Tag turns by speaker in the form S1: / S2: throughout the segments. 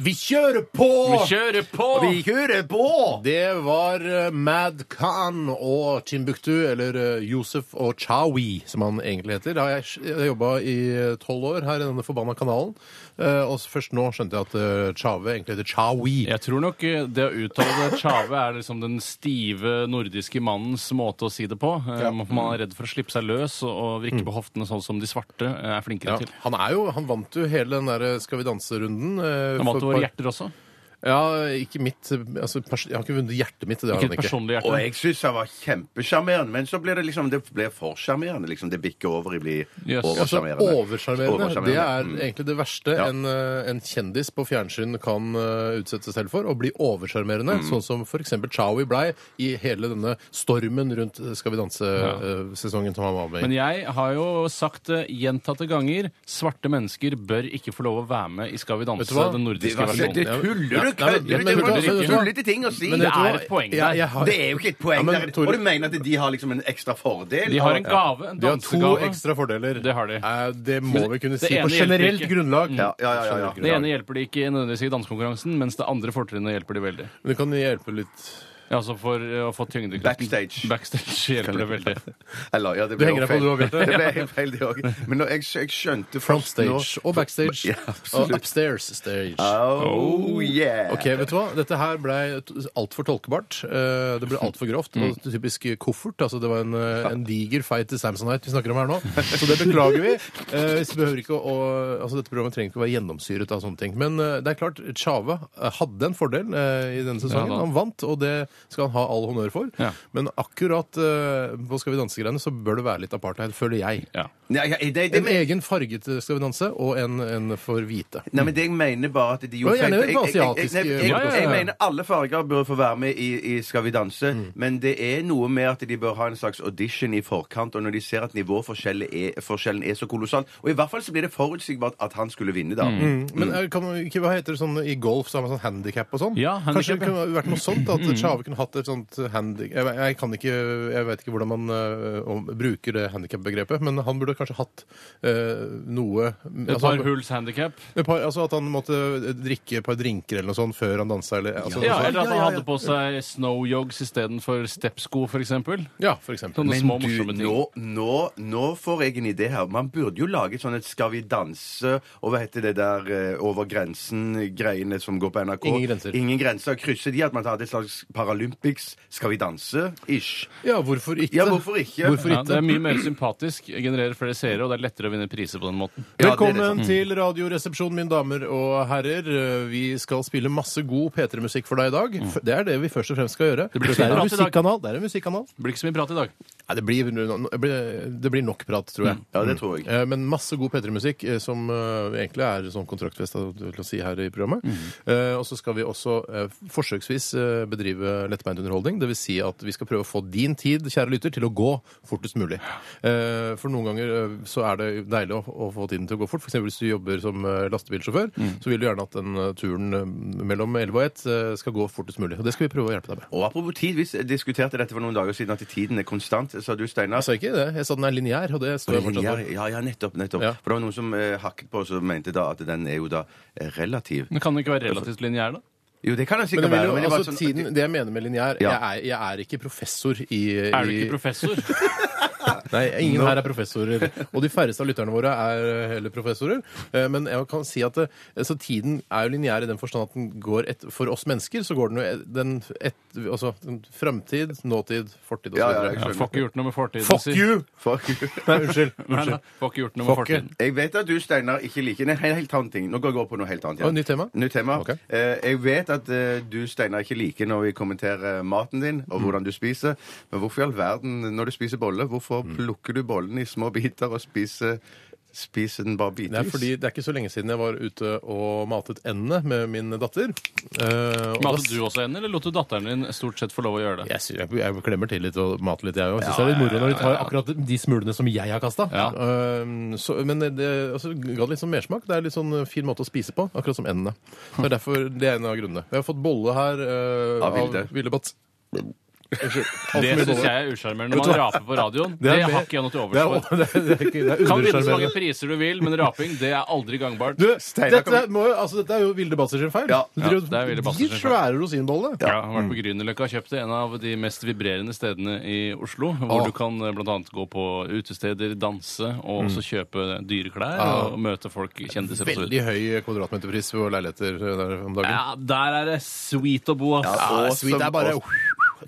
S1: Vi kjører på!
S2: Vi kjører på!
S1: Vi kjører på! Det var eh, Mad Khan og Timbuktu, eller eh, Josef og Chawi, som han egentlig heter. Da har jeg sj- jeg jobba i eh, tolv år her i denne forbanna kanalen, eh, og s- først nå skjønte jeg at eh, Chave egentlig heter Chawi.
S2: Jeg tror nok eh, det å uttale Tjave er liksom den stive nordiske mannens måte å si det på. Eh,
S1: Ja. Mm.
S2: Man er redd for å slippe seg løs og- og vrikke på hoftene sånn som de svarte eh, er flinkere
S1: Ja.
S2: til.
S1: Han, er jo, han vant jo hele den der eh, Skal vi danse-runden. eh, for
S2: Han vant
S1: et
S2: våre
S1: par-
S2: hjerter også.
S1: Ja, ikke mitt eh, altså, pers Jeg har ikke vunnet hjertet mitt. Det har
S2: Ikke
S1: han
S2: et
S1: ikke.
S2: personlig
S3: Og
S2: hjerte.
S3: jeg syns han var kjempesjarmerende, men så ble det liksom Det ble for sjarmerende. Liksom. Det bikker over i å bli
S2: Yes.
S1: Altså,
S3: oversjarmerende.
S1: Oversjarmerende. Det er
S3: Mm.
S1: egentlig det verste
S3: Ja.
S1: en, eh, en kjendis på fjernsyn kan eh, utsette seg selv for, å bli oversjarmerende.
S3: Mm.
S1: Sånn som f.eks. Chowi blei i hele denne stormen rundt eh, Skal vi danse-sesongen som han var med
S2: Men
S1: i.
S2: jeg har jo sagt det gjentatte ganger svarte mennesker bør ikke få lov å være med i Skal vi danse,
S1: Vet du hva?
S2: den
S3: Det,
S2: nordiske
S3: var, det, det
S2: versjonen.
S3: tuller du,
S1: Ja, nei, men-
S3: kødder du?
S1: men-
S3: Det var
S1: men-
S3: så
S1: men-
S3: tullete ting å si!
S1: Men
S2: det
S1: vet du
S2: er
S1: hva?
S2: et poeng
S1: Jeg-
S2: der.
S1: jeg har-
S3: Det er jo ikke et
S1: Ja,
S3: poeng.
S1: men,
S3: der.
S1: Tore-
S3: og du mener at de har liksom en ekstra fordel?
S2: De har en
S3: Ja.
S2: gave, en
S1: De har to
S2: dansegave.
S1: ekstra fordeler.
S2: Det har de.
S1: Eh, Det må
S2: Men
S1: vi kunne
S2: det
S1: si
S2: ene
S1: på
S2: hjelper
S1: generelt
S2: ikke.
S1: grunnlag.
S3: Ja, ja, ja, ja, ja.
S1: Generelt
S2: Det
S1: grunnlag.
S2: ene hjelper de ikke nødvendigvis i dansekonkurransen, mens det andre fortrinnet hjelper de veldig.
S1: Men det kan hjelpe litt
S2: Ja, Altså for eh, å få tyngdekraften.
S3: Backstage.
S2: Backstage hjelper det veldig.
S3: Eller, ja, det
S1: Du
S3: ble
S1: henger deg
S3: også
S1: på, du også, Bjarte.
S3: feil. Det ble feil, det også. Men nå, jeg, jeg skjønte først nå-
S1: Frontstage og backstage.
S3: Ja,
S1: og
S3: absolutt.
S1: upstairs stage.
S3: Oh yeah!
S1: Ok, vet du hva? Dette her ble altfor tolkebart. Eh, Det ble altfor grovt. Og
S2: Mm.
S1: typisk koffert. altså Det var en, eh, en diger feit til Samsonite vi snakker om her nå. Så det beklager vi. Eh, Vi behøver ikke å, altså Dette programmet trenger ikke å være gjennomsyret av sånne ting. Men eh, det er klart, Tjave hadde en fordel eh, i denne sesongen.
S2: Ja da.
S1: han vant, og det skal han ha all honnør for.
S2: Ja.
S1: Men akkurat eh, på Skal vi danse-greiene så bør det være litt apartheid, føler jeg.
S2: Ja.
S3: Nei, ja, det, det,
S1: En egen farget Skal vi danse, og en, en for hvite.
S3: Nei, men det jeg mener bare at de
S1: Men
S3: gjorde
S1: gjerne
S3: feil.
S1: litt
S3: Jeg- jeg- jeg-
S1: asiatisk,
S3: nei, jeg-
S1: eh,
S2: måte å
S3: Jeg
S2: si.
S3: mener alle farger bør få være med i, i Skal vi danse,
S1: Mm.
S3: men det er noe med at de bør ha en slags audition i forkant, og når de ser at nivåforskjellen er, forskjellen er så kolossal Og i hvert fall så blir det forutsigbart at han skulle vinne, da.
S1: Men er- kan, man ikke, hva heter det sånn i golf, så har man sånn handikap og sånn?
S2: Mm. Ja,
S1: Kanskje
S2: handicap,
S1: det kunne vært noe sånt? At Tjave kunne hatt et sånt handikap jeg, jeg kan ikke, jeg vet ikke hvordan man øh, om- bruker det handikap-begrepet, men han burde kanskje hatt øh, noe
S2: Et
S1: altså,
S2: par hulls handikap.
S1: et par- altså at han måtte drikke et par drinker eller noe sånt før han dansa, eller altså,
S2: Ja,
S1: noe sånt.
S2: eller at han hadde på seg snowyogs istedenfor stepsko, f.eks.
S1: ja, for eksempel.
S2: Sånne små,
S3: du,
S2: morsomme ting.
S3: nå, nå, nå får jeg en idé her. Man burde jo lage sånn et Skal vi danse og hva heter det der eh, Over grensen-greiene som går på NRK.
S1: Ingen grenser.
S3: Ingen grenser. Krysse de at man tar et slags Paralympics Skal vi danse-ish.
S1: Ja, hvorfor ikke?
S3: Ja, hvorfor ikke?
S1: Hvorfor
S2: Ja,
S1: ikke?
S2: det er mye mer sympatisk, genererer flere seere, og det er lettere å vinne priser på den måten.
S3: Ja, det Mm. er det
S1: Velkommen til Radioresepsjonen, mine damer og herrer. Vi skal spille masse god P3-musikk for deg i dag.
S3: Mm.
S1: F- Det er det vi først og fremst skal gjøre. Det,
S2: blir
S1: er,
S2: prat
S1: en
S2: i dag.
S1: musikkanal. det er en musikkanal.
S2: Det blir ikke så mye prat i dag.
S1: Nei, det, blir, det blir- det blir nok prat, tror jeg.
S3: Mm. Ja, det tror jeg.
S1: Eh, Men masse god P3-musikk, eh, som eh, egentlig er sånn kontraktfesta til å si her i programmet.
S3: Mm.
S1: Eh, Og så skal vi også eh, forsøksvis eh, bedrive lettbeint underholdning. Dvs. Si at vi skal prøve å få din tid, kjære lytter, til å gå fortest mulig. Eh, For noen ganger eh, så er det deilig å, å få tiden til å gå fort. F.eks. hvis du jobber som eh, lastebilsjåfør,
S3: Mm.
S1: så vil du gjerne at den eh, turen eh, mellom 11 og 1 eh, skal gå fortest mulig. Og det skal vi prøve å hjelpe deg med.
S3: Og apropos tid, vi s- diskuterte dette for noen dager siden, at tiden er konstant, sa du, Steinar.
S1: Jeg sa ikke det. Jeg sa den er lineær, og det står jeg fortsatt
S3: Ja,
S1: for.
S3: ja, ja, nettopp. nettopp.
S1: Ja.
S3: For det var noen som eh, hakket på oss og mente da at den er jo da eh, relativ.
S2: Men kan den ikke være relativt lineær, da?
S3: Jo, det kan den
S1: Men
S3: sikkert
S1: det vil
S3: være.
S1: jo,
S3: Men det var
S1: altså,
S3: sånn,
S1: tiden, det jeg mener med lineær
S3: Ja.
S1: jeg, er, jeg er ikke professor i,
S2: Er du
S1: i
S2: ikke professor?
S1: Nei, ingen her er professorer. Og de færreste av lytterne våre er eh, heller professorer. Eh, Men jeg kan si at eh, altså, tiden er jo lineær i den forstand at den går et, for oss mennesker så går den jo et, den et, altså, den fremtid, nåtid, fortid og så
S3: Ja, ja,
S1: videre.
S3: jeg
S2: Ja, får ikke gjort noe med fortiden.
S1: Fuck
S2: si.
S1: you!
S3: Fuck.
S1: Nei, unnskyld.
S2: Nei, nei,
S1: unnskyld.
S2: Får ikke gjort noe med
S1: Fuck you.
S2: fortiden.
S3: Jeg vet at du, Steinar, ikke liker en helt annen ting. Nå går jeg over på noe helt annet.
S1: Å, nytt tema?
S3: Nytt tema.
S1: Ok.
S3: Eh, jeg vet at eh, du, Steinar, ikke liker når vi kommenterer eh, maten din
S1: Mm.
S3: og hvordan du spiser.
S1: Mm.
S3: Men hvorfor i all verden, når du spiser bolle, hvorfor plukker du bollen i små biter og spiser Spiser den bare bitvis?
S1: Nei, fordi Det er ikke så lenge siden jeg var ute og matet endene med min datter. Eh, og
S2: Matet
S1: da-
S2: du også henne, eller lot du datteren din stort sett få lov å gjøre det?
S1: Jeg, sy- jeg, jeg klemmer til litt og mater litt, jeg òg. Syns det er litt moro når de tar akkurat de smulene som jeg har kasta.
S2: Ja.
S1: men det altså, ga det litt sånn mersmak. Det er litt sånn fin måte å spise på, akkurat som endene. Det er derfor det er en av grunnene. Vi har fått bolle her eh,
S3: Av Vilde.
S1: av Ville Batt. Unnskyld. Alt
S2: Det
S1: for mye
S2: syns
S1: bolle.
S2: jeg er usjarmerende når man raper på radioen. Det
S1: mer-
S2: har ikke jeg noe til
S1: Det er,
S2: overs for.
S1: det er, det er, ikke- det er
S2: Kan vinne så mange
S1: undersjarmerende.
S2: priser du vil, men raping det er aldri gangbart.
S1: Du,
S3: Steinar
S1: dette, må, jo- altså, dette er jo Vilde Batzer sin feil.
S3: Ja,
S1: Du
S2: ja,
S1: driver-
S2: det er Vilde Batzer
S1: Gir
S2: sin feil.
S1: svære rosinbolle.
S2: Ja, jeg har vært på Grünerløkka og kjøpt en av de mest vibrerende stedene i Oslo. Hvor
S1: Åh.
S2: du kan bl.a. gå på utesteder, danse
S1: Mm.
S2: og også kjøpe dyre klær og møte folk, kjendiser og så videre.
S1: Veldig høy kvadratmeterpris for leiligheter øh, der om dagen.
S2: Ja, der er det sweet å bo, ass.
S3: Ja,
S1: Ja,
S3: og
S1: sweet
S3: som-
S1: er bare
S3: og-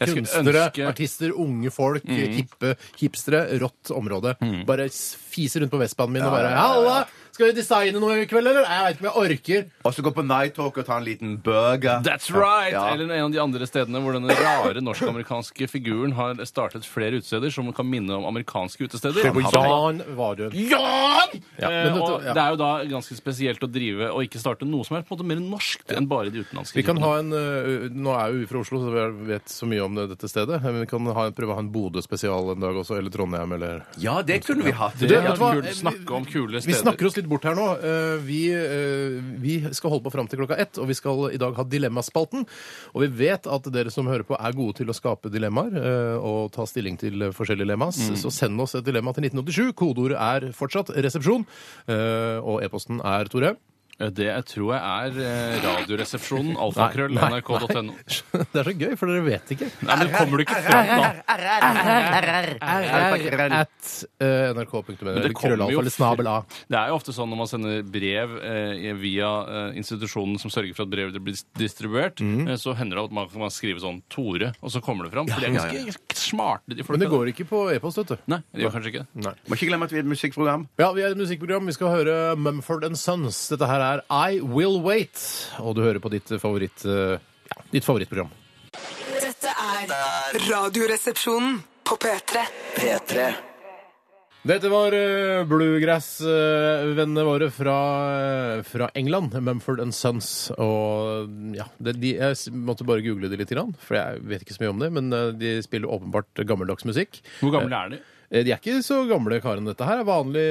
S2: Jeg skulle
S1: kunstnere,
S2: ønske- Mm.
S1: artister, unge folk, hippe, hipstere, rått område. Bare s- fise rundt på Vestbanen min og bare Halla! Skal vi designe noe i kveld, eller? Jeg veit ikke om jeg orker.
S3: Og så gå på Night Talk og ta en liten burger.
S2: That's right!
S3: Ja.
S2: Eller en av de andre stedene hvor denne rare norsk-amerikanske figuren har startet flere utesteder som kan minne om amerikanske utesteder.
S1: Jan Varun.
S2: Jan!
S1: Ja,
S2: Eh,
S1: men dette-
S2: og
S1: ja.
S2: det er jo da ganske spesielt å drive og ikke starte noe som er på en måte mer norsk enn bare de utenlandske.
S1: Vi kan ha en, øh, Nå er jo vi fra Oslo, så vi vet så mye om det- dette stedet. Men vi kan ha en, prøve å ha en Bodø-spesial en dag også, eller Trondheim, eller
S3: Ja, det kunne vi hatt.
S2: det
S1: vet
S2: er
S1: du hva?
S2: kult. Snakke om
S1: Vi
S2: kule steder.
S1: snakker oss litt bort her nå. Eh, Vi, eh, vi skal holde på fram til klokka ett, og vi skal i dag ha Dilemmaspalten. Og vi vet at dere som hører på, er gode til å skape dilemmaer eh, og ta stilling til eh, forskjellige dilemmas.
S2: Mm.
S1: Så send oss et dilemma til 1987. Kodeordet er fortsatt 'resepsjon', eh, og e-posten er Tore.
S2: Eh, Det jeg tror jeg er eh, Radioresepsjonen, alfakrøll,
S1: Nei, nei,
S2: nrk.no.
S1: Det er så gøy, for dere vet ikke.
S2: Nei, men kommer du ikke fram da?
S1: RR at eh, nrk.no. Eller
S2: kommer
S1: krøllalfa
S2: jo
S1: eller snabel a.
S2: Det er jo ofte sånn når man sender brev eh, via eh, institusjonen som sørger for at brevet blir distribuert,
S1: Mm.
S2: eh, så hender det at man kan skrive sånn Tore, og så kommer det fram. For de er
S3: ja,
S2: ganske ganske smarte, de
S1: Men det
S2: folka.
S1: går Mm. ikke på e-post, vet du.
S2: Nei, det gjør kanskje ikke det.
S1: Nei.
S3: Må ikke glemme at vi er et musikkprogram.
S1: Ja, vi er et musikkprogram. Vi skal høre Mumford Sons. Dette her er I Will Wait. Og du hører på ditt favoritt... eh, Ja, ditt favorittprogram.
S4: Dette er Radioresepsjonen på P3.
S5: P3.
S1: Dette var eh, bluegrass eh, vennene våre fra, eh, fra England, Mumford Sons. Og ja, det, de, jeg s- måtte bare google det litt, grann, for jeg vet ikke så mye om det. Men eh, de spiller åpenbart gammeldags musikk.
S2: Hvor gamle er de?
S1: Eh, De er ikke så gamle karene, dette her. er Vanlig,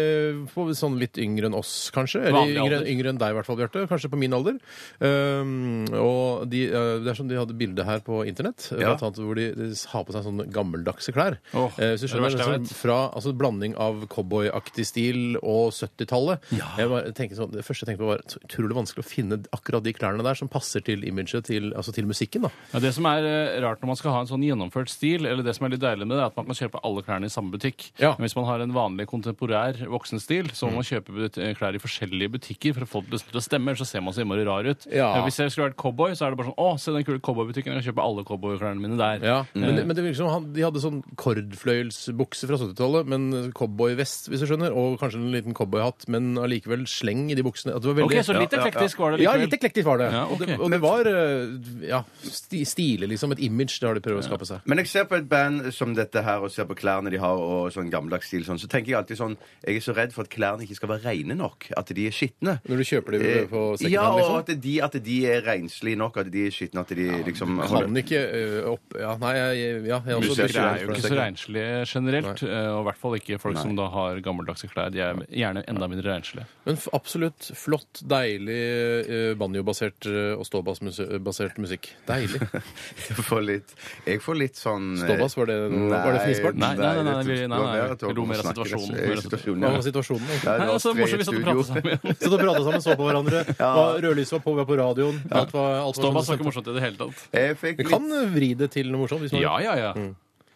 S1: på- sånn litt yngre enn oss, kanskje. Eller
S2: Vanlig
S1: yngre,
S2: alder.
S1: yngre enn deg, i hvert fall, Bjarte. Kanskje på min alder. Um, og de, eh, det er som de hadde bilde her på internett,
S3: Ja.
S1: blant annet hvor de eh, har på seg sånne gammeldagse klær.
S2: Åh,
S1: Eh, hvis du
S2: det er det
S1: skjønner,
S2: verste jeg
S1: sånn
S2: vet.
S1: fra altså, blanding av cowboyaktig stil og 70-tallet. Jeg bare tenker Sånn, det første jeg tenkte på, var så utrolig vanskelig å finne akkurat de klærne der som passer til imaget til, altså til musikken. da.
S2: Ja, det som er eh, rart når man skal ha en sånn gjennomført stil, eller det som er litt deilig med det, er at man kan kjøpe alle klærne i samme butikk.
S1: Ja. Mm.
S2: Men hvis man har en vanlig kontemporær voksenstil, så må man kjøpe but- eh, klær i forskjellige butikker for å få det til å stemme, ellers så ser man så innmari rar ut.
S1: Ja.
S2: Eh, Hvis jeg skulle vært cowboy, så er det bare sånn Å, se den kule cowboybutikken, jeg kan kjøpe alle cowboyklærne mine der.
S1: Ja, men,
S2: Eh,
S1: men det virker som han, De hadde sånn kordfløyelsbukse fra 70-tallet, men cowboyvest, hvis du skjønner, og kanskje en liten cowboyhatt, men allikevel sleng i de buksene. At det var veldig,
S2: OK, så litt
S3: Ja, ja, ja.
S2: eklektisk var det
S1: ja,
S2: likevel.
S1: litt eklektisk var det.
S2: Ja, ok.
S1: og det. Og det var eh, ja, sti, stilig, liksom. Et image det har de prøvd å skape seg.
S3: Men jeg ser på et band som dette her, og ser på klærne de har, og sånn gammeldags stil sånn, så tenker jeg alltid sånn Jeg er så redd for at klærne ikke skal være reine nok. At de er skitne.
S1: Når du kjøper de
S3: Eh, Ja,
S1: på secondhand,
S3: og
S1: liksom.
S3: at de, at de er renslige nok, at de er skitne, at de liksom
S1: Kan ikke eh, opp Ja, nei, jeg, jeg- ja, jeg er også
S3: Musikere
S2: er jo ikke så renslige generelt, eh, og i hvert fall ikke folk som da har gammeldagse klær. De er gjerne enda mindre renslige.
S1: Men f- absolutt flott, deilig eh, banjobasert eh, og ståbassbasert musikk. Deilig.
S3: Jeg får litt, jeg får litt sånn eh,
S1: Ståbass, var det noe- var det fnisbart?
S2: Nei, nei, nei, nei, vi-
S3: det
S2: nei,
S3: var
S2: nei,
S3: mer at
S2: vi lo mer av
S3: snakker,
S2: situasjonen.
S3: eh, situasjonen.
S1: Hva var
S3: ja.
S1: situasjonen?
S3: Nei,
S1: egentlig?
S3: det
S2: Nei,
S3: var
S2: altså,
S3: tre
S2: morsomt vi satt og
S3: studio.
S2: pratet sammen.
S1: Satt og pratet sammen, så på hverandre. Hva- Rødlyset var på, vi var på radioen. Alt var, alt var som
S2: Stovas var
S1: det
S2: ikke morsomt i det hele tatt.
S3: Jeg fikk
S1: Vi kan
S3: litt,
S1: vri det til noe morsomt. hvis man
S2: Ja, ja, ja.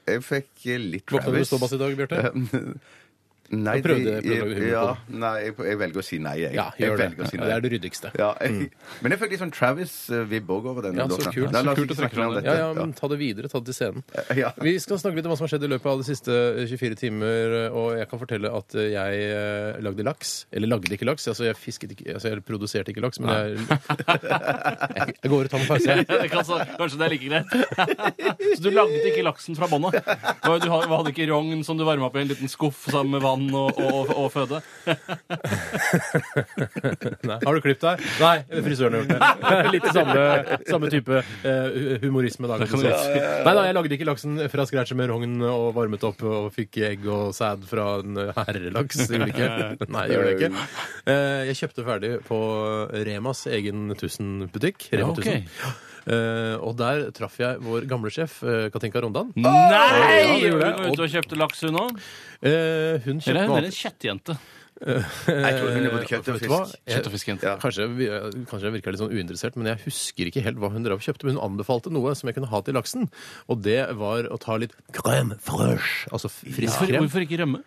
S3: jeg fikk eh, litt
S1: Våkna du med
S3: Travis.
S1: ståbass i dag, Bjarte?
S3: Nei,
S1: Jeg prøvde- jeg
S3: de-
S1: prøvde å humre
S3: ja,
S1: på
S3: nei, jeg, jeg velger å si nei, jeg.
S1: Ja,
S3: jeg
S1: gjør det.
S3: velger å si
S1: Ja,
S3: nei.
S1: det er det ryddigste.
S3: Ja, jeg, men jeg fikk litt sånn Travis-vibb òg over denne
S1: Ja, så
S3: låten.
S1: kult.
S3: Nei,
S1: Så
S3: la oss
S2: kult
S3: ikke
S2: å trekke
S3: snakke mer om
S2: fram det.
S3: dette.
S1: Ja, ja, men ta det videre. Ta det til scenen.
S3: Ja.
S1: Vi skal snakke litt om hva som har skjedd i løpet av de siste 24 timer. Og jeg kan fortelle at jeg eh, lagde laks. Eller lagde ikke laks. Altså, jeg fisket ikke Altså, jeg produserte ikke laks, men jeg Jeg går og tar meg en pause. jeg.
S2: Det kan, så, kanskje det er like greit. Så du laget ikke laksen fra bånda? Du hadde- du hadde ikke rogn som du varma opp i en liten skuff sammen med land å, å, å føde.
S1: Nei. Har du klippet deg? Nei, frisøren har gjort det. Litt samme, samme type eh, humorisme. Da, kan du si. Nei da, jeg lagde ikke laksen fra scratch med rogn og varmet opp og fikk egg og sæd fra en herrelaks. Gjorde jeg ikke? Nei, det gjorde jeg ikke. Eh, Jeg kjøpte ferdig på Remas egen 1000-butikk. Rema
S2: Ja, ok.
S1: 1000. Eh, og der traff jeg vår gamle sjef, eh, Katinka Rondan. Ja,
S2: Nei!
S1: det
S2: Hun
S1: gjorde jeg.
S2: var ute og kjøpte laks, hun òg.
S1: Eh, hun kjøpte
S2: Eller hun
S1: noe
S2: er en kjettjente.
S3: Jeg tror hun er både
S1: Eh,
S3: kjøtt og
S1: vet du hva?
S3: fisk.
S1: Jeg-
S2: Kjøtt og fisk, jente.
S1: Ja. Kanskje, vi- kanskje jeg virker litt sånn uinteressert, men jeg husker ikke helt hva hun drev og kjøpte. Men hun anbefalte noe som jeg kunne ha til laksen, og det var å ta litt crème fraîche. Altså frisk
S2: Hvorfor,
S1: krem.
S2: hvorfor ikke rømme?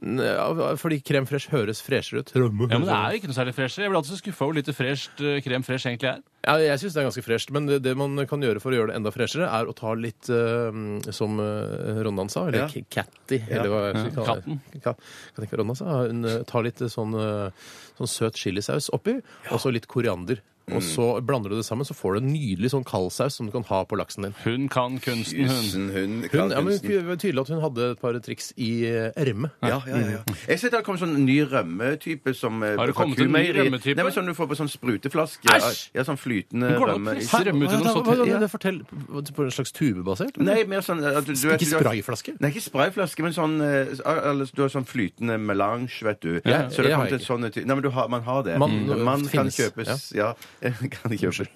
S1: Ja, fordi crème fraîche høres freshere ut.
S2: Ja, men Det er jo ikke noe særlig fresh. Jeg blir alltid så skuffa over hvor lite fresht eh, krem fresh egentlig er.
S1: Ja, jeg syns det er ganske fresht, men det, det man kan gjøre for å gjøre det enda freshere, er å ta litt, eh, som eh, Ronna sa, eller
S3: Ja.
S1: k- Catty, eller hva jeg skal kalle
S2: Katten.
S1: det. Ka- Kan tenke Ronna sa. Hun eh, tar litt eh, sånn, eh, sånn søt chilisaus oppi, og så litt koriander. Og
S3: Mm.
S1: så blander du det sammen, så får du en nydelig sånn kaldsaus som du kan ha på laksen din.
S2: Hun kan kunsten, hun.
S3: Tusen hund,
S1: Hun, ja, men
S3: Karlsen.
S1: Det var tydelig at hun hadde et par triks i eh, ermet.
S3: Ja, ja, ja, ja.
S1: Mm.
S3: Jeg ser det har kommet sånn ny rømmetype som eh,
S2: Har det
S3: fra
S2: kommet en ny
S3: Kumeieri.
S2: rømmetype?
S3: Nei, men sånn du får på sånn spruteflaske.
S2: Æsj!
S3: Ja, sånn flytende
S2: Men går det an å
S3: rømme.
S2: presse
S3: Hæ?
S2: rømme ut i noe sånt?
S1: Hva- hva- hva- Fortell. På en slags tubebasert?
S3: Nei, mer sånn at du, du vet-
S1: Ikke
S3: du har-
S1: sprayflaske?
S3: Nei, ikke sprayflaske, men sånn eh, eller, Du har sånn flytende melange, vet du.
S1: Ja,
S3: så det
S1: jeg
S3: har
S1: har
S3: kommet en
S1: ikke.
S3: sånn ty- Nei, men du har, man har det.
S1: Man-
S3: Mm. man kan
S1: finnes,
S3: kjøpes Ja, kan kjøpes.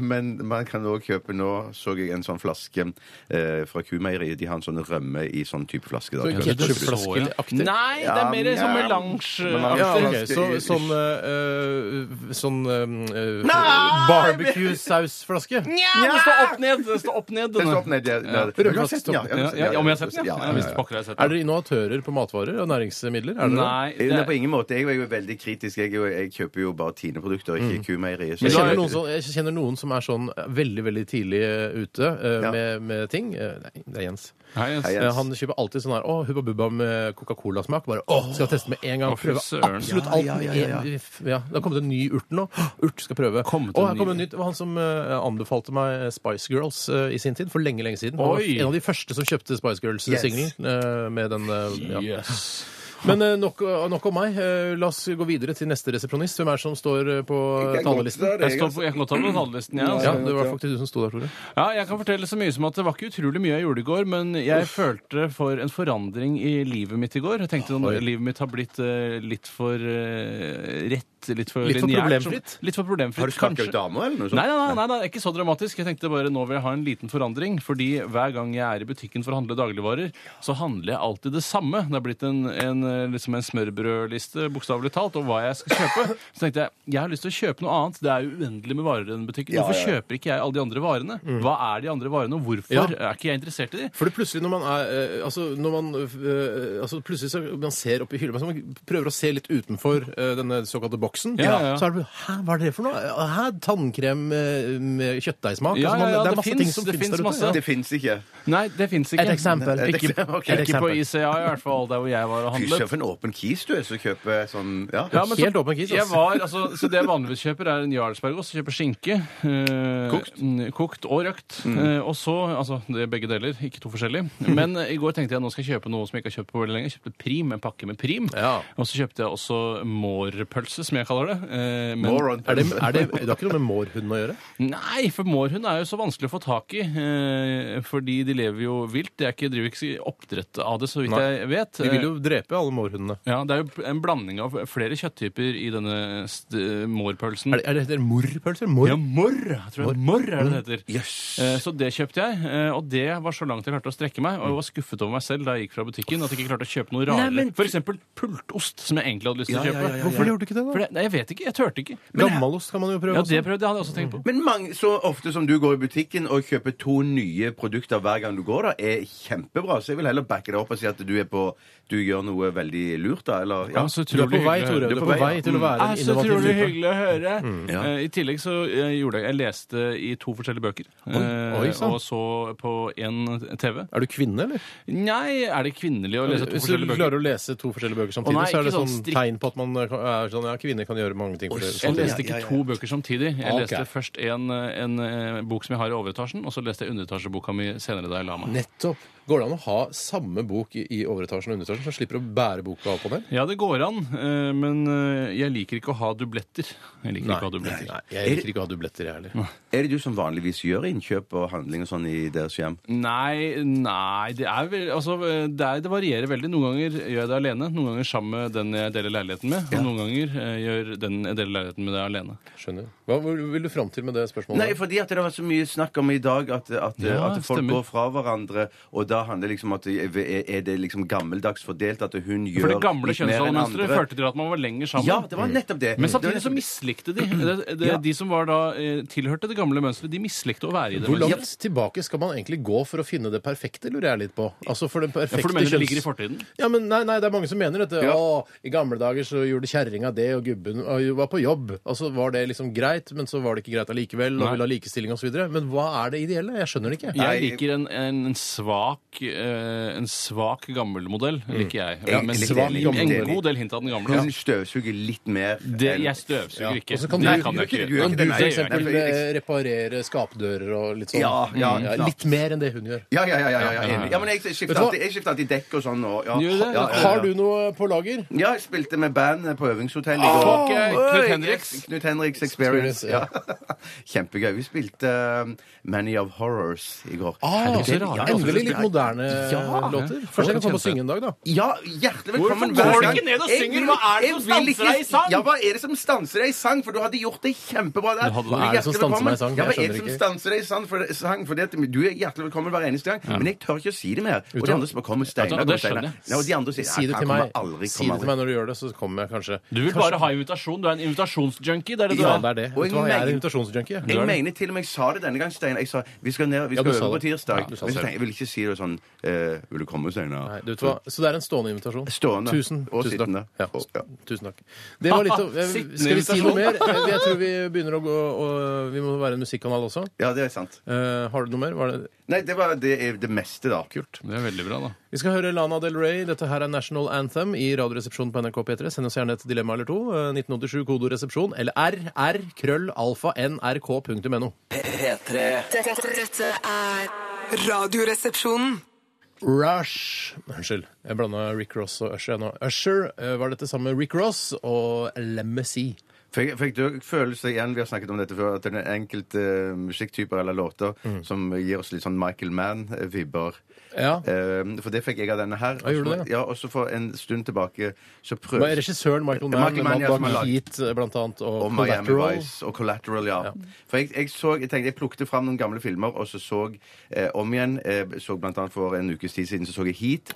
S3: Men man kan òg kjøpe Nå så jeg en sånn flaske eh, fra Kumeieriet. De har en sånn rømme i sånn type flaske. Da.
S1: Så
S3: Kan-
S1: ketchup-
S3: kjøpes-
S1: Ketchupflaskeaktig?
S2: Nei, det er mer
S3: Ja,
S2: som
S3: ja.
S2: melange.
S3: Melange.
S1: Ja, ok,
S3: Ganske
S1: så,
S3: ish.
S1: sånn eh, eh, sånn eh, eh, barbecue-sausflaske?
S2: Ja, det står opp ned! Det står opp ned.
S3: Det står opp ned der. der.
S1: Ja.
S3: Du har sett den, ja.
S2: Ja, ja, ja, om jeg har sett den, ja.
S3: Ja, ja,
S2: ja,
S3: ja.
S2: hvis du pokker har sett
S1: Er
S2: den.
S1: dere innovatører på matvarer og næringsmidler? Er dere
S2: Nei,
S3: Nei,
S2: det
S3: på ingen måte. Jeg er jo veldig kritisk. Jeg, er jo- jeg kjøper jo bare Tine-produkter, ikke Kumeieriet.
S1: det? Jeg kjenner, noen som, jeg kjenner noen som er sånn eh, veldig veldig tidlig eh, ute eh,
S3: Ja.
S1: med, med ting. Eh, Nei, det er Jens.
S2: Hei, Jens.
S3: Hei,
S1: Eh, Han kjøper alltid sånn her Å, Hubba Bubba med Coca-Cola-smak. Bare å, skal jeg teste med en gang.
S2: Å, fy
S1: Prøve
S2: søren.
S1: absolutt
S3: Ja,
S1: alt.
S3: ja,
S1: med
S3: ja, ja.
S1: en- ja, Det har kommet en ny urt nå. Å, Urt skal prøve.
S2: Kommet
S1: Å, her
S2: en
S1: kom
S2: ny-
S1: en nytt. Det var han som eh, anbefalte meg Spice Girls eh, i sin tid. For lenge, lenge siden. Han var
S2: Oi.
S1: en av de første som kjøpte Spice
S3: Yes.
S1: Girls-singelen. Med den eh, ja.
S2: Yes.
S1: Men eh, nok, nok om meg. Eh, La oss gå videre til neste resepsjonist. Hvem er det som står eh, på
S3: Jeg kan godt
S1: talerlisten?
S3: være det,
S2: Jeg, står på, jeg kan godt ta med talerlisten, jeg.
S1: Ja,
S2: Altså.
S1: det var faktisk du som sto der, Tore.
S2: Ja, jeg kan fortelle så mye som at det var ikke utrolig mye jeg gjorde i går, men jeg følte for en forandring i livet mitt i går. Jeg tenkte at
S1: Oi.
S2: livet mitt har blitt eh, litt for eh, rett, litt for
S1: Litt for
S2: lineært,
S1: problemfritt?
S2: som- Litt for problemfritt,
S3: Har du
S2: kanskje.
S3: snakket damer, eller noe sånt?
S2: Nei, nei, nei, nei, nei, ikke så dramatisk. Jeg tenkte bare nå vil jeg ha en liten forandring. Fordi hver gang jeg er i butikken for å handle dagligvarer, så handler jeg alltid det samme. Det har blitt en, en, eh, liksom en smørbrødliste, bokstavelig talt, om hva jeg skal kjøpe. Så tenkte jeg jeg har lyst til å kjøpe noe annet. Det er jo uendelig med varer i denne butikken.
S3: Ja, ja,
S2: Hvorfor
S3: ja.
S2: kjøper ikke jeg alle de andre varene? Hva er de andre varene, og hvorfor
S1: Ja.
S2: er ikke jeg interessert i de?
S1: Fordi plutselig når man er eh, Altså, når man, eh, altså plutselig så man ser opp i hylla men så man prøver å se litt utenfor eh, denne såkalte boksen,
S2: Ja, ja.
S1: så er det Hæ, hva er det for noe? Hæ, tannkrem eh, med kjøttdeigsmak?
S2: Ja,
S1: Altså, man-
S2: ja, ja,
S1: det
S2: det
S1: er masse
S2: finnes-
S1: ting som
S2: det
S1: finnes
S2: finnes
S1: der
S2: masse.
S1: ute.
S3: Det fins ikke.
S2: Nei, det fins ikke.
S1: Et eksempel. Et
S2: Ikke,
S3: eksempel, ok.
S2: ikke på
S1: Et eksempel.
S2: ICA, i hvert fall, der hvor jeg var og
S3: Fy
S2: handlet.
S3: søren, for en åpen kis du er som kjøper sånn Ja.
S2: Ja, men så-
S1: Helt åpen kis, ass.
S2: Jeg var, altså, så det jeg vanligvis kjøper, er en jarlsbergost. Jeg Kjøper skinke. eh,
S3: Kokt?
S2: mm, kokt og røkt.
S1: Mm.
S2: Eh, og så Altså, det er begge deler, ikke to forskjellige. Men eh, i går tenkte jeg nå skal jeg kjøpe noe som jeg ikke har kjøpt på veldig lenge. Jeg kjøpte prim, en pakke med prim.
S1: Ja.
S2: Og så kjøpte jeg også mårpølse, som jeg kaller det. Eh, men-
S3: Moron.
S1: Er det, er det, det har ikke noe med mårhunden å gjøre?
S2: Nei, for mårhund er jo så vanskelig å få tak i. Eh, fordi de lever jo vilt. Jeg er ikke, driver ikke oppdrett av det, så vidt
S1: Nei.
S2: jeg vet. Eh,
S1: De vil jo drepe alle mårhundene.
S2: Ja, Det er jo en blanding av flere kjøtttyper i denne st- mårpølsen.
S1: Er det, er det heter morrpølser? Mor? Mm.
S2: Ja, morr. Jeg tror det er morr er det det heter.
S3: Jøss.
S2: Eh, Så det kjøpte jeg, eh, og det var så langt jeg klarte å strekke meg. Og jeg var skuffet over meg selv da jeg gikk fra butikken. At jeg ikke klarte å kjøpe noe rarere. For eksempel pultost, som jeg egentlig hadde lyst til
S3: Ja,
S2: å
S3: ja,
S2: kjøpe.
S3: ja, ja, ja.
S1: Hvorfor gjorde du ikke det,
S2: For
S1: da?
S2: det, nei, jeg vet ikke. Jeg turte ikke.
S1: Gammalost kan man jo prøve.
S2: Ja,
S1: også.
S2: det prøvde jeg, hadde jeg også tenkt
S1: Mm.
S2: på.
S3: Men mange, så ofte som du går i butikken og kjøper to nye produkter hver gang du går, da, er kjempebra. Så jeg vil heller backe deg opp og si at du er på Du gjør noe veldig lurt, da. Eller
S2: Ja, så
S1: Du er på
S2: utrolig
S1: vei,
S2: hyggelig å
S1: Tore.
S2: høre.
S1: Du er på vei
S3: ja.
S1: til å være
S2: Ah,
S1: en
S2: så utrolig
S1: innovativ Mm. type.
S2: hyggelig å høre.
S3: Ja.
S2: Eh, I tillegg så eh, gjorde jeg Jeg leste i to forskjellige bøker. eh,
S1: oi, sant.
S2: og så på en TV.
S1: Er du kvinne, eller?
S2: Nei, er det kvinnelig å lese to
S1: Hvis du
S2: forskjellige bøker?
S1: klarer å lese to forskjellige bøker samtidig,
S2: nei,
S1: så er det
S2: ikke
S1: sånn
S2: sånn strikk.
S1: tegn på at man er sånn ja, kvinne jeg kan gjøre mange ting for Sånn, dere.
S2: Jeg
S1: samtidig.
S2: leste ikke to bøker samtidig. Jeg
S1: Ah, ok.
S2: leste først en, en eh, bok som jeg har i overetasjen, og så leste jeg underetasjeboka mi senere da jeg la meg.
S1: Nettopp. Går det an å ha samme bok i i overetasjen og underetasjen, så slipper du å bære boka opp og ned?
S2: Ja, det går an, eh, men eh, jeg liker ikke å ha dubletter. Jeg liker ikke å ha dubletter.
S1: nei, jeg liker ikke å ha dubletter, jeg heller.
S3: Er det du som vanligvis gjør innkjøp og handling og sånn i deres hjem?
S2: Nei, nei det, er vel, altså, det, er, det varierer veldig. Noen ganger gjør jeg det alene, noen ganger sammen med den jeg deler leiligheten med, og noen ganger eh, gjør den jeg deler leiligheten med, det alene.
S1: Skjønner. Hva vil du fram til med det spørsmålet?
S3: Nei, fordi at det har vært så mye snakk om i dag at, at,
S2: Ja,
S3: at folk
S2: stemmer.
S3: går fra hverandre, og da handler det liksom at er er det liksom gammeldags fordelt at hun gjør
S2: For det gamle
S3: litt mer enn andre?
S2: kjønnsrollemønsteret førte til at man var lenger sammen.
S3: Ja, det var nettopp det.
S2: Men
S3: Det var
S2: samtidig så
S3: nettopp det.
S2: mislikte de. Det, det,
S3: Ja.
S2: De som var da eh, tilhørte det gamle mønsteret, de mislikte å være i det.
S1: Hvor
S2: mønsteret.
S1: langt tilbake skal man egentlig gå for å finne det perfekte, lurer jeg litt på? Altså for den
S2: Ja,
S1: perfekte
S2: for du mener det
S1: kjønns-
S2: ligger i fortiden?
S1: Ja, men nei, nei, det er mange som mener dette.
S3: Ja.
S1: Å, i gamle dager så gjorde kjerringa det, og gubben og var på jobb. Altså var det liksom greit, men så var det ikke greit allikevel, og
S2: Nei.
S1: ville ha likestilling osv. Men hva er det ideelle? Jeg skjønner det ikke.
S2: Jeg
S3: Nei,
S2: liker en, en, en svak eh, En svak gammel modell, liker jeg.
S3: Jeg
S2: Men
S3: liker
S2: svak,
S3: det, liker
S2: en
S3: det.
S2: god del hint av den gamle.
S3: Hun støvsuger litt mer.
S2: Det,
S3: enn-
S2: jeg støvsuger
S1: Ja.
S2: ikke.
S1: Og så Altså, kan
S2: det
S1: du-
S2: kan jeg ikke.
S3: du gjør
S2: gjøre.
S3: ikke
S1: Kan du
S3: det,
S2: Det
S3: nei,
S1: for
S2: gjør jeg.
S1: eksempel
S3: nei, for-
S1: eh, reparere skapdører og litt sånn?
S3: Ja, ja,
S1: Mm,
S3: klart.
S1: Litt mer enn det hun gjør.
S3: Ja, ja, ja. ja, ja, ja, enig. ja men jeg
S1: Vet
S3: skifter
S1: du hva?
S3: alltid, jeg skifter alltid dekk og sånn. Og, ja.
S2: Gjør du
S3: Ja,
S2: det?
S3: ja, ja.
S1: Har du noe på lager?
S3: Ja, jeg spilte med band på øvingshotell i
S2: Ah,
S3: går.
S2: ok.
S3: Oi,
S2: Knut Henriks?
S3: yes, Knut Henriks Experience. Ja. Kjempegøy. Vi spilte um, Many of Horrors i går.
S1: Ah,
S2: det er så rart.
S1: ja, endelig litt moderne
S3: Ja.
S1: låter. Kanskje jeg kan komme og synge en dag, da.
S3: Ja, hjertelig
S2: Hvorfor
S3: velkommen.
S2: går
S3: hver
S2: du
S3: gang.
S2: ikke ned og
S3: Jeg
S2: synger?
S3: vil-
S2: Hva er det
S3: jeg
S2: som
S3: vil
S2: stanser deg i
S3: ikke-
S2: sang?
S3: Ja, hva er det som stanser deg i sang? For du hadde gjort det kjempebra der.
S2: Du hadde-
S3: Du er
S1: Hva er det som
S3: hjertelig
S1: stanser
S3: velkommen.
S1: meg i sang?
S3: Ja,
S1: Jeg
S3: hva er det
S1: skjønner
S3: som
S1: ikke.
S3: stanser deg i sang? For, sang fordi at du er hjertelig velkommen hver eneste gang. Men jeg tør ikke å si det mer. Og de andre som kommer
S2: Ja,
S3: Steinar
S2: det
S3: kommer Steinar.
S2: skjønner jeg.
S3: Ja, og de andre sier
S1: Si
S3: "Ja,
S1: det
S3: han
S1: til
S3: kommer
S1: meg.
S3: aldri,
S1: si
S3: kommer
S1: det til meg
S3: aldri.
S1: når du gjør det, så kommer jeg kanskje.
S2: Du vil bare ha invitasjon. Du er en invitasjonsjunkie. Det er det du
S1: Ja,
S2: er.
S1: det er det.
S3: Og
S1: Vet du
S3: jeg
S1: hva, jeg er
S3: mener-
S1: invitasjonsjunkie. jeg.
S3: Jeg mener til og med jeg sa det denne gang, Steinar. Jeg sa vi skal ned, vi
S1: Ja,
S3: skal
S1: du sa
S3: øve på
S1: det.
S3: tirsdag.
S1: Ja, du
S3: Men
S1: sa
S3: så
S1: selv.
S3: tenkte jeg, jeg vil ikke si det sånn eh, Vil du komme, Steinar?
S1: Nei, du vet hva? Så det er en stående invitasjon.
S3: Stående.
S1: Tusen,
S3: Og
S1: tusen
S3: sittende.
S1: takk. Ja,
S3: Og- ja.
S1: tusen takk. Det var litt om, eh,
S2: Sittende
S1: Skal vi si noe mer?
S2: invitasjon.
S1: Eh, Jeg tror vi begynner å gå og Vi må være en musikkanal også.
S3: Ja, det er sant.
S1: Eh, har du noe mer? Var det
S3: Nei, det var det, er det meste, da. Kult.
S2: Det er veldig bra, da.
S1: Vi skal høre Lana Del Rey. Dette her er National Anthem i Radioresepsjonen på NRK P3. Send oss gjerne et dilemma eller to. Eh, 1987 kodoresepsjon eller r r krøll alfa nrk.no.
S5: P3
S6: Dette, dette er
S4: Radioresepsjonen.
S1: Rush Unnskyld. Jeg blanda Rick Ross og Usher. jeg nå. Usher eh, var dette sammen med Rick Ross og Lemmy.
S3: Fikk, fikk du følelse igjen, vi har snakket om dette før, at det er enkelte eh, musikktyper eller låter som gir oss litt sånn Michael Mann-vibber?
S1: Mm. Ja.
S3: Eh, for det fikk jeg av denne her.
S1: Ja, gjorde du det,
S3: ja, og så for en stund tilbake så
S1: Det var
S3: prøvde
S1: regissøren Michael Mann,
S3: Michael Mann, ja,
S1: bak
S3: som har lagd-
S1: Heat, eh, blant annet, og,
S3: og Miami
S1: Collateral.
S3: Vice og Collateral, ja. For jeg, jeg, så, jeg tenkte, jeg plukte fram noen gamle filmer, og så så eh, om igjen eh, så blant annet For en ukes tid siden så så jeg Heat.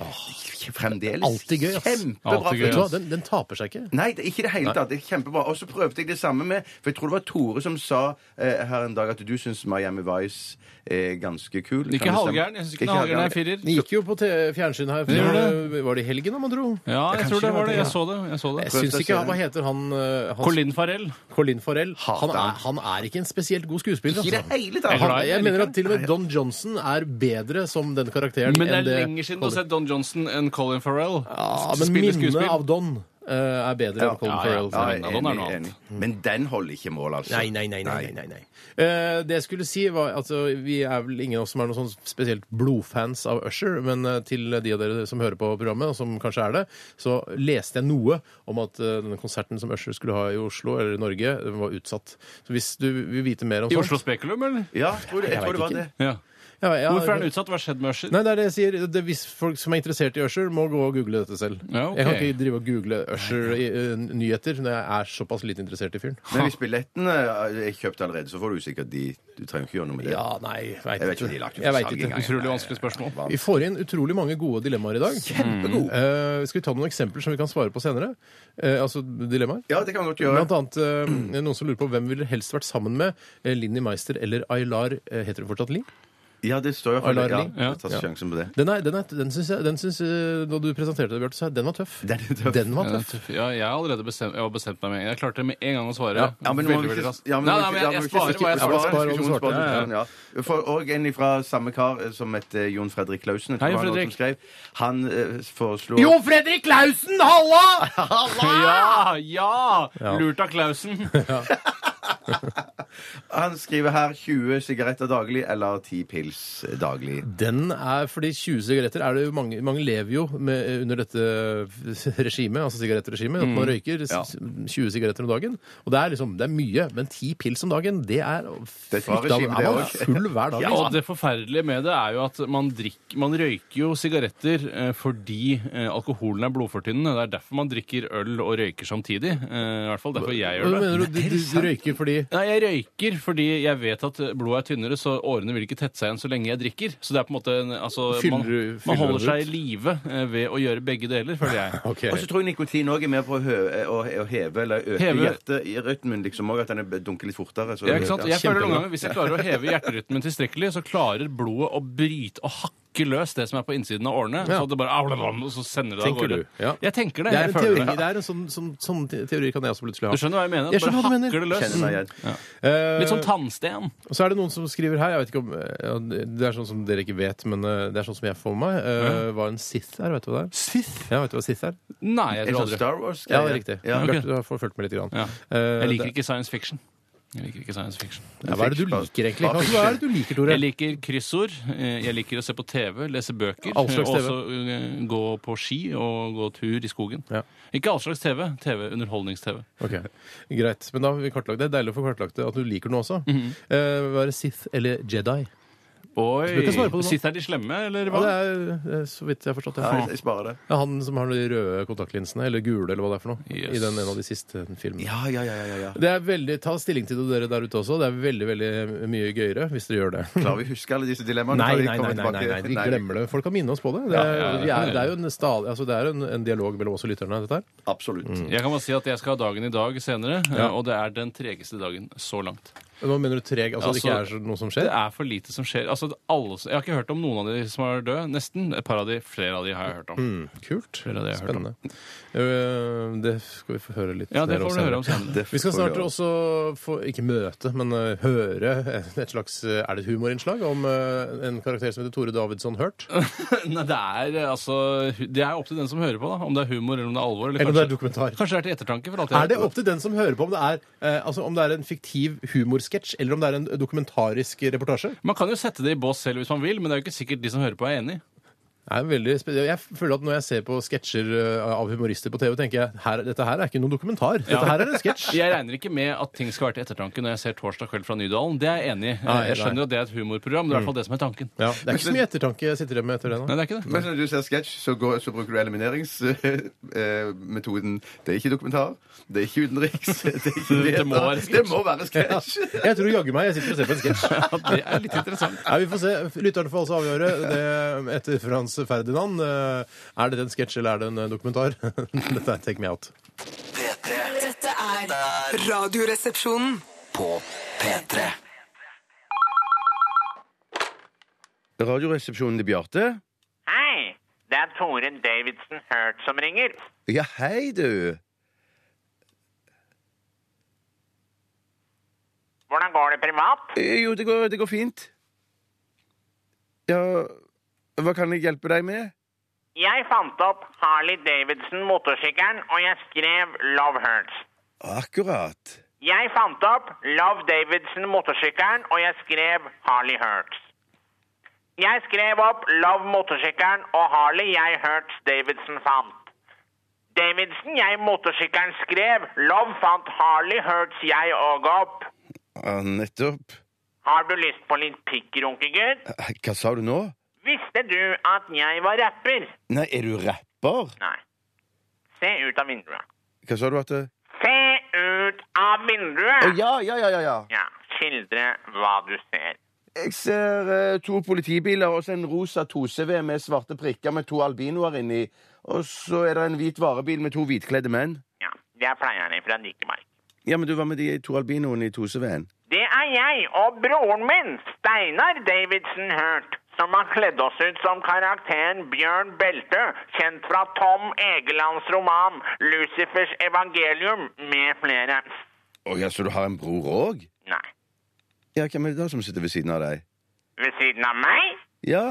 S3: Fremdeles
S1: Alltid gøy, ass.
S3: kjempebra
S2: Alltid gøy,
S1: Vet du
S3: film.
S1: hva, den, den taper seg ikke.
S3: Nei, det, ikke i det hele tatt. Det er kjempebra. Og så prøvde jeg det samme med For jeg tror det var Tore som sa eh, her en dag at du syns Miami Vice er ganske kul. Kan det
S2: Ikke
S3: stemme?
S2: halvgæren. Jeg syns ikke den halvgæren er en firer.
S1: Den gikk jo på te- fjernsyn her.
S2: gjorde
S1: for- eh, Var det i helgen, da, man tro?
S2: Ja, jeg tror det var det.
S3: ja.
S2: Jeg så det. Jeg så
S1: Jeg
S2: det.
S1: syns
S3: å se
S1: ikke
S3: den.
S1: Hva heter han? eh, han-
S2: Colin Farrell.
S1: Colin Farrell. Han
S3: Hater
S1: er,
S3: han.
S1: han er ikke en spesielt god skuespiller.
S3: Ikke i det
S1: Altså.
S3: hele tatt.
S2: Eller
S1: Han,
S2: nei,
S1: jeg
S2: jeg
S1: mener
S2: liker
S1: at til og med Don Johnson er bedre som den karakteren.
S2: Men det
S1: enn
S2: er lenge siden du har sett Don Johnson enn Colin Farrell.
S1: Ja,
S2: s-
S1: men
S2: spille
S1: minnet
S2: skuespill.
S1: av Don eh, er bedre enn Colin
S2: ja, ja.
S1: Farrell.
S2: Ja,
S3: Ja,
S2: Nei, da, den er noe
S3: enig, enig. Men den holder ikke mål, altså.
S1: Nei, nei, nei. nei, nei, nei. Eh, det jeg skulle si var, altså, Vi er vel ingen av oss som er noen sånn spesielt blodfans av Usher, men eh, til de av dere som hører på programmet, og som kanskje er det, så leste jeg noe om at eh, denne konserten som Usher skulle ha i Oslo, eller i Norge, den var utsatt. Så hvis du vil vite mer om
S2: I Oslo Spekulum, eller?
S3: Ja, tror du, jeg,
S1: Jeg
S3: tror det
S1: vet
S3: var
S1: ikke.
S3: det.
S2: Ja.
S1: Ja, ja,
S2: Hvorfor er den utsatt? Hva har skjedd med Usher?
S1: Nei, det er det jeg sier. Det, hvis folk som er interessert i Usher, må gå og google dette selv.
S2: Ja, ok.
S1: Jeg kan ikke drive og google Usher-nyheter når jeg er såpass lite interessert i fyren.
S3: Men hvis billettene er kjøpt allerede, så får du sikkert de Du trenger ikke gjøre noe med det.
S1: Ja, nei, veit
S3: Jeg vet ikke om de
S1: ikke.
S3: lagt ut
S1: Jeg
S3: for
S1: vet
S3: salg
S1: ikke.
S3: engang.
S2: Utrolig vanskelig spørsmål.
S1: Vi får inn utrolig mange gode dilemmaer i dag.
S3: Kjempegod.
S1: Eh, skal vi ta noen eksempler som vi kan svare på senere? Eh, altså dilemmaer?
S3: Ja, det kan man godt gjøre.
S1: Blant annet eh, noen som lurer på hvem ville helst vært sammen med eh, Linni Meister eller Aylar. eh, heter hun fortsatt Linn?
S3: Ja, det står jo for det. Ja,
S1: Alarming.
S3: jeg tar
S1: Ja.
S3: sjansen på det.
S1: Den, er, den, er, den syns jeg den syns, eh, Da du presenterte det, Bjarte, så den var tøff.
S3: Den er tøff.
S1: Den var
S2: Ja,
S1: tøff.
S2: tøff. Ja, jeg har allerede bestemt, jeg har bestemt meg med en gang. Jeg klarte med en gang å svare.
S3: Ja, ja, men nå må vi
S2: Veldig, veldig
S3: ikke-
S2: raskt.
S3: ja, men nå må
S2: nei, nei,
S3: vi
S2: men
S3: ikke-
S2: jeg,
S3: ja, men
S2: jeg svarer
S3: vi
S2: hva jeg
S3: skal
S1: svarer.
S2: svarer.
S3: ikke-
S1: svarer,
S3: diskusjonsspalten,
S1: svarer, ja,
S3: ja. Vi får også en fra samme kar eh, som het eh, Jon Fredrik Klausen. Jeg tror
S2: Hei,
S3: det var noen
S2: Fredrik.
S3: som skrev. Han eh, foreslo
S2: Fredrik Klausen, halla! Ja, ja! Lurt av Klausen.
S3: Han skriver her 20 sigaretter daglig eller 10 pils eh, daglig.
S1: Den er fordi 20 sigaretter er det jo mange, mange lever jo med, eh, under dette regimet, altså sigarettregimet. At
S2: Mm.
S1: man røyker s- 20 sigaretter om dagen. Og det er liksom, det er mye, men 10 pils om dagen, det er
S3: Det er et bra
S1: Da
S3: regime, det
S1: er man
S3: også.
S1: full hver dag.
S2: Ja,
S1: liksom.
S2: og det forferdelige med det er jo at man, drikker, man røyker jo sigaretter eh, fordi eh, alkoholen er blodfortynnende. Det er derfor man drikker øl og røyker samtidig. Eh, I hvert fall derfor jeg
S1: Hva
S2: gjør det.
S1: mener du, du, du, du røyker fordi
S2: Nei, Jeg røyker fordi jeg vet at eh, blodet er tynnere, så årene vil ikke tette seg igjen så lenge jeg drikker. Så det er på en måte en, altså,
S1: Fyller
S2: man,
S1: du- fyller
S2: man holder
S1: du
S2: seg
S1: ut?
S2: i live eh, ved å gjøre begge deler, føler jeg.
S1: Ok.
S3: Og så tror jeg nikotin òg er med på å, hø eh, å, å heve eller øke
S2: Heve.
S3: hjerterytmen. Liksom, også, at den er- dunker litt fortere. Så
S2: Ja, ikke sant? Jeg føler noen
S1: Kjempebra.
S2: ganger Hvis jeg klarer å heve hjerterytmen tilstrekkelig, så klarer blodet å bryte og hakke løs det som er på innsiden av årene.
S1: Ja.
S2: Så det bare au, blam, blam, og så sender det av
S1: Tenker
S2: gårde.
S1: du? Ja.
S2: Jeg tenker det.
S1: Det er
S2: jeg
S1: en
S2: føler
S1: teori.
S2: det.
S1: Det er en sånn, sånn, sånn teori kan jeg også plutselig ha.
S2: Du skjønner hva jeg mener?
S1: Jeg skjønner hva
S2: bare
S1: du mener.
S2: hakker det løs.
S3: Kjenner meg igjen.
S1: Eh,
S2: Litt sånn tannsten.
S1: Og så er det noen som skriver her, jeg vet ikke om eh, ja, Det er sånn som dere ikke vet, men eh, det er sånn som jeg får med meg. eh, Hva en Sith er, vet du hva det er?
S2: Sith?
S1: Ja, vet du hva Sith er?
S2: Nei, jeg
S3: En
S2: tror
S3: sånn
S2: aldri.
S3: Star Wars?
S1: Ja, det er riktig.
S3: Ja.
S2: ok.
S1: Bjarte, du har forfulgt med litt. Grann.
S2: Ja.
S1: Eh,
S2: Jeg liker
S1: det-
S2: ikke science fiction. Jeg liker ikke science fiction.
S1: Ja, hva er det du liker, egentlig? Hva hva er det du liker,
S2: Jeg
S1: Tore?
S2: liker kryssord. eh, Jeg liker å se på TV, lese bøker.
S1: All slags
S2: og
S1: TV.
S2: Også eh, gå på ski og gå tur i skogen.
S1: Ja.
S2: Ikke all slags TV. TV, Underholdnings-TV.
S1: Ok, Greit. Men da har vi kartlagt det. Det er deilig å få kartlagt det, at du liker noe også. Eh, Være Sith eller Jedi? Du kan svare på det nå.
S2: Oi! Sitter de slemme, eller
S1: Ja,
S2: hva?
S1: det er eh, så vidt jeg har forstått det.
S3: Ja, jeg, jeg sparer det.
S1: Ja, han som har de røde kontaktlinsene, eller gule, eller hva det er for noe,
S2: Yes.
S1: i den en av de siste eh, filmene.
S3: Ja, ja, ja. ja, ja.
S1: Det er veldig, Ta stilling til det, dere der ute også. Det er veldig veldig mye gøyere hvis dere gjør det.
S3: Klarer vi å huske alle disse dilemmaene?
S1: Nei,
S3: Tar de-
S1: nei, nei,
S3: kommer
S1: nei, nei,
S3: tilbake?
S1: nei, vi glemmer det. Folk kan minne oss på det. Det er,
S2: Ja, ja, det
S1: vi
S2: kan
S1: er,
S2: vi
S1: det er jo en, stadig, altså, det er en, en dialog mellom oss og lytterne. dette her.
S3: Absolutt.
S2: Jeg kan bare si at jeg skal ha dagen i dag senere, eh, og det er den tregeste dagen så langt.
S1: Hva mener du treg? Altså, det
S2: Altså,
S1: ikke er så- noe som
S2: Det
S1: skjer?
S2: er for lite som skjer. Altså, alle, jeg har ikke hørt om noen av de som er døde, nesten. Et par av de, flere av de har jeg hørt om.
S1: Mm, kult.
S2: Flere av de jeg har hørt om.
S1: Spennende. Øh, Det skal vi få høre litt
S2: Ja, det
S1: mer om
S2: får du høre om
S1: senere.
S2: senere.
S1: Vi skal
S3: får vi
S1: snart
S3: gjøre.
S1: også få, ikke møte, men øh, høre et slags øh, Er det et humorinnslag om øh, en karakter som heter Tore Davidsson Hurt?
S2: Nei, det er eh, altså hu- Det er opp til den som hører på, da. Om det er humor, eller om det er alvor. Eller,
S1: Eller om det er
S2: kanskje-
S1: dokumentar.
S2: Kanskje det er til ettertanke. For alt jeg
S1: Er det
S2: vet.
S1: opp til den som hører på om det er, øh, altså, om det er en fiktiv humorsketsj, eller om det er en dokumentarisk reportasje?
S2: Man kan jo sette det i bås selv hvis man vil, men det er jo ikke sikkert de som hører på, er enig.
S1: Det er veldig spe- jeg føler at Når jeg ser på sketsjer eh, av humorister på TV, tenker jeg her, dette her er ikke noen dokumentar. Dette
S2: Ja.
S1: her er en sketsj.
S2: Jeg regner ikke med at ting skal være til ettertanke når jeg ser 'Torsdag kveld fra Nydalen'. Det er jeg enig i.
S1: Nei,
S2: Jeg
S1: nei. Mm.
S2: skjønner jo at det er et humorprogram. Det er i hvert fall det som er tanken.
S1: Ja, det er ikke så mye ettertanke jeg sitter igjen med etter det nå.
S2: Nei, det er ikke det.
S3: Men når du ser sketsj, så, går- så bruker du elimineringsmetoden. det er ikke dokumentar, det er ikke utenriks. Det, er ikke
S2: Det må være sketsj.
S3: Det må være sketsj.
S1: Jeg tror jaggu meg jeg sitter og ser på en sketsj.
S2: Ja, det er litt interessant.
S1: Nei, vi får se. Lytterne får altså avgjøre det etter Frans Ferdinand. eh, Er dette en sketsj eller er det en eh, dokumentar? Dette er Take Me Out.
S5: P3
S6: Dette er Radioresepsjonen.
S5: på P3.
S3: Radioresepsjonen til Bjarte.
S7: Hei, det er Tore Davidsen Hurt som ringer.
S3: Ja, hei, du.
S7: Hvordan går det privat?
S3: Eh, Jo, det går, det går fint. Ja Hva kan jeg hjelpe deg med?
S7: Jeg fant opp Harley Davidson motorsykkelen, og jeg skrev Love Hurts.
S3: Akkurat.
S7: Jeg fant opp Love Davidson motorsykkelen, og jeg skrev Harley Hurts. Jeg skrev opp Love motorsykkelen og Harley jeg Hurts Davidson fant. Davidson jeg motorsykkelen skrev, Love fant Harley Hurts jeg og opp.
S3: Ja, nettopp.
S7: Har du lyst på litt pikk, runkegutt?
S3: Eh, Hva sa du nå?
S7: Visste du at jeg var rapper?
S3: Nei, er du rapper?
S7: Nei. Se ut av vinduet.
S3: Hva sa du at det-
S7: Se ut av vinduet!
S3: Å, Ja, ja, ja, ja, ja.
S7: Ja, skildre hva du ser.
S3: Jeg ser eh, to politibiler og så en rosa 2CV med svarte prikker med to albinoer inni. Og så er det en hvit varebil med to hvitkledde menn.
S7: Ja, det er pleierne fra Dikemark.
S3: Ja, men du, Hva med de to albinoene i 2CV-en?
S7: Det er jeg og broren min, Steinar Davidsen Hurt, som har kledd oss ut som karakteren Bjørn Belte, kjent fra Tom Egelands roman 'Lucifers evangelium' med flere.
S3: Å ja, så du har en bror òg?
S7: Nei,
S3: Ja, hvem er det da som sitter ved siden av deg?
S7: ved siden av meg?
S3: Ja,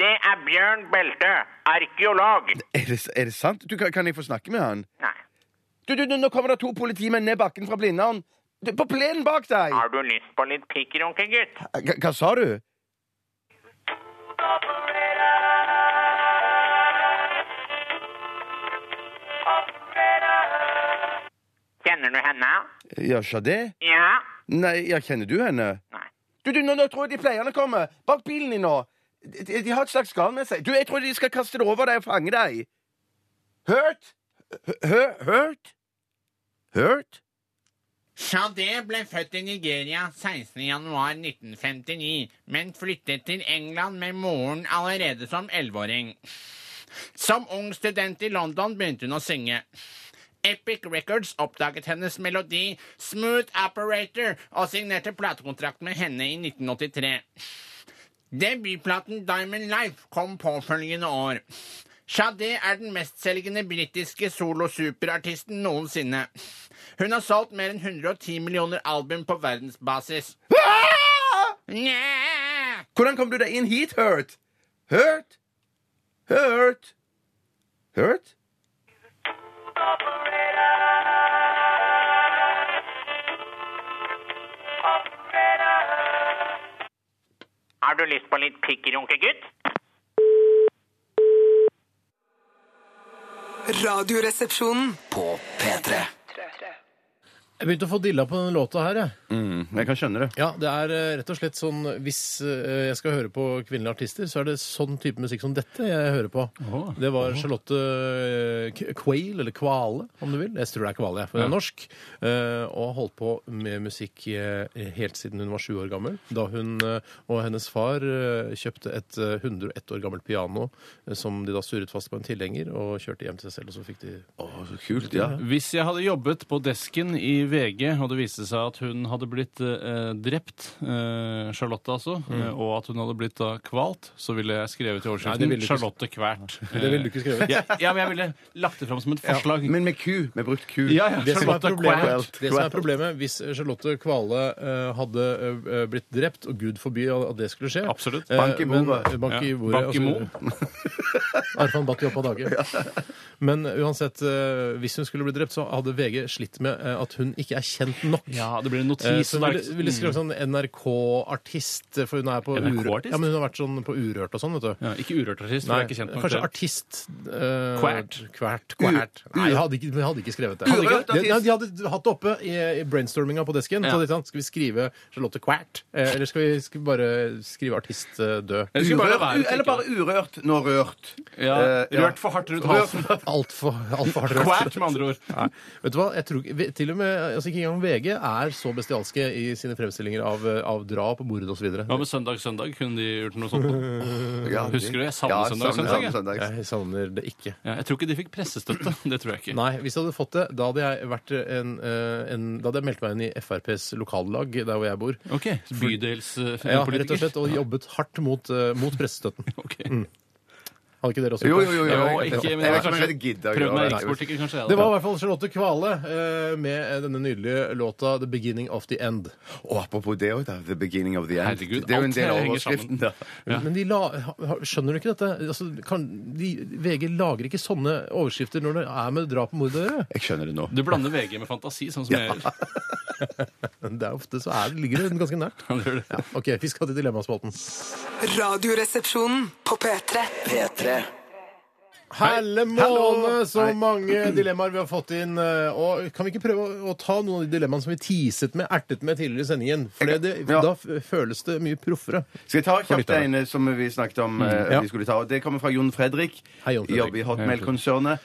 S7: Det er Bjørn Belte, arkeolog.
S3: er det, er det sant? Du, kan, kan jeg få snakke med han?
S7: Nei,
S3: Du, du, du, nå kommer det to politimenn ned bakken fra Blindern. Du, På plenen bak deg!
S7: har du lyst på litt pikk, runkegutt?
S3: Hva- hva sa du?
S7: Kjenner du henne?
S3: Ja, Sade?
S7: Ja.
S3: Nei, ja, kjenner du henne?
S7: Nei.
S3: Du, du, nå, nå tror jeg de pleierne kommer. Bak bilen din nå. De, de har et slags garn med seg. Du, jeg tror de skal kaste det over deg og fange deg. Hørt? Hø- hø- Hørt? Hørt?
S8: Shadé ble født i Nigeria 16.1.1959, men flyttet til England med moren allerede som 11-åring. Som ung student i London begynte hun å synge. Epic Records oppdaget hennes melodi Smooth Operator og signerte platekontrakt med henne i 1983. Debutplaten Diamond Life kom påfølgende år. Shadé er den mestselgende britiske solo-superartisten noensinne. Hun har solgt mer enn 110 millioner album på verdensbasis.
S3: Ah!
S8: Nja.
S3: Hvordan kom du deg inn hit, Hørt? Hørt? Hørt? Hørt?
S7: Har du lyst på litt pikk, runkegutt?
S6: Radioresepsjonen.
S5: På P3.
S1: Jeg begynte å få dilla på den låta her, jeg.
S3: Mm, Jeg kan skjønne det.
S1: Ja, det er eh, rett og slett sånn Hvis eh, jeg skal høre på kvinnelige artister, så er det sånn type musikk som dette jeg hører på. Det var Charlotte eh, K- Quail, eller Kvale, om du vil. Jeg tror det er Kvale, jeg, for hun er norsk. eh, Og har holdt på med musikk eh, helt siden hun var sju år gammel. Da hun eh, og hennes far eh, kjøpte et eh, 101 år gammelt piano eh, som de da surret fast på en tilhenger, og kjørte hjem til seg selv, og så fikk de
S3: Å, så kult, ja.
S2: Hvis jeg hadde jobbet på desken i VG, og det viste seg at hun hadde blitt eh, drept, eh, Charlotte altså, eh, og at hun hadde blitt da kvalt, så ville jeg
S1: Mm. Nei, det
S2: skrevet i overskriften
S1: ville du ikke.
S2: Charlotte kvert.
S1: Det ville du ikke skrevet.
S2: ja, ja, men jeg ville lagt det fram som et forslag.
S3: Men med ku. Med brukt ku.
S2: Ja, ja,
S1: Det som, er
S2: Charlotte
S1: problemet,
S2: Kvalt.
S1: det som er problemet, hvis Charlotte Kvale eh, hadde eh, blitt drept, og gud forby at det skulle skje
S2: Absolutt.
S1: eh,
S3: Bank i
S1: men-
S3: bordet.
S1: Bank i
S2: Ja.
S1: bordet.
S2: Bank i mo.
S1: altså, Arfan Bhatti opp av dage. Men uansett, eh, hvis hun skulle bli drept, så hadde VG slitt med eh, at hun ikke er kjent nok.
S2: Ja, det blir en Mm.
S1: Eh,
S2: notis.
S1: Så hun
S2: der.
S1: ville, ville skrevet sånn NRK-artist, for hun er på Urørt.
S2: NRK-artist?
S1: Ja, men hun har vært sånn på Urørt og sånn, vet du.
S2: ja, ikke urørt artist, for
S1: Nei,
S2: jeg er ikke kjent nok.
S1: kanskje
S2: til det.
S1: artist eh,
S2: Kvært.
S1: Kvært. kvært. Nei, jeg hadde, ikke, jeg hadde ikke skrevet det.
S3: Urørt
S1: Hadde ikke-
S3: artist.
S1: Nei, de hadde hatt det oppe i, i brainstorminga på desken.
S2: Ja.
S1: Så hadde de sagt, skal vi skrive Charlotte Kvært, eh, eller skal vi sk- bare skrive artist eh, død?
S2: Jeg skulle bare la
S3: Urørt,
S2: være, tenker
S3: eller bare urørt nå rørt.
S2: Ja,
S3: Eh, ja.
S2: rørt for hardt rundt halsen.
S1: Altfor alt for hardt rørt.
S2: Quack, med andre ord.
S1: Nei. Vet du hva? Jeg tror, ikke- vi- til og med, altså Ikke engang VG er så bestialske i sine fremstillinger av, eh, av drap, mord osv.
S2: Hva med søndag, søndag? Kunne de gjort noe sånt? da?
S3: Ja,
S2: Husker du? Jeg savner
S3: ja, savner-
S2: søndag, søndag, jeg.
S3: savner søndag.
S1: Jeg savner det ikke.
S2: Ja, jeg tror ikke de fikk pressestøtte. Det tror jeg ikke.
S1: Nei, hvis jeg hadde fått det, da hadde jeg, vært en, eh, en, da hadde jeg meldt meg inn i FrPs lokallag der hvor jeg bor.
S2: Ok, Bydelspolitiker.
S1: Ja, rett og slett, Mm. og jobbet hardt mot, eh, mot pressestøtten. Hadde ikke dere også
S3: Jo,
S1: gjort
S3: jo, jo. jo.
S2: Jo, ikke, men
S3: jeg
S2: jeg
S3: vet ikke om jeg
S2: kanskje
S3: hadde giddet å
S2: prøvd
S3: gjøre
S2: meg i
S3: det.
S2: rikspolitiker, kanskje.
S1: Det var i hvert fall Charlotte Kvale eh, med denne nydelige låta 'The Beginning of the End'.
S3: Og apropos det òg, da. The beginning of the end.
S2: Herregud,
S3: det er jo en
S2: alt
S3: del av
S2: henger
S3: overskriften,
S2: sammen.
S3: da.
S2: Ja.
S1: Men de la, ha- ha- skjønner du ikke dette? Altså, kan, de, VG lager ikke sånne overskrifter når det er med drap og mord å gjøre.
S3: Jeg skjønner det nå.
S2: Du blander VG med fantasi, sånn som jeg gjør.
S1: Det er ofte så er, ligger det ganske nært.
S2: Han gjør det.
S1: Ja, OK, vi skal til dilemmaspalten.
S6: Radioresepsjonen på P3.
S5: P3.
S1: Helle måne, så mange dilemmaer vi har fått inn. eh, Og kan vi ikke prøve å, å ta noen av de dilemmaene som vi teaset med, ertet med tidligere i sendingen? For det, det,
S3: Ja.
S1: da f- føles det mye proffere.
S3: Skal jeg ta
S1: For
S3: kjapt
S1: lytterne.
S3: en eh, som vi snakket om? eh,
S1: Mm. Ja.
S3: vi skulle ta? Det kommer fra Jon Fredrik.
S1: Hei, Jon Fredrik.
S3: Jobber i Hotmail-konsernet.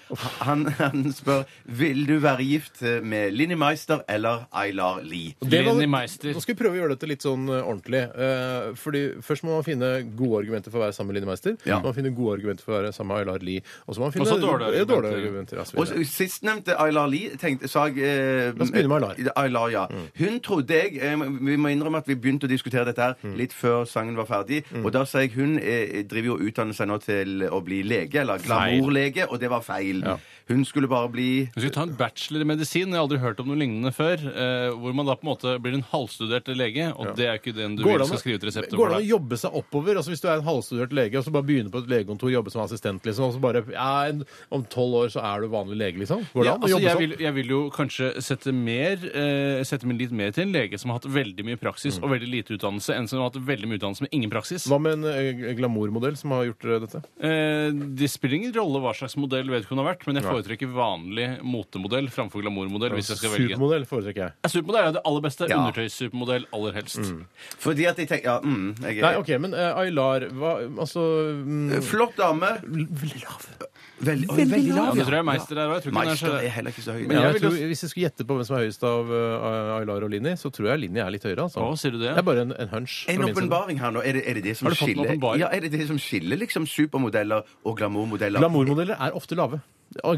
S3: Han, han spør vil du være gift eh, med Linni Meister eller Aylar Lie.
S1: Det var-
S2: Lenny Meister.
S1: Nå skal vi prøve å gjøre dette litt sånn eh, ordentlig. Eh, Fordi Først må man finne gode argumenter for å være sammen med Line Meister.
S3: Ja.
S1: Man må finne gode argumenter for å være sammen med Aylar Lie. Og så må man
S2: Også
S1: finne
S2: dårlige
S1: ja, dårlige
S2: argumenter.
S1: argumenter. ja, så
S3: Og
S1: videre.
S3: så Sistnevnte Aylar Lie tenkte, sa jeg eh,
S1: La oss begynne med Aylar. Mm.
S3: Aylar, ja. Hun trodde jeg eh, Vi må innrømme at vi begynte å diskutere dette
S1: Mm.
S3: her litt før sangen var ferdig. Og da sa jeg hun eh, driver jo og utdanner seg nå til å bli lege, eller glamourlege, og det var feil. Hun skulle bare bli
S2: Du skal ta en bachelor i medisin. Jeg har aldri hørt om noe lignende før. Eh, hvor man da på en måte blir en halvstudert lege, og det er jo ikke den du vil
S1: an å-
S2: skal skrive ut resepter
S1: går
S2: for.
S1: det an å
S2: deg.
S1: jobbe seg oppover? Altså Hvis du er en halvstudert lege og så bare begynner på et legekontor, jobbe som assistent, liksom, og så bare ja, en, Om tolv år så er du vanlig lege, liksom? Går det
S2: Ja,
S1: an å
S2: altså,
S1: jobbe
S2: jeg,
S1: sånn?
S2: vil, jeg vil jo kanskje sette, mer, eh, sette meg litt mer til en lege som har hatt veldig mye praksis og veldig lite utdannelse, enn som har hatt veldig mye utdannelse med ingen praksis.
S1: Mm. Hva med en eh, glamourmodell som har gjort eh, dette?
S2: Eh, det spiller ingen rolle hva slags modell vedkommende har vært, men jeg foretrekker vanlig motemodell framfor glamourmodell hvis jeg skal velge.
S1: Supermodell foretrekker jeg.
S2: Ja, Supermodell er jo det aller beste.
S3: Ja. Mm.
S2: Undertøyssupermodell aller helst.
S3: Fordi at jeg tenker Ja, mm, jeg
S1: Nei,
S3: er
S1: OK, men eh, Aylar hva, Altså mm,
S3: Flott dame. Veldig lav. Veldig,
S2: Ja,
S3: lav.
S2: det tror jeg Meister er òg. Jeg tror ikke den
S3: Meister
S2: er
S3: er
S2: så
S3: heller ikke så høy.
S1: men
S3: Ja.
S1: jeg
S2: jeg vil
S1: tror, Hvis jeg skulle gjette på hvem som er høyest av eh, Aylar og Linni, så tror jeg Linni er litt høyere. Altså.
S2: Å, sier du det?
S1: Det er bare en, en hunch. fra
S3: En
S1: min side.
S3: åpenbaring her nå. Er det, er det det som
S2: Har du fått en
S3: skiller
S2: åpenbaring?
S3: Ja, er det det som skiller liksom supermodeller og glamourmodeller?
S1: Glamourmodeller er ofte lave. Og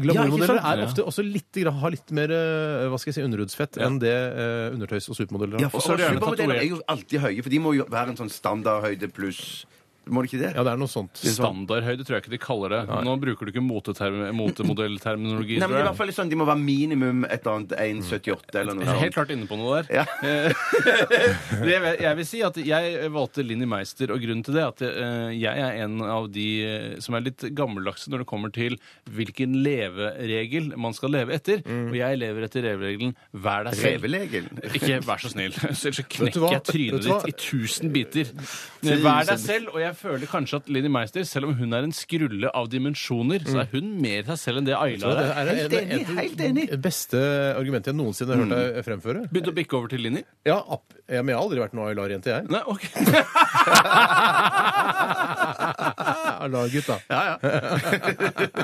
S3: Ja,
S1: Glamourmodeller
S3: ikke sant?
S1: er ofte også litt, grann- har litt mer eh, hva skal jeg si, underhudsfett enn det eh, undertøys- og supermodeller
S3: Ja,
S1: har.
S3: for
S2: Og så er det gjerne
S3: supermodeller
S2: tatovert.
S3: er jo alltid høye, for de må jo være en sånn standardhøyde pluss Må det ikke det?
S1: Ja, det er noe sånt.
S2: standardhøyde, tror jeg ikke de kaller det. Nå bruker du ikke moteterm- motemodellterminologi.
S3: Nei, men
S2: tror
S3: i
S2: jeg.
S3: hvert fall sånn, De må være minimum et eller annet 1,78 eller noe
S2: Jeg er Mm. helt
S3: sånt.
S2: klart inne på noe der.
S3: Ja.
S2: Eh, det jeg, vil- jeg vil si at jeg valgte Linni Meister, og grunnen til det er at eh, jeg er en av de eh, som er litt gammeldagse når det kommer til hvilken leveregel man skal leve etter.
S3: Mm.
S2: Og jeg lever etter leveregelen vær deg selv.
S3: Revelegen.
S2: Ikke vær så snill, så ellers så
S1: Vet du
S2: knekker
S1: hva?
S2: jeg
S1: Vet
S2: trynet
S1: du hva?
S2: ditt i tusen biter. Vær deg selv, og jeg føler kanskje at Linni Meister, selv om hun er en skrulle av dimensjoner, så er hun mer seg selv enn det Aylar
S1: Det
S2: er.
S1: er
S3: Helt
S1: en-
S3: enig,
S1: et-
S3: helt enig.
S1: Det beste argumentet jeg noensinne har hørt deg fremføre.
S2: Begynte å bikke over til Linni?
S1: Ja, app, ja, men jeg har aldri vært noe Aylar-jente, jeg.
S2: Nei, ok.
S1: Aylar-gutt, da.
S3: Ja, ja.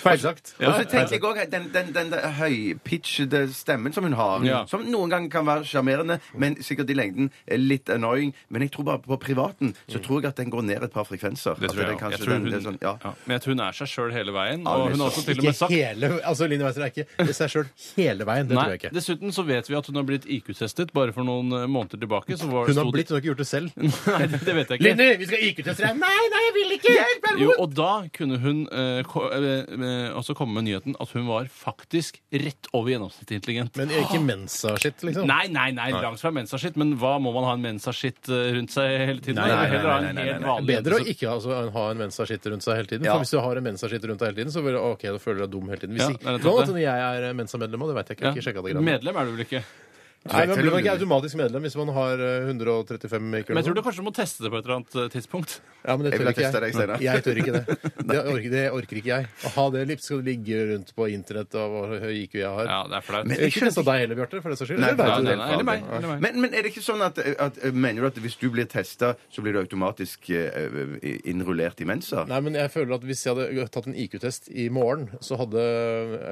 S1: Feilsagt.
S3: Og så tenker jeg også, Den, den, den, der høypitchede stemmen som hun har,
S2: Ja.
S3: som noen ganger kan være sjarmerende, men sikkert i lengden er litt annoying. Men jeg tror bare på privaten så tror jeg at den går ned et par frekvenser.
S2: Mm. Det
S3: At
S2: tror jeg,
S3: er
S2: også.
S3: kanskje
S2: jeg tror
S3: den-
S2: hun,
S3: det er sånn, ja.
S2: ja. Men jeg tror hun er seg sjøl hele veien.
S3: Ja,
S2: Og
S3: det er
S2: hun har
S3: sant.
S2: også til og med
S1: Ikke
S2: sagt
S1: hele, altså Linni Weiser er ikke seg sjøl hele veien. Det tror
S2: Nei,
S1: jeg ikke.
S2: Dessuten så vet vi at hun har blitt IQ-testet bare for noen eh, måneder tilbake. Så var,
S1: Hun har
S2: sto
S1: blitt,
S2: det-
S1: hun har ikke gjort det selv.
S2: Nei, det, det vet jeg ikke.
S1: Linni, vi skal IQ-teste deg! Nei, nei, jeg vil ikke!
S2: Jo, og da kunne hun eh, ko- eh, eh, også komme med nyheten at hun var faktisk rett over gjennomsnittet intelligent.
S1: Men ikke Mensa-skitt, liksom.
S2: Nei, nei, nei, langt fra mensaskitt, men hva må man ha en mensaskitt eh, rundt seg hele tiden?
S1: Nei,
S2: Jeg vil
S1: nei,
S2: heller ha en
S3: nei, nei, nei,
S2: helt
S3: nei.
S2: vanlig
S1: Bedre å
S2: jente som-
S1: ikke altså, ha en mensaskitt rundt seg hele tiden.
S3: Ja.
S1: For hvis du har en mensaskitt rundt deg hele tiden, så vil, ok, da føler du deg dum hele tiden. Hvis
S2: Ja, det
S1: ikke,
S2: er nettopp
S1: nå,
S2: det.
S1: at jeg er eh, mensa-medlem, og det vet jeg ikke. Jeg har ikke sjekket det greiene.
S2: Medlem er du vel ikke?
S1: Nei, men blir man ikke automatisk medlem hvis man har eh, 135 i
S2: Men jeg tror du
S1: kulen?
S2: kanskje du må teste det på et eller annet eh, tidspunkt.
S1: Ja, men det
S3: Jeg
S1: tør
S3: vil
S1: ikke
S3: teste deg,
S1: jeg.
S3: Steinar.
S1: Jeg tør ikke det. Det orker, det orker ikke jeg. Å ha det litt skal du ligge rundt på internett og hvor høy IQ jeg har.
S2: Ja, det er flaut.
S3: Men-
S1: Jeg har Ikke testa deg heller, Bjarte, for det saks skyld.
S3: Nei,
S1: Eller
S2: Nei,
S1: vet du
S2: nei,
S1: det?
S2: nei, eller meg. Eller meg.
S3: Men, men er det ikke sånn at, at mener du at hvis du blir testa, så blir du automatisk eh, innrullert i Mensa?
S1: Nei, men jeg føler at Hvis jeg hadde tatt en IQ-test i morgen, så hadde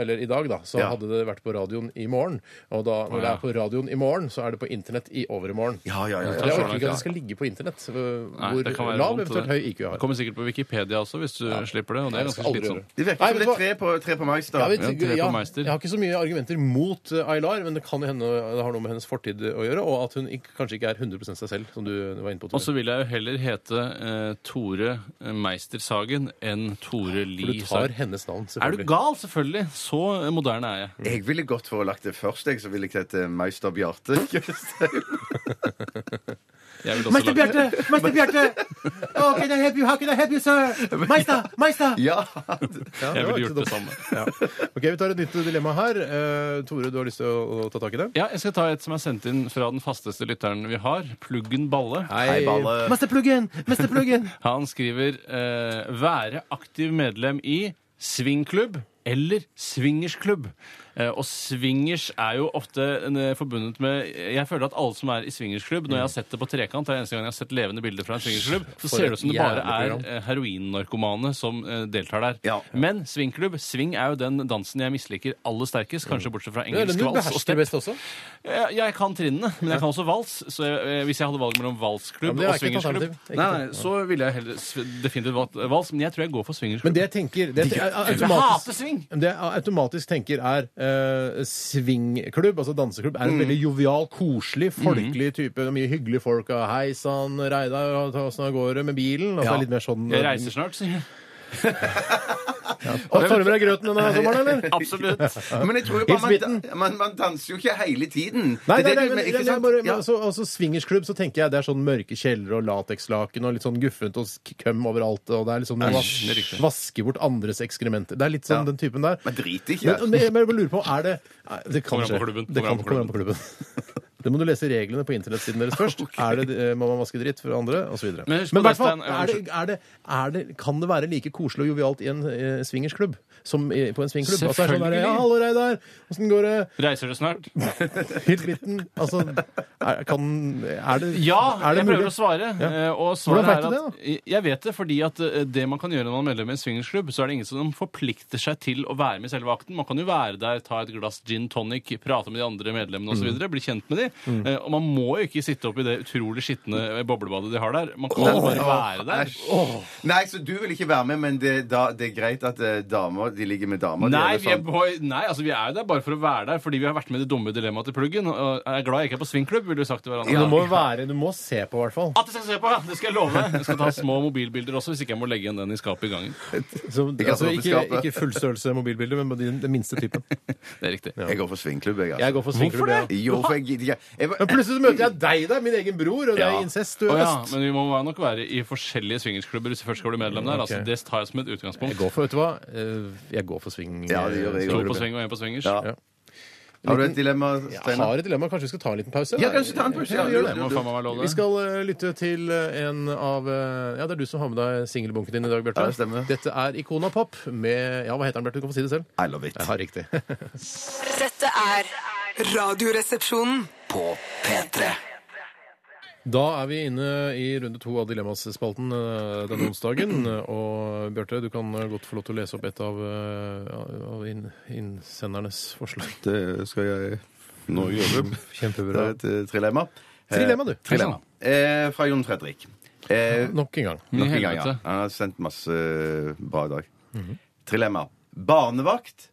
S1: eller i dag da, så
S3: Ja.
S1: hadde det vært på radioen i morgen. Og da, når det er på radioen i morgen, så er det på internett i overmorgen.
S3: Ja, ja, sånn. ja. ja.
S1: Jeg
S2: skjønner
S1: orker
S2: jeg.
S1: ikke at det skal ligge på internett. øh,
S2: Nei,
S1: Hvor
S2: det kan være
S1: lav,
S2: vondt,
S1: eventuelt
S2: det.
S1: høy IQ jeg
S2: Det
S1: har.
S2: kommer sikkert på Wikipedia også, hvis du slipper det. Og det er
S1: Jeg
S2: ganske
S1: skal aldri gjøre
S2: slitsomt.
S1: det.
S3: Det
S1: Nei,
S3: virker som
S1: vet
S3: det er
S1: du hva?
S3: tre på, tre på Meister.
S1: Jeg,
S2: Ja,
S1: vet,
S2: tre på
S1: jeg,
S2: Meister.
S1: jeg har ikke så mye argumenter mot eh, Aylar, men det kan hende det har noe med hennes fortid å gjøre, og at hun ikke, kanskje ikke er 100 seg selv, som du var inne på.
S2: Og
S1: Tore.
S2: så vil jeg jo heller hete eh, Tore Meistersagen enn
S1: For
S2: Tore
S1: du
S2: Lie
S1: tar
S2: Sagen.
S1: hennes navn,
S2: Er du
S1: selvfølgelig.
S2: gal? Selvfølgelig. Så moderne er jeg.
S3: Jeg ville gått for å lagt det først, jeg, så ville jeg hett Meister Bjarte.
S2: jeg vil også lage...
S1: Meister Bjarte! Oh, can I help you? How can I help you, sir? Meister! Meister!
S3: ja.
S2: Jeg ville
S1: det var
S2: gjort det
S1: ikke
S2: samme.
S1: Ja. Ok, Vi tar et nytt dilemma her. Eh, Tore, du har lyst til å, å ta tak i det?
S2: Ja, jeg skal ta et som er sendt inn fra den fasteste lytteren vi har, Pluggen Balle.
S3: Hei, Balle.
S1: Mesterpluggen! Mesterpluggen!
S2: Han skriver eh, 'være aktiv medlem i swingklubb' eller swingersklubb. Eh, Og swingers er jo ofte en, eh, forbundet med Jeg føler at alle som er i swingersklubb Når jeg har sett det på trekant, det er eneste gang jeg har sett levende bilder fra en swingersklubb, så
S1: For
S2: ser
S1: et
S2: det ut som det
S1: jævlig
S2: bare er
S1: program.
S2: eh, heroinnarkomane som eh, deltar der.
S3: Ja.
S2: Men swingklubb, swing er jo den dansen jeg misliker aller sterkest, kanskje bortsett fra
S1: Det er Mm. den
S2: engelsk
S1: du
S2: vals og
S1: behersker
S2: step.
S1: best også.
S2: Jeg, jeg kan trinnene, men jeg kan også vals. Så jeg, eh, hvis jeg hadde valget mellom
S1: Ja, men
S2: valsklubb
S1: det er ikke
S2: og
S1: et
S2: swingersklubb,
S1: alternativ. Det er
S2: nei,
S1: ikke
S2: nei, så ville jeg heller s- definitivt valgt vals. Men jeg tror jeg går for swingersklubb.
S1: Men det jeg tenker det jeg,
S2: jeg
S1: automatisk,
S2: hater swing!
S1: det jeg automatisk tenker, er eh, swingklubb, altså danseklubb, er en veldig jovial, koselig, folkelig type. Det er Mye hyggelige folk. og Hei sann, Reidar, og ta åssen det går med bilen? Altså,
S2: Ja.
S1: litt mer sånn,
S2: Jeg reiser snart, sier jeg.
S1: Og Tar du med deg grøten denne sommeren, eller?
S2: Absolutt.
S3: Men jeg tror jo
S1: Hils
S3: bare man,
S1: bitten.
S3: man, man danser jo ikke hele tiden.
S1: Nei,
S3: Det er
S1: nei,
S3: det
S1: nei,
S3: du-
S1: men,
S3: ikke
S1: jeg- jeg
S3: sant?
S1: bare, men
S3: Ja.
S1: altså, altså Swingersklubb så tenker jeg det er sånn mørke kjellere og latekslaken og litt sånn guffent og sk- køm overalt. Og det er liksom noe
S2: Æsj, det er riktig.
S1: vaske bort andres ekskrementer. Det er litt sånn
S3: Ja.
S1: den typen der.
S3: Man driter ikke.
S1: Men, men jeg bare lurer på, er det Nei, Det kan
S2: Kommer an
S1: skje.
S2: på klubben,
S1: Det
S2: kommer
S1: kan
S2: an på
S1: komme an på klubben. Det må du lese reglene på internettsiden deres først. Er det, eh, Må man vaske dritt for andre? Og så videre.
S2: Men husk på
S1: Men i hvert
S2: det,
S1: fall,
S2: Stein,
S1: er det, er det, er det, kan det være like koselig og jovialt i en eh, swingersklubb som i, på en swingklubb? Altså, er det sånn der, ja,
S2: Selvfølgelig.
S1: hallo, Reidar, åssen går det?
S2: Reiser du snart?
S1: Helt midten. Altså, er, kan, er det
S2: Ja,
S1: er det
S2: jeg prøver å svare.
S1: Ja.
S2: eh, Og
S1: Hvordan
S2: svaret
S1: vet
S2: er
S1: du det,
S2: at Jeg vet det fordi at eh, det man kan gjøre når man er medlem i en swingersklubb, så er det ingen som forplikter seg til å være med i selve akten. Man kan jo være der, ta et glass gin tonic, prate med de andre
S1: Mm.
S2: medlemmene osv., videre, bli kjent med de. Eh, Og man må jo ikke sitte oppi det utrolig skitne boblebadet de har der. Man kan jo bare være der.
S3: Æsj. Nei, så du vil ikke være med, men det, da, det er greit at eh, damer De ligger med damer. de
S2: Nei,
S3: gjør det
S2: vi er,
S3: sånn.
S2: boy, nei altså, vi er jo der bare for å være der, fordi vi har vært med i det dumme dilemmaet til pluggen. Og jeg er glad jeg ikke er på swingklubb, ville vi sagt til hverandre.
S1: Men det må jo være, du må se på, i hvert fall.
S2: At jeg skal se på! ja. Det skal jeg love deg. Jeg skal ta små mobilbilder også, hvis ikke jeg må legge igjen den i skapet i gangen.
S1: Så,
S3: Ikke at det
S1: altså, ikke,
S3: åpner skapet.
S1: ikke fullstørrelse mobilbilder, men den, den minste typen.
S2: Det er riktig.
S3: Jeg går for swingklubb, jeg. Altså.
S1: Jeg går for swingklubb.
S2: Hvorfor
S1: ja.
S3: Jo, for jeg gidder ikke. Jeg bare-
S1: Men plutselig så møter jeg deg der, min egen bror, og det
S3: Ja.
S1: er incest. Du
S2: Å
S1: er
S2: ja,
S1: øst.
S2: men vi må nok være i forskjellige swingersklubber hvis vi først skal bli medlem der. Altså,
S1: Ok.
S2: det tar jeg som et utgangspunkt.
S1: Jeg går for, vet du hva? Eh, Jeg går for swing.
S3: Ja, det gjør jeg.
S2: To på swing og en på swingers.
S3: Ja.
S1: Ja.
S3: Har du et dilemma,
S1: Jeg
S3: Steinar?
S1: har et dilemma. Kanskje vi skal ta en liten pause?
S3: Ja, kanskje ta en pause.
S1: Ja, vi gjør
S2: Det må
S1: det.
S2: faen meg være lov,
S1: Vi
S2: det.
S1: skal eh, lytte til eh, en av eh, Ja, det er du som har med deg singelbunken din i dag, Bjarte.
S3: Ja, det stemmer.
S1: Dette er Ikona Pop med Ja, hva heter den, Bjarte? Du kan få si det selv.
S3: I love it.
S1: Ja, riktig.
S6: Dette er Radioresepsjonen.
S5: På P3.
S1: Da er vi inne i runde to av Dilemmaspalten eh, denne onsdagen. Og Bjarte, du kan eh, godt få lov til å lese opp et av, eh, ja, av inn, innsendernes forslag.
S3: Det skal jeg nå gjøre. Det
S1: Kjempebra.
S3: er et eh, trilemma. Eh,
S1: Mm. Trilemma, du.
S3: trilemma. Eh, fra Jon Fredrik. Eh,
S1: Nok en gang.
S3: nok en gang, ja.
S2: helvete.
S3: Han har sendt masse bra i dag. Trilemma. Barnevakt,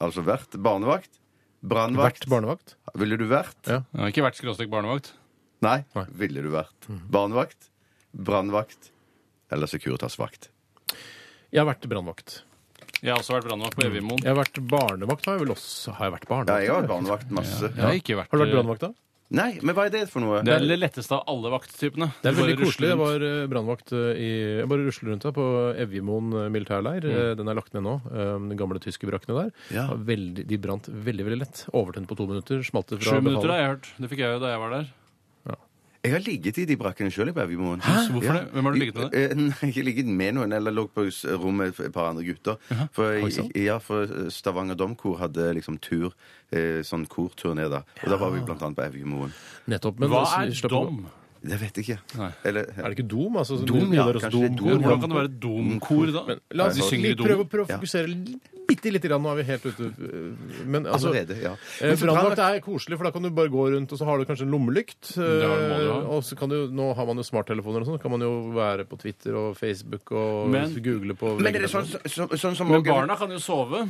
S3: altså vært barnevakt. Brannvakt.
S1: Mm. Vært barnevakt.
S3: Ville du vært?
S1: Ja.
S2: Jeg har ikke vært skråstrek barnevakt.
S3: Nei.
S1: Nei. Mm.
S3: Ville du vært? Barnevakt, brannvakt eller Securitas-vakt?
S1: Jeg har vært brannvakt.
S2: Jeg har også vært brannvakt på Evigmoen.
S1: Jeg har vært barnevakt, har jeg vel også. Har jeg vært barnevakt?
S3: Ja, jeg har vært barnevakt masse.
S2: Jeg har ikke vært eh,
S1: Har du vært brannvakt, da?
S3: Nei, men hva er det for noe?
S2: Det er det letteste av alle vakttypene.
S1: Det er
S2: Du bare
S1: veldig koselig.
S2: rusler
S1: Jeg
S2: rundt.
S1: var eh, brannvakt eh, i Jeg bare rusler rundt her på Evjemoen eh, militærleir. Eh, Den er lagt ned nå. eh, De gamle tyske brakkene der.
S3: Ja.
S1: Var Veldig, de brant veldig veldig lett. Overtent på to minutter. Smalt det fra
S2: Sju minutter har
S1: befalet.
S2: jeg hørt. Det fikk jeg jo da jeg var der.
S3: Jeg har ligget i de brakkene sjøl på Evjemoen.
S2: Hvorfor det? Hvem har du ligget med
S3: Eh, Nei, jeg har ligget med noen, eller lå på s- rommet med et par andre gutter. For, jeg- ja, for eh, Stavanger Domkor hadde liksom tur, eh, sånn korturné da. Og da var vi blant annet på Evjemoen.
S1: Nettopp. Men
S2: Hva
S1: s-
S2: er
S1: slapp av.
S2: dom?
S3: Det vet jeg ikke.
S2: Nei.
S3: Eller
S1: Er det ikke dom? Altså, sånn
S3: Dom, ja.
S1: Nidaros
S3: Kanskje det er
S1: domkor.
S3: dom, ja.
S2: Hvordan kan det være domkor, da?
S1: Men la oss
S2: De synger i
S1: litt
S2: dom.
S1: prøve, å- prøve å
S3: Ja.
S1: fokusere l- bitte lite grann. Nå er vi helt ute øh, Men altså
S3: allerede, ja.
S1: eh, Brannvakt er koselig, for da kan du bare gå rundt, og så har du kanskje en lommelykt.
S2: Det har du, må du ha.
S1: eh, Og så kan du, nå har man jo smarttelefoner og sånn, kan man jo være på Twitter og Facebook og
S2: Men-
S1: google på
S3: Men er det sånn, så, sånn som
S2: Men barna kan jo sove.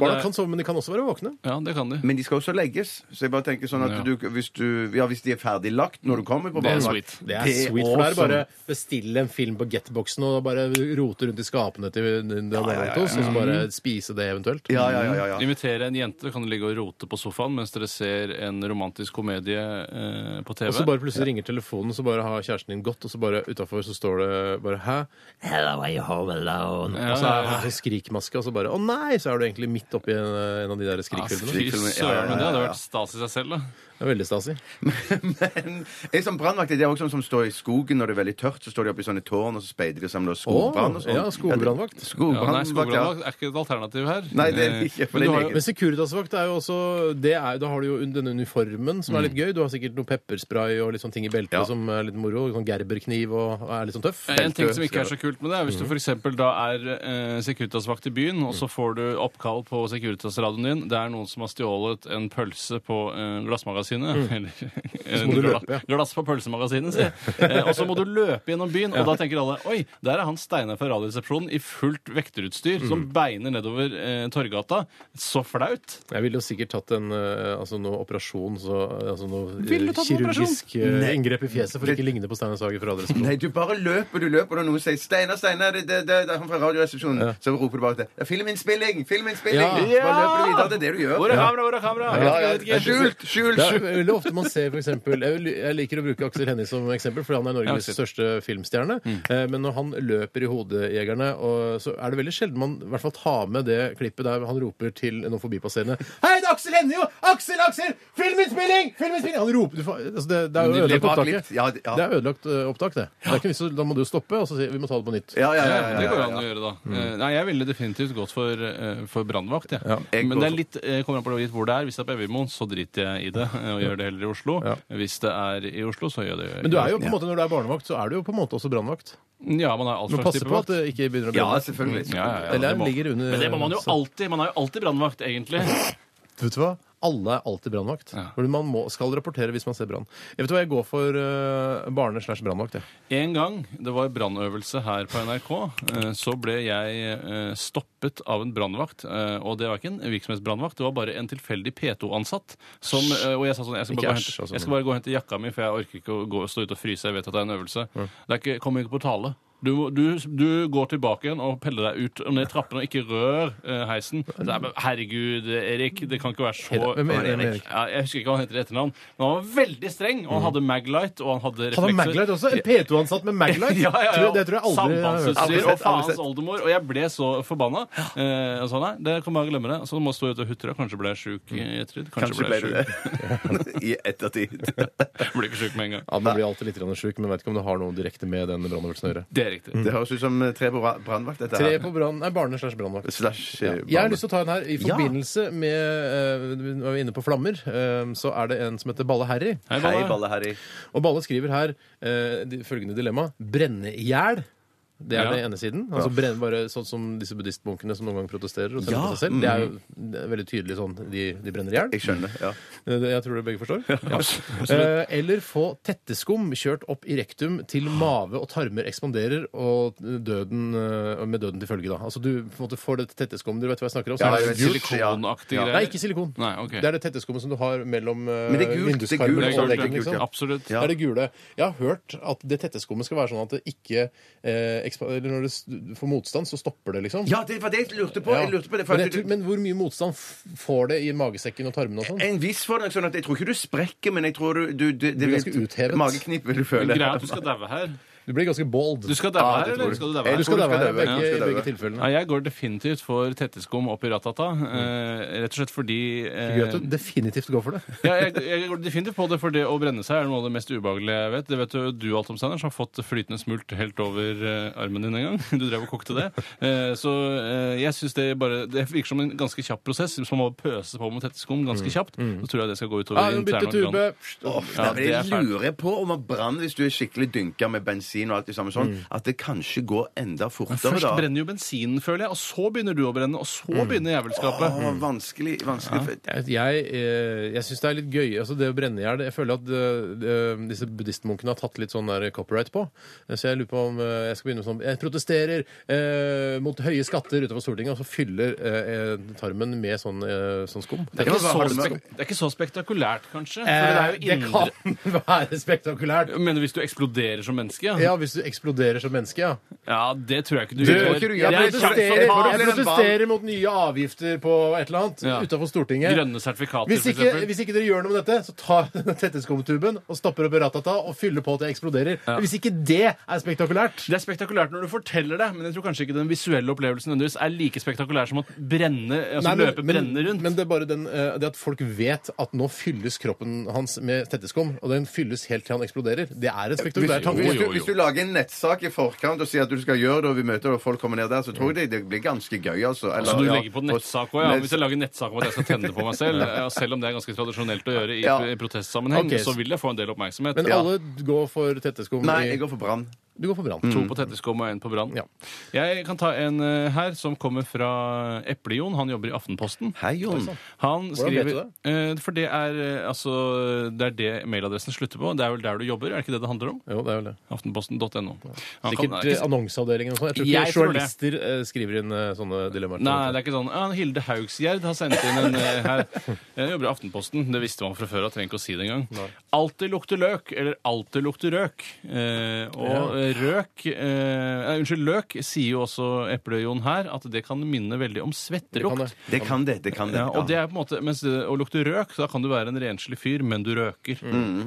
S1: sånn.
S2: det
S1: Barna
S2: er-
S1: kan sove, men de kan også være våkne.
S2: Ja, det kan de.
S3: Men de skal også legges. Så jeg bare tenker sånn at
S2: Ja.
S3: du, hvis, du, ja, hvis de er ferdig lagt når du kommer på
S2: Det er
S3: barnevakt
S2: sweet.
S1: Det er sweet, for det er
S3: awesome.
S1: bare bestille en film på Getboxen og bare rote rundt i skapene til den du har barnevakt hos, og så bare spise det eventuelt.
S3: Ja, ja, ja. ja, ja.
S2: Invitere en jente, kan du ligge og rote på sofaen mens dere ser en romantisk komedie eh, på TV.
S1: Og så bare plutselig ringer telefonen, så bare har kjæresten din gått, og så bare utafor så står det bare 'hæ?' Hello, are you home alone?
S2: Ja,
S1: og så
S2: ja,
S1: er
S2: ja.
S1: det en skrikmaske, og så bare 'å nei', så er du egentlig midt oppi en, en av de der
S2: Ja,
S1: skrikfilmene.
S2: Ah, Fy
S3: Skrikfilmer, ja, ja,
S2: søren, men det
S3: ja,
S2: hadde
S3: ja.
S2: vært stas i seg selv, da.
S1: Det er veldig stasig.
S3: Men en sånn brannvakt det er også sånn som står i skogen når det er veldig tørt. Så står de oppe i sånne tårn og så speider de og samler skogbrann. og
S1: Å,
S3: sånn.
S1: ja, skogbrannvakt.
S3: Ja, det-
S2: Ja, nei,
S3: skogbrannvakt, ja.
S2: skogbrannvakt er ikke et alternativ her. Eh,
S3: Nei, det er det ikke, for
S2: Men
S3: det
S2: du har
S3: er
S2: jo-
S1: Men Securitasvakt er jo også det er, Da har du jo denne uniformen
S2: Mm.
S1: som er litt gøy. Du har sikkert noe pepperspray og litt sånne ting i beltet
S3: Ja.
S1: som er litt moro. Sånn gerberkniv og og er litt sånn tøff.
S2: En ting som ikke er så kult med det, er
S1: Mm.
S2: hvis du f.eks. da er eh, Securitas-vakt i byen, og så får du oppkall på Securitas-radioen din. Det er noen som har stjålet en pølse på eh, glassmagasinet. Eller en
S1: Mm. må du
S2: gla-
S1: løpe, ja.
S2: glass på pølsemagasinet, sier jeg. Eh, og så må du løpe gjennom byen, og da tenker alle Oi, der er han Steinar fra Radioresepsjonen i fullt vekterutstyr som
S1: Mm.
S2: beiner nedover eh, Torgata. Så flaut!
S1: Jeg ville jo sikkert tatt en eh, altså noe operasjon, så, altså noe eh,
S2: Ville du tatt en
S1: kirurgisk eh,
S3: Nei.
S1: inngrep i fjeset for å ikke ligne på Steinar Sager fra Adressekontoret.
S3: Nei, du bare løper, du løper, og noen sier 'Steinar, Steinar, det, det, det er han fra Radioresepsjonen'. Så roper du bare til 'Det er filminnspilling! Filminnspilling!'
S1: Ja.
S3: Så Bare løper du videre. Det er det du gjør.
S2: Hvor er kamera, hvor er kamera?
S3: Ja,
S2: Jeg
S3: ja,
S2: vet ikke, jeg vet ikke.
S3: Skjult, skjult,
S1: Det er
S3: skjult!
S1: veldig ofte man ser for eksempel, jeg, vil- jeg liker å bruke Aksel Hennie som eksempel, fordi han er Norges
S2: Ja, Aksel.
S1: største filmstjerne.
S3: Mm.
S1: Eh, Men når han løper i Hodejegerne, og, så er det veldig sjelden man i hvert fall tar med det klippet der han roper til noen forbipasserende Hei, det er Aksel Hennie, jo! Aksel, Aksel! Filminnspilling! Filminnspilling! Han roper du får- altså det, det er jo
S3: Nydelig
S1: ødelagt opptaket.
S3: baklipp. Ja, det- ja.
S1: Det er ødelagt eh, opptak, det. det er ikke, vits å- da må du stoppe, og så si vi må ta det på nytt.
S3: Ja, ja, ja,
S2: Ja,
S3: ja,
S2: det går jo
S3: ja,
S2: an å
S3: ja. Mm.
S2: gjøre, da. Eh, Nei, Jeg ville definitivt gått for, eh, for brannvakt. jeg.
S3: Jeg
S2: Men
S3: går
S2: det er
S3: for-
S2: litt, eh, kommer an på litt hvor det er. Hvis det er på Evjemoen, så driter jeg i det eh, og gjør det heller i Oslo.
S1: Ja.
S2: Hvis det er i Oslo, så gjør jeg det
S1: Men du er jo på en måte, når du er barnevakt, så er du jo på en måte også brannvakt.
S2: Ja, man er alt
S1: Du må
S2: slags
S1: passe
S2: type
S1: på at
S2: vakt.
S1: det ikke begynner å
S3: Ja,
S1: brenne.
S3: selvfølgelig.
S2: Ja, ja, ja,
S1: Eller
S2: det må-
S1: ligger under-
S2: Men det må man jo alltid. Man er jo alltid brannvakt, egentlig.
S1: Vet du hva? Alle er alltid brannvakt.
S2: Ja.
S1: Fordi Man må, skal rapportere hvis man ser brann. Jeg vet hva, jeg går for uh, barne- slash brannvakt. jeg.
S2: En gang det var brannøvelse her på NRK, eh, så ble jeg eh, stoppet av en brannvakt. eh, Og det var ikke en virksomhetsbrannvakt, det var bare en tilfeldig P2-ansatt. som, eh, Og jeg sa sånn Jeg skal
S1: Ikke
S2: bare, gå og
S1: æsj, altså,
S2: hente, jeg skal
S1: men-
S2: bare gå og hente jakka mi, for jeg orker ikke å gå, stå ute og fryse. Jeg vet at det er en øvelse. Det er ikke, kommer ikke på tale. Du, må- du, du går tilbake igjen og peller deg ut og ned trappene og ikke rør eh, heisen. Så jeg bare, Herregud, Erik, det kan ikke være så
S1: Hvem er det, Erik? Mm.
S2: Ja, Jeg husker ikke hva han heter i etternavn, men han var veldig streng, og han hadde Maglite og han hadde reflekser.
S1: Han har Maglite også. En P2-ansatt med Maglite.
S2: Ja, ja, ja.
S1: Tror jeg- Det tror jeg aldri jeg har hørt.
S3: Aldri sett,
S2: Sambandsutstyr og altså.
S3: aldri
S2: faens
S3: sett.
S2: oldemor. Og jeg ble så forbanna. Eh, og sa nei, det kan bare glemme det. Så må jeg stå ute og hutre. Kanskje ble jeg sjuk i
S1: Mm.
S2: ettertid.
S3: Kanskje ble
S2: jeg
S3: du
S2: sjuk.
S3: det. I ettertid.
S2: Ble ikke sjuk med en gang.
S1: Ja, Man blir alltid litt grann sjuk, men vet ikke om det har noe direkte med den brannøvelsen å gjøre.
S2: Det er
S1: Mm.
S2: riktig.
S3: Det høres ut som tre på ra- brannvakt, dette
S1: Tre
S3: her.
S1: på brann... Nei, barne- slash brannvakt.
S3: Slash
S1: Ja.
S3: eh,
S1: Jeg har lyst til å ta en her. I
S3: Ja.
S1: forbindelse med eh, Vi var jo inne på flammer. eh, så er det en som heter Balle Harry.
S3: Hei,
S2: Hei, Balle.
S3: Balle Harry.
S1: Og Balle skriver her eh, de, følgende dilemma. Brenne i hjel. Det er
S2: Ja.
S1: den ene siden. Altså brenne bare Sånn som disse buddhistmunkene som noen ganger protesterer og tenner på seg selv. Det er jo det er veldig tydelig sånn de, de brenner i hjel.
S3: Jeg skjønner. ja.
S1: Eh, det- Jeg tror det begge forstår. Ja. Eh, Eller få tetteskum kjørt opp i rektum til mave og tarmer ekspanderer og døden, eh, med døden til følge. da. Altså Du på en måte får det tetteskum. Dere vet hva jeg snakker om? Så
S3: Ja,
S1: er det
S3: jeg vet.
S1: gult.
S2: Silikonaktig
S3: Ja.
S2: greier.
S1: Nei, ikke silikon.
S2: Nei, ok.
S1: Det er det tetteskummet som du har mellom eh,
S3: Men det er gult, det er gult,
S1: vinduskarmen
S2: Det er
S1: og
S2: gult,
S1: veggen.
S2: det er
S1: liksom.
S2: gult. Absolutt.
S1: Det er det gule. Jeg har hørt at det tetteskummet skal være sånn at det ikke eh, ekspa- eller Når det s- får motstand, så stopper det, liksom.
S3: Ja, det var det jeg lurte på.
S1: Ja.
S3: Jeg lurte på det, for
S1: men, jeg
S3: at du-
S1: tror, men hvor mye motstand f- får det i magesekken og tarmene og sånn?
S3: En viss fordel, sånn at jeg tror ikke du sprekker, men jeg tror du, du, du
S1: blir ganske uthevet.
S3: Mageknip vil du føle.
S2: Greia er at du skal daue her.
S1: Du blir ganske bald.
S2: Du skal daue
S3: Ja,
S2: her,
S3: det tror
S2: eller
S3: jeg.
S2: skal du
S3: Jeg
S2: daue
S1: du
S2: her?
S1: skal
S3: tror du
S1: daue
S3: skal daue.
S1: her,
S3: Ja,
S1: begge,
S3: du skal
S1: begge
S3: daue.
S1: tilfellene.
S2: Nei, jeg går definitivt for tetteskum opp i ratata.
S1: Mm.
S2: Eh, rett og slett fordi eh,
S1: Gøy at du definitivt går for det.
S2: ja, jeg, jeg går definitivt på det, for det å brenne seg er noe av det mest ubehagelige jeg vet. Det vet jo du, alt om Steinar, som har fått flytende smult helt over eh, armen din en gang. Du drev og kokte det. Eh, så eh, jeg syns det bare Det virker som en ganske kjapp prosess, som å pøse på med tetteskum ganske kjapt. Så tror jeg det skal gå utover
S1: Ja, nå bytter tube.
S3: Åh, nei,
S2: Ja,
S3: men
S2: det er
S3: jeg
S2: fælt.
S3: lurer på om at brann, hvis du er skikkelig dynka med bensin og alt det samme sånn, at det kanskje går enda fortere
S2: Først
S3: da.
S2: brenner jo bensinen, føler jeg, og så begynner du å brenne, og så begynner jævelskapet.
S3: Åh, vanskelig, vanskelig.
S1: Jeg, jeg, eh, jeg syns det er litt gøy. Altså det å brenne i hjel Jeg føler at eh, eh, disse buddhistmunkene har tatt litt sånn der copyright på. Eh, Så jeg lurer på om eh, jeg skal begynne med sånn Jeg protesterer eh, mot høye skatter utenfor Stortinget, og så fyller eh, eh, tarmen med sånn, eh, sånn skum.
S2: Det er,
S3: Ja, hva har
S2: ikke så
S3: du med-
S2: spek det er ikke så spektakulært, kanskje. For
S1: Eh,
S2: det er jo indre
S1: kan være spektakulært.
S2: Men hvis du eksploderer som menneske, ja,
S1: Ja, hvis du eksploderer som menneske, ja.
S2: Ja, det tror jeg ikke du,
S1: Du,
S3: ikke
S2: gjør.
S3: du-
S2: Det
S1: Jeg
S2: er
S3: men du
S2: kjapt
S1: protesterer,
S3: for
S2: fortalt.
S3: faen.
S1: jeg protesterer mot nye avgifter på et eller annet
S2: Ja.
S1: utenfor Stortinget.
S2: Grønne sertifikater,
S1: Hvis
S2: for
S1: ikke,
S2: eksempel.
S1: hvis ikke dere gjør noe med dette, så ta denne tetteskumtuben og stapper opp i ratata og fyller på til jeg eksploderer. Hvis ikke det er spektakulært
S2: Det er spektakulært når du forteller det, men jeg tror kanskje ikke den visuelle opplevelsen nødvendigvis er like spektakulær som at brenne, altså
S1: Nei,
S2: løpe brenne rundt.
S1: men det er bare den, eh, det at folk vet at nå fylles kroppen hans med tetteskum, og den fylles helt til han eksploderer, det er en spektakulær tanke.
S3: Hvis du, hvis du lager en nettsak i forkant og sier at du skal gjøre det, og vi møter og folk kommer ned der, så tror jeg det, det blir ganske gøy, altså. Eller,
S2: så Mm. du
S3: ja,
S2: legger på nettsak også, ja. Hvis jeg lager nettsak om at jeg skal tenne på meg selv, ja, selv om det er ganske tradisjonelt å gjøre i,
S3: Ja.
S2: i protestsammenheng,
S1: Ok,
S2: så
S1: så-
S2: vil jeg få en del oppmerksomhet.
S1: Men alle går for tetteskum.
S3: Nei,
S1: i-
S3: jeg går Mm. for brann.
S1: Du går for brann.
S2: To på tetteskum og en på brann.
S1: Ja.
S2: Jeg kan ta en eh, her som kommer fra Eple-Jon. Han jobber i Aftenposten.
S3: Hei, Jon.
S2: Han skriver,
S1: vet du
S2: Eh, For det er, eh, altså, det er det mailadressen slutter på. Det er vel der du jobber, er det ikke det det handler om?
S1: Jo, det er vel det.
S2: Aftenposten.no. Han kan-
S1: Sikkert
S2: det er ikke-
S1: annonseavdelingen og sånn. Jeg tror ikke
S2: Jeg tror
S1: journalister eh, skriver inn eh, sånne dilemmaer.
S2: Nei, det er ikke sånn. Ja, Hilde Haugsgjerd har sendt inn en eh, her. Jeg jobber i Aftenposten. Det visste man fra før av. Trenger ikke å si det engang. Alltid lukter løk, eller alltid lukter røk. Eh, og eh, røk eh, nei, Unnskyld, løk sier jo også Eple-Jon her at det kan minne veldig om
S1: Kan
S2: svettelukt.
S1: det-
S3: Det kan det. det kan det.
S2: Ja, og det er på en måte, mens det, Å lukte røk, så da kan du være en renslig fyr, men du røker.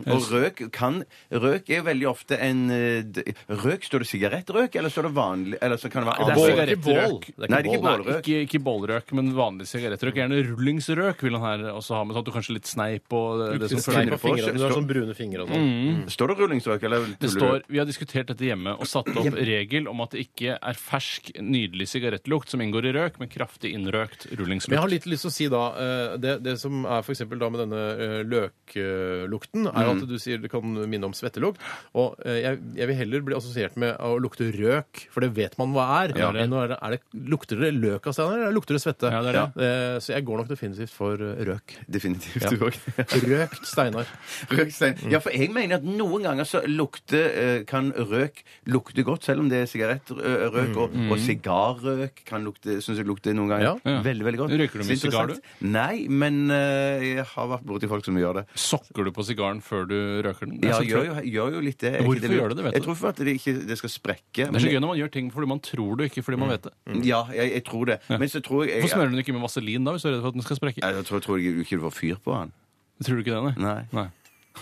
S3: Og røk kan Røk er veldig ofte en eh, d- Røk, står det sigarettrøk, eller står det vanlig Eller så kan det være
S2: Det er
S3: annen-
S2: sigarett- sigarettrøk.
S1: Det er
S3: Nei, det er ikke
S1: bål.
S3: bål.
S2: Nei,
S3: Bålrøk.
S2: ikke, ikke bålrøk, men vanlig sigarettrøk. Gjerne rullingsrøk vil han her også ha med. Sånn at du kanskje litt sneip og det som
S1: Finnes
S2: følger
S1: det
S2: med.
S1: på fingrene, sånn Du har sånn brune fingre og sånn.
S3: Mm. Står det rullingsrøk, eller
S2: Mm. Det
S3: tuller
S2: står, Vi har diskutert dette hjemme og satt opp regel om at det ikke er fersk, nydelig sigarettlukt som inngår i røk, men kraftig innrøkt
S1: Men jeg har
S2: rullingslukt.
S1: litt lyst til å si da eh, Det, det som er for eksempel da med denne eh, løklukten, er
S2: Mm.
S1: jo at du sier det kan minne om svettelukt. Og eh, jeg, jeg vil heller bli assosiert med å lukte røk, for det vet man hva er.
S2: Ja.
S1: Men nå er det, er det, lukter det løk av stedet, eller lukter det svette?
S2: Ja, det er
S1: Eh, Så jeg går nok definitivt for eh, røk.
S3: Definitivt. du også.
S1: Røkt Steinar.
S3: Røkstein. Ja, for jeg mener at noen ganger så lukter eh, kan røk lukte godt, selv om det er sigarettrøk. Og, og sigarrøk kan lukte Syns jeg lukter noen ganger.
S2: Mm. Ja.
S3: Veldig, veldig godt.
S2: Røyker du
S3: Så
S2: mye sigar, du?
S3: interessant. Nei, men eh, jeg har vært borti folk som gjør det.
S2: Sokker du på sigaren før du røker den? Det er
S3: Ja,
S2: så
S3: jeg gjør,
S2: tro-
S3: jo- jeg gjør jo litt det. Er ikke
S2: Hvorfor gjør du det, vet
S3: Jeg
S2: du?
S3: tror for at det ikke det skal sprekke.
S2: Det er så gøy når man gjør ting fordi man tror det, ikke fordi
S3: Mm.
S2: man vet det.
S3: Ja, jeg, jeg tror det. Men så tror jeg, jeg
S2: Hvorfor smører du den ikke med vaselin da, hvis du er redd for at den skal sprekke?
S3: Jeg tror, tror jeg ikke du får fyr på han.
S2: Tror du ikke det, nei?
S3: Nei.
S2: Nei.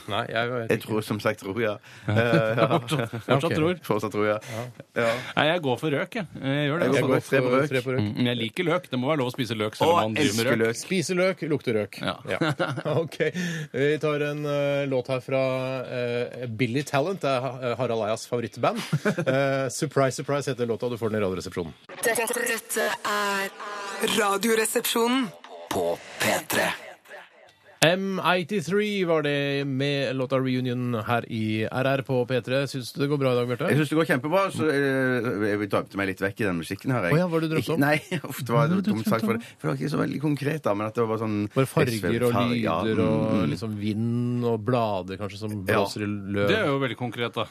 S1: Nei, jeg vet
S3: Jeg tror som sagt tror jeg. Eh, ja.
S2: Fortsatt
S1: ok.
S2: tror.
S3: Fortsatt tror jeg. Ja.
S2: Nei, jeg går for røk, jeg. Jeg gjør det.
S3: Jeg
S2: altså.
S3: går for tre på røk.
S1: Tre på røk.
S2: Mm, Men jeg liker løk. Det må være lov å spise løk selv
S3: Å,
S2: om man driver
S3: elsker
S2: med røk.
S3: løk.
S1: Spise løk, lukte røk.
S2: Ja.
S1: OK. Vi tar en eh, låt her fra eh, Billy Talent. Det er Ha- Harald Eias favorittband. Eh, surprise, surprise heter låta. Du får den i Radioresepsjonen.
S6: Dette, dette er Radioresepsjonen.
S5: På P3
S1: M83 var det med låta Reunion her i RR på P3. Syns du det går bra i dag, Bjarte?
S3: Jeg syns det går kjempebra, så eh, jeg drømte meg litt vekk i den musikken her. Jeg.
S1: Å ja, hva var det du drømte om?
S3: Nei, uff, det var dumt sagt for det. For det var ikke så veldig konkret, da, men at det var bare sånn
S1: Bare farger og
S3: farger, ja. Mm,
S1: lyder og liksom vind og blader kanskje som blåser i løv.
S2: Det er jo veldig konkret, da.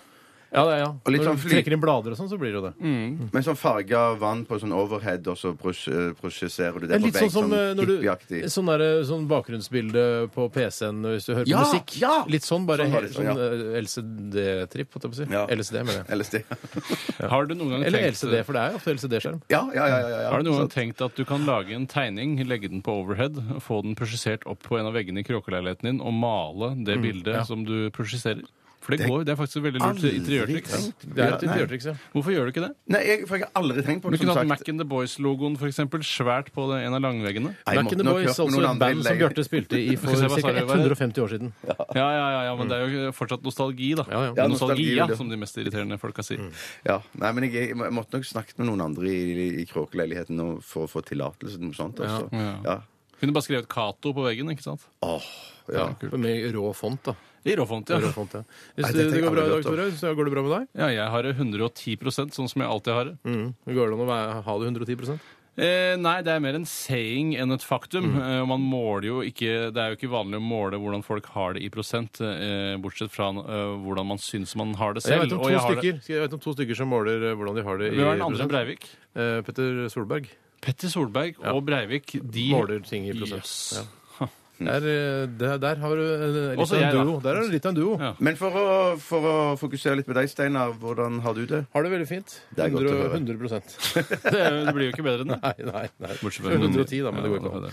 S1: Ja, det er, ja.
S3: Og litt
S1: Når
S3: sånn
S1: du
S3: fly-
S1: trekker inn blader og sånn, så blir det jo det.
S3: Men sånn farge av vann på sånn overhead, og så prosj- eh, prosjesserer du det
S1: Det er
S3: på
S1: litt
S3: vegg,
S1: sånn som eh,
S3: sånn
S1: når du,
S3: hippieaktig.
S1: sånn, der, sånn bakgrunnsbilde på PC-en hvis du hører på
S3: Ja,
S1: musikk.
S3: ja!
S1: Litt sånn, bare
S3: Sånn var
S1: sånn,
S3: det, ja.
S1: sånn eh, LCD-tripp, holdt jeg på å si.
S3: Ja.
S1: LCD, mener jeg.
S3: LSD.
S2: Har du noen gang
S1: Eller
S2: tenkt
S1: LCD, for det er jo ofte LCD-skjerm.
S3: Ja, ja, ja. ja, ja.
S2: Har du noen gang
S3: Så-
S2: tenkt at du kan lage en tegning, legge den på overhead, få den prosjisert opp på en av veggene i kråkeleiligheten din og male det bildet som du prosjiserer? For det, går, det er faktisk et veldig lurt
S3: Aldri
S2: interiørtriks.
S3: tenkt.
S1: Det er et
S3: Ja, nei.
S1: interiørtriks, ja.
S2: Hvorfor gjør du ikke det?
S3: Nei, jeg, for jeg har aldri tenkt på
S2: Du
S3: det,
S2: kunne
S3: som
S2: hatt
S3: sagt.
S2: Mac and the Boys-logoen for eksempel, svært på det, en av langveggene.
S3: Nei, jeg
S1: Back
S3: måtte
S1: in the
S3: nok
S1: Boys,
S3: hørt på
S1: altså
S3: noen
S1: et
S3: andre
S1: band som
S3: legger-
S1: Bjarte spilte i for
S2: Skal vi se,
S1: ca.
S2: hva sa du, hva er det?
S1: 150 år siden.
S2: Ja, ja, ja, ja, men det er jo fortsatt nostalgi, da.
S1: Ja, ja.
S3: Ja, nostalgi,
S2: Nostalgia,
S3: det.
S2: som de mest irriterende folka sier.
S3: Ja, nei, men jeg, jeg må- jeg måtte nok snakket med noen andre i, i kråkeleiligheten nå for å få tillatelse til noe sånt. Altså.
S2: Ja.
S3: Ja.
S2: Kunne bare skrevet Cato på veggen, ikke sant?
S3: Åh, ja.
S1: Med rå font, da.
S2: I råfont,
S1: Rå
S2: ja.
S1: font, ja.
S3: Nei,
S1: Hvis det,
S3: dette har jeg
S1: det går bra i
S3: aldri
S1: dag, Tore, så går det bra med deg?
S2: Ja, jeg har det 110 sånn som jeg alltid har det.
S1: Det Går det an å være- ha det 110
S2: Eh, nei, det er mer en saying enn et
S1: Mm.
S2: faktum. Eh, og man måler jo ikke Det er jo ikke vanlig å måle hvordan folk har det i prosent, eh, bortsett fra eh, hvordan man syns man har det
S1: Jeg
S2: selv.
S1: vet om
S2: Og
S1: to
S2: har det-
S1: stykker Jeg vet om to stykker som måler eh, hvordan de har det i
S2: Hvem er den andre
S1: prosent.
S2: enn Breivik?
S1: Eh, Petter Solberg
S2: Petter Solberg og Breivik de
S1: måler ting i prosent.
S2: Jøss.
S1: Ja. Der, eh, der, der har du eh, litt
S2: Også
S1: av en
S2: jeg, da.
S1: duo. Der er du litt av en duo.
S2: Ja.
S3: Men for å, for å fokusere litt på deg, Steinar, hvordan har du det?
S1: Har det veldig fint.
S3: Det er godt å høre.
S1: 100, 100
S2: Det, er- det blir jo ikke bedre enn det.
S1: Nei, nei. nei.
S2: Bortsett fra
S1: 110, da, men det går
S2: Ja,
S1: ikke an.
S2: det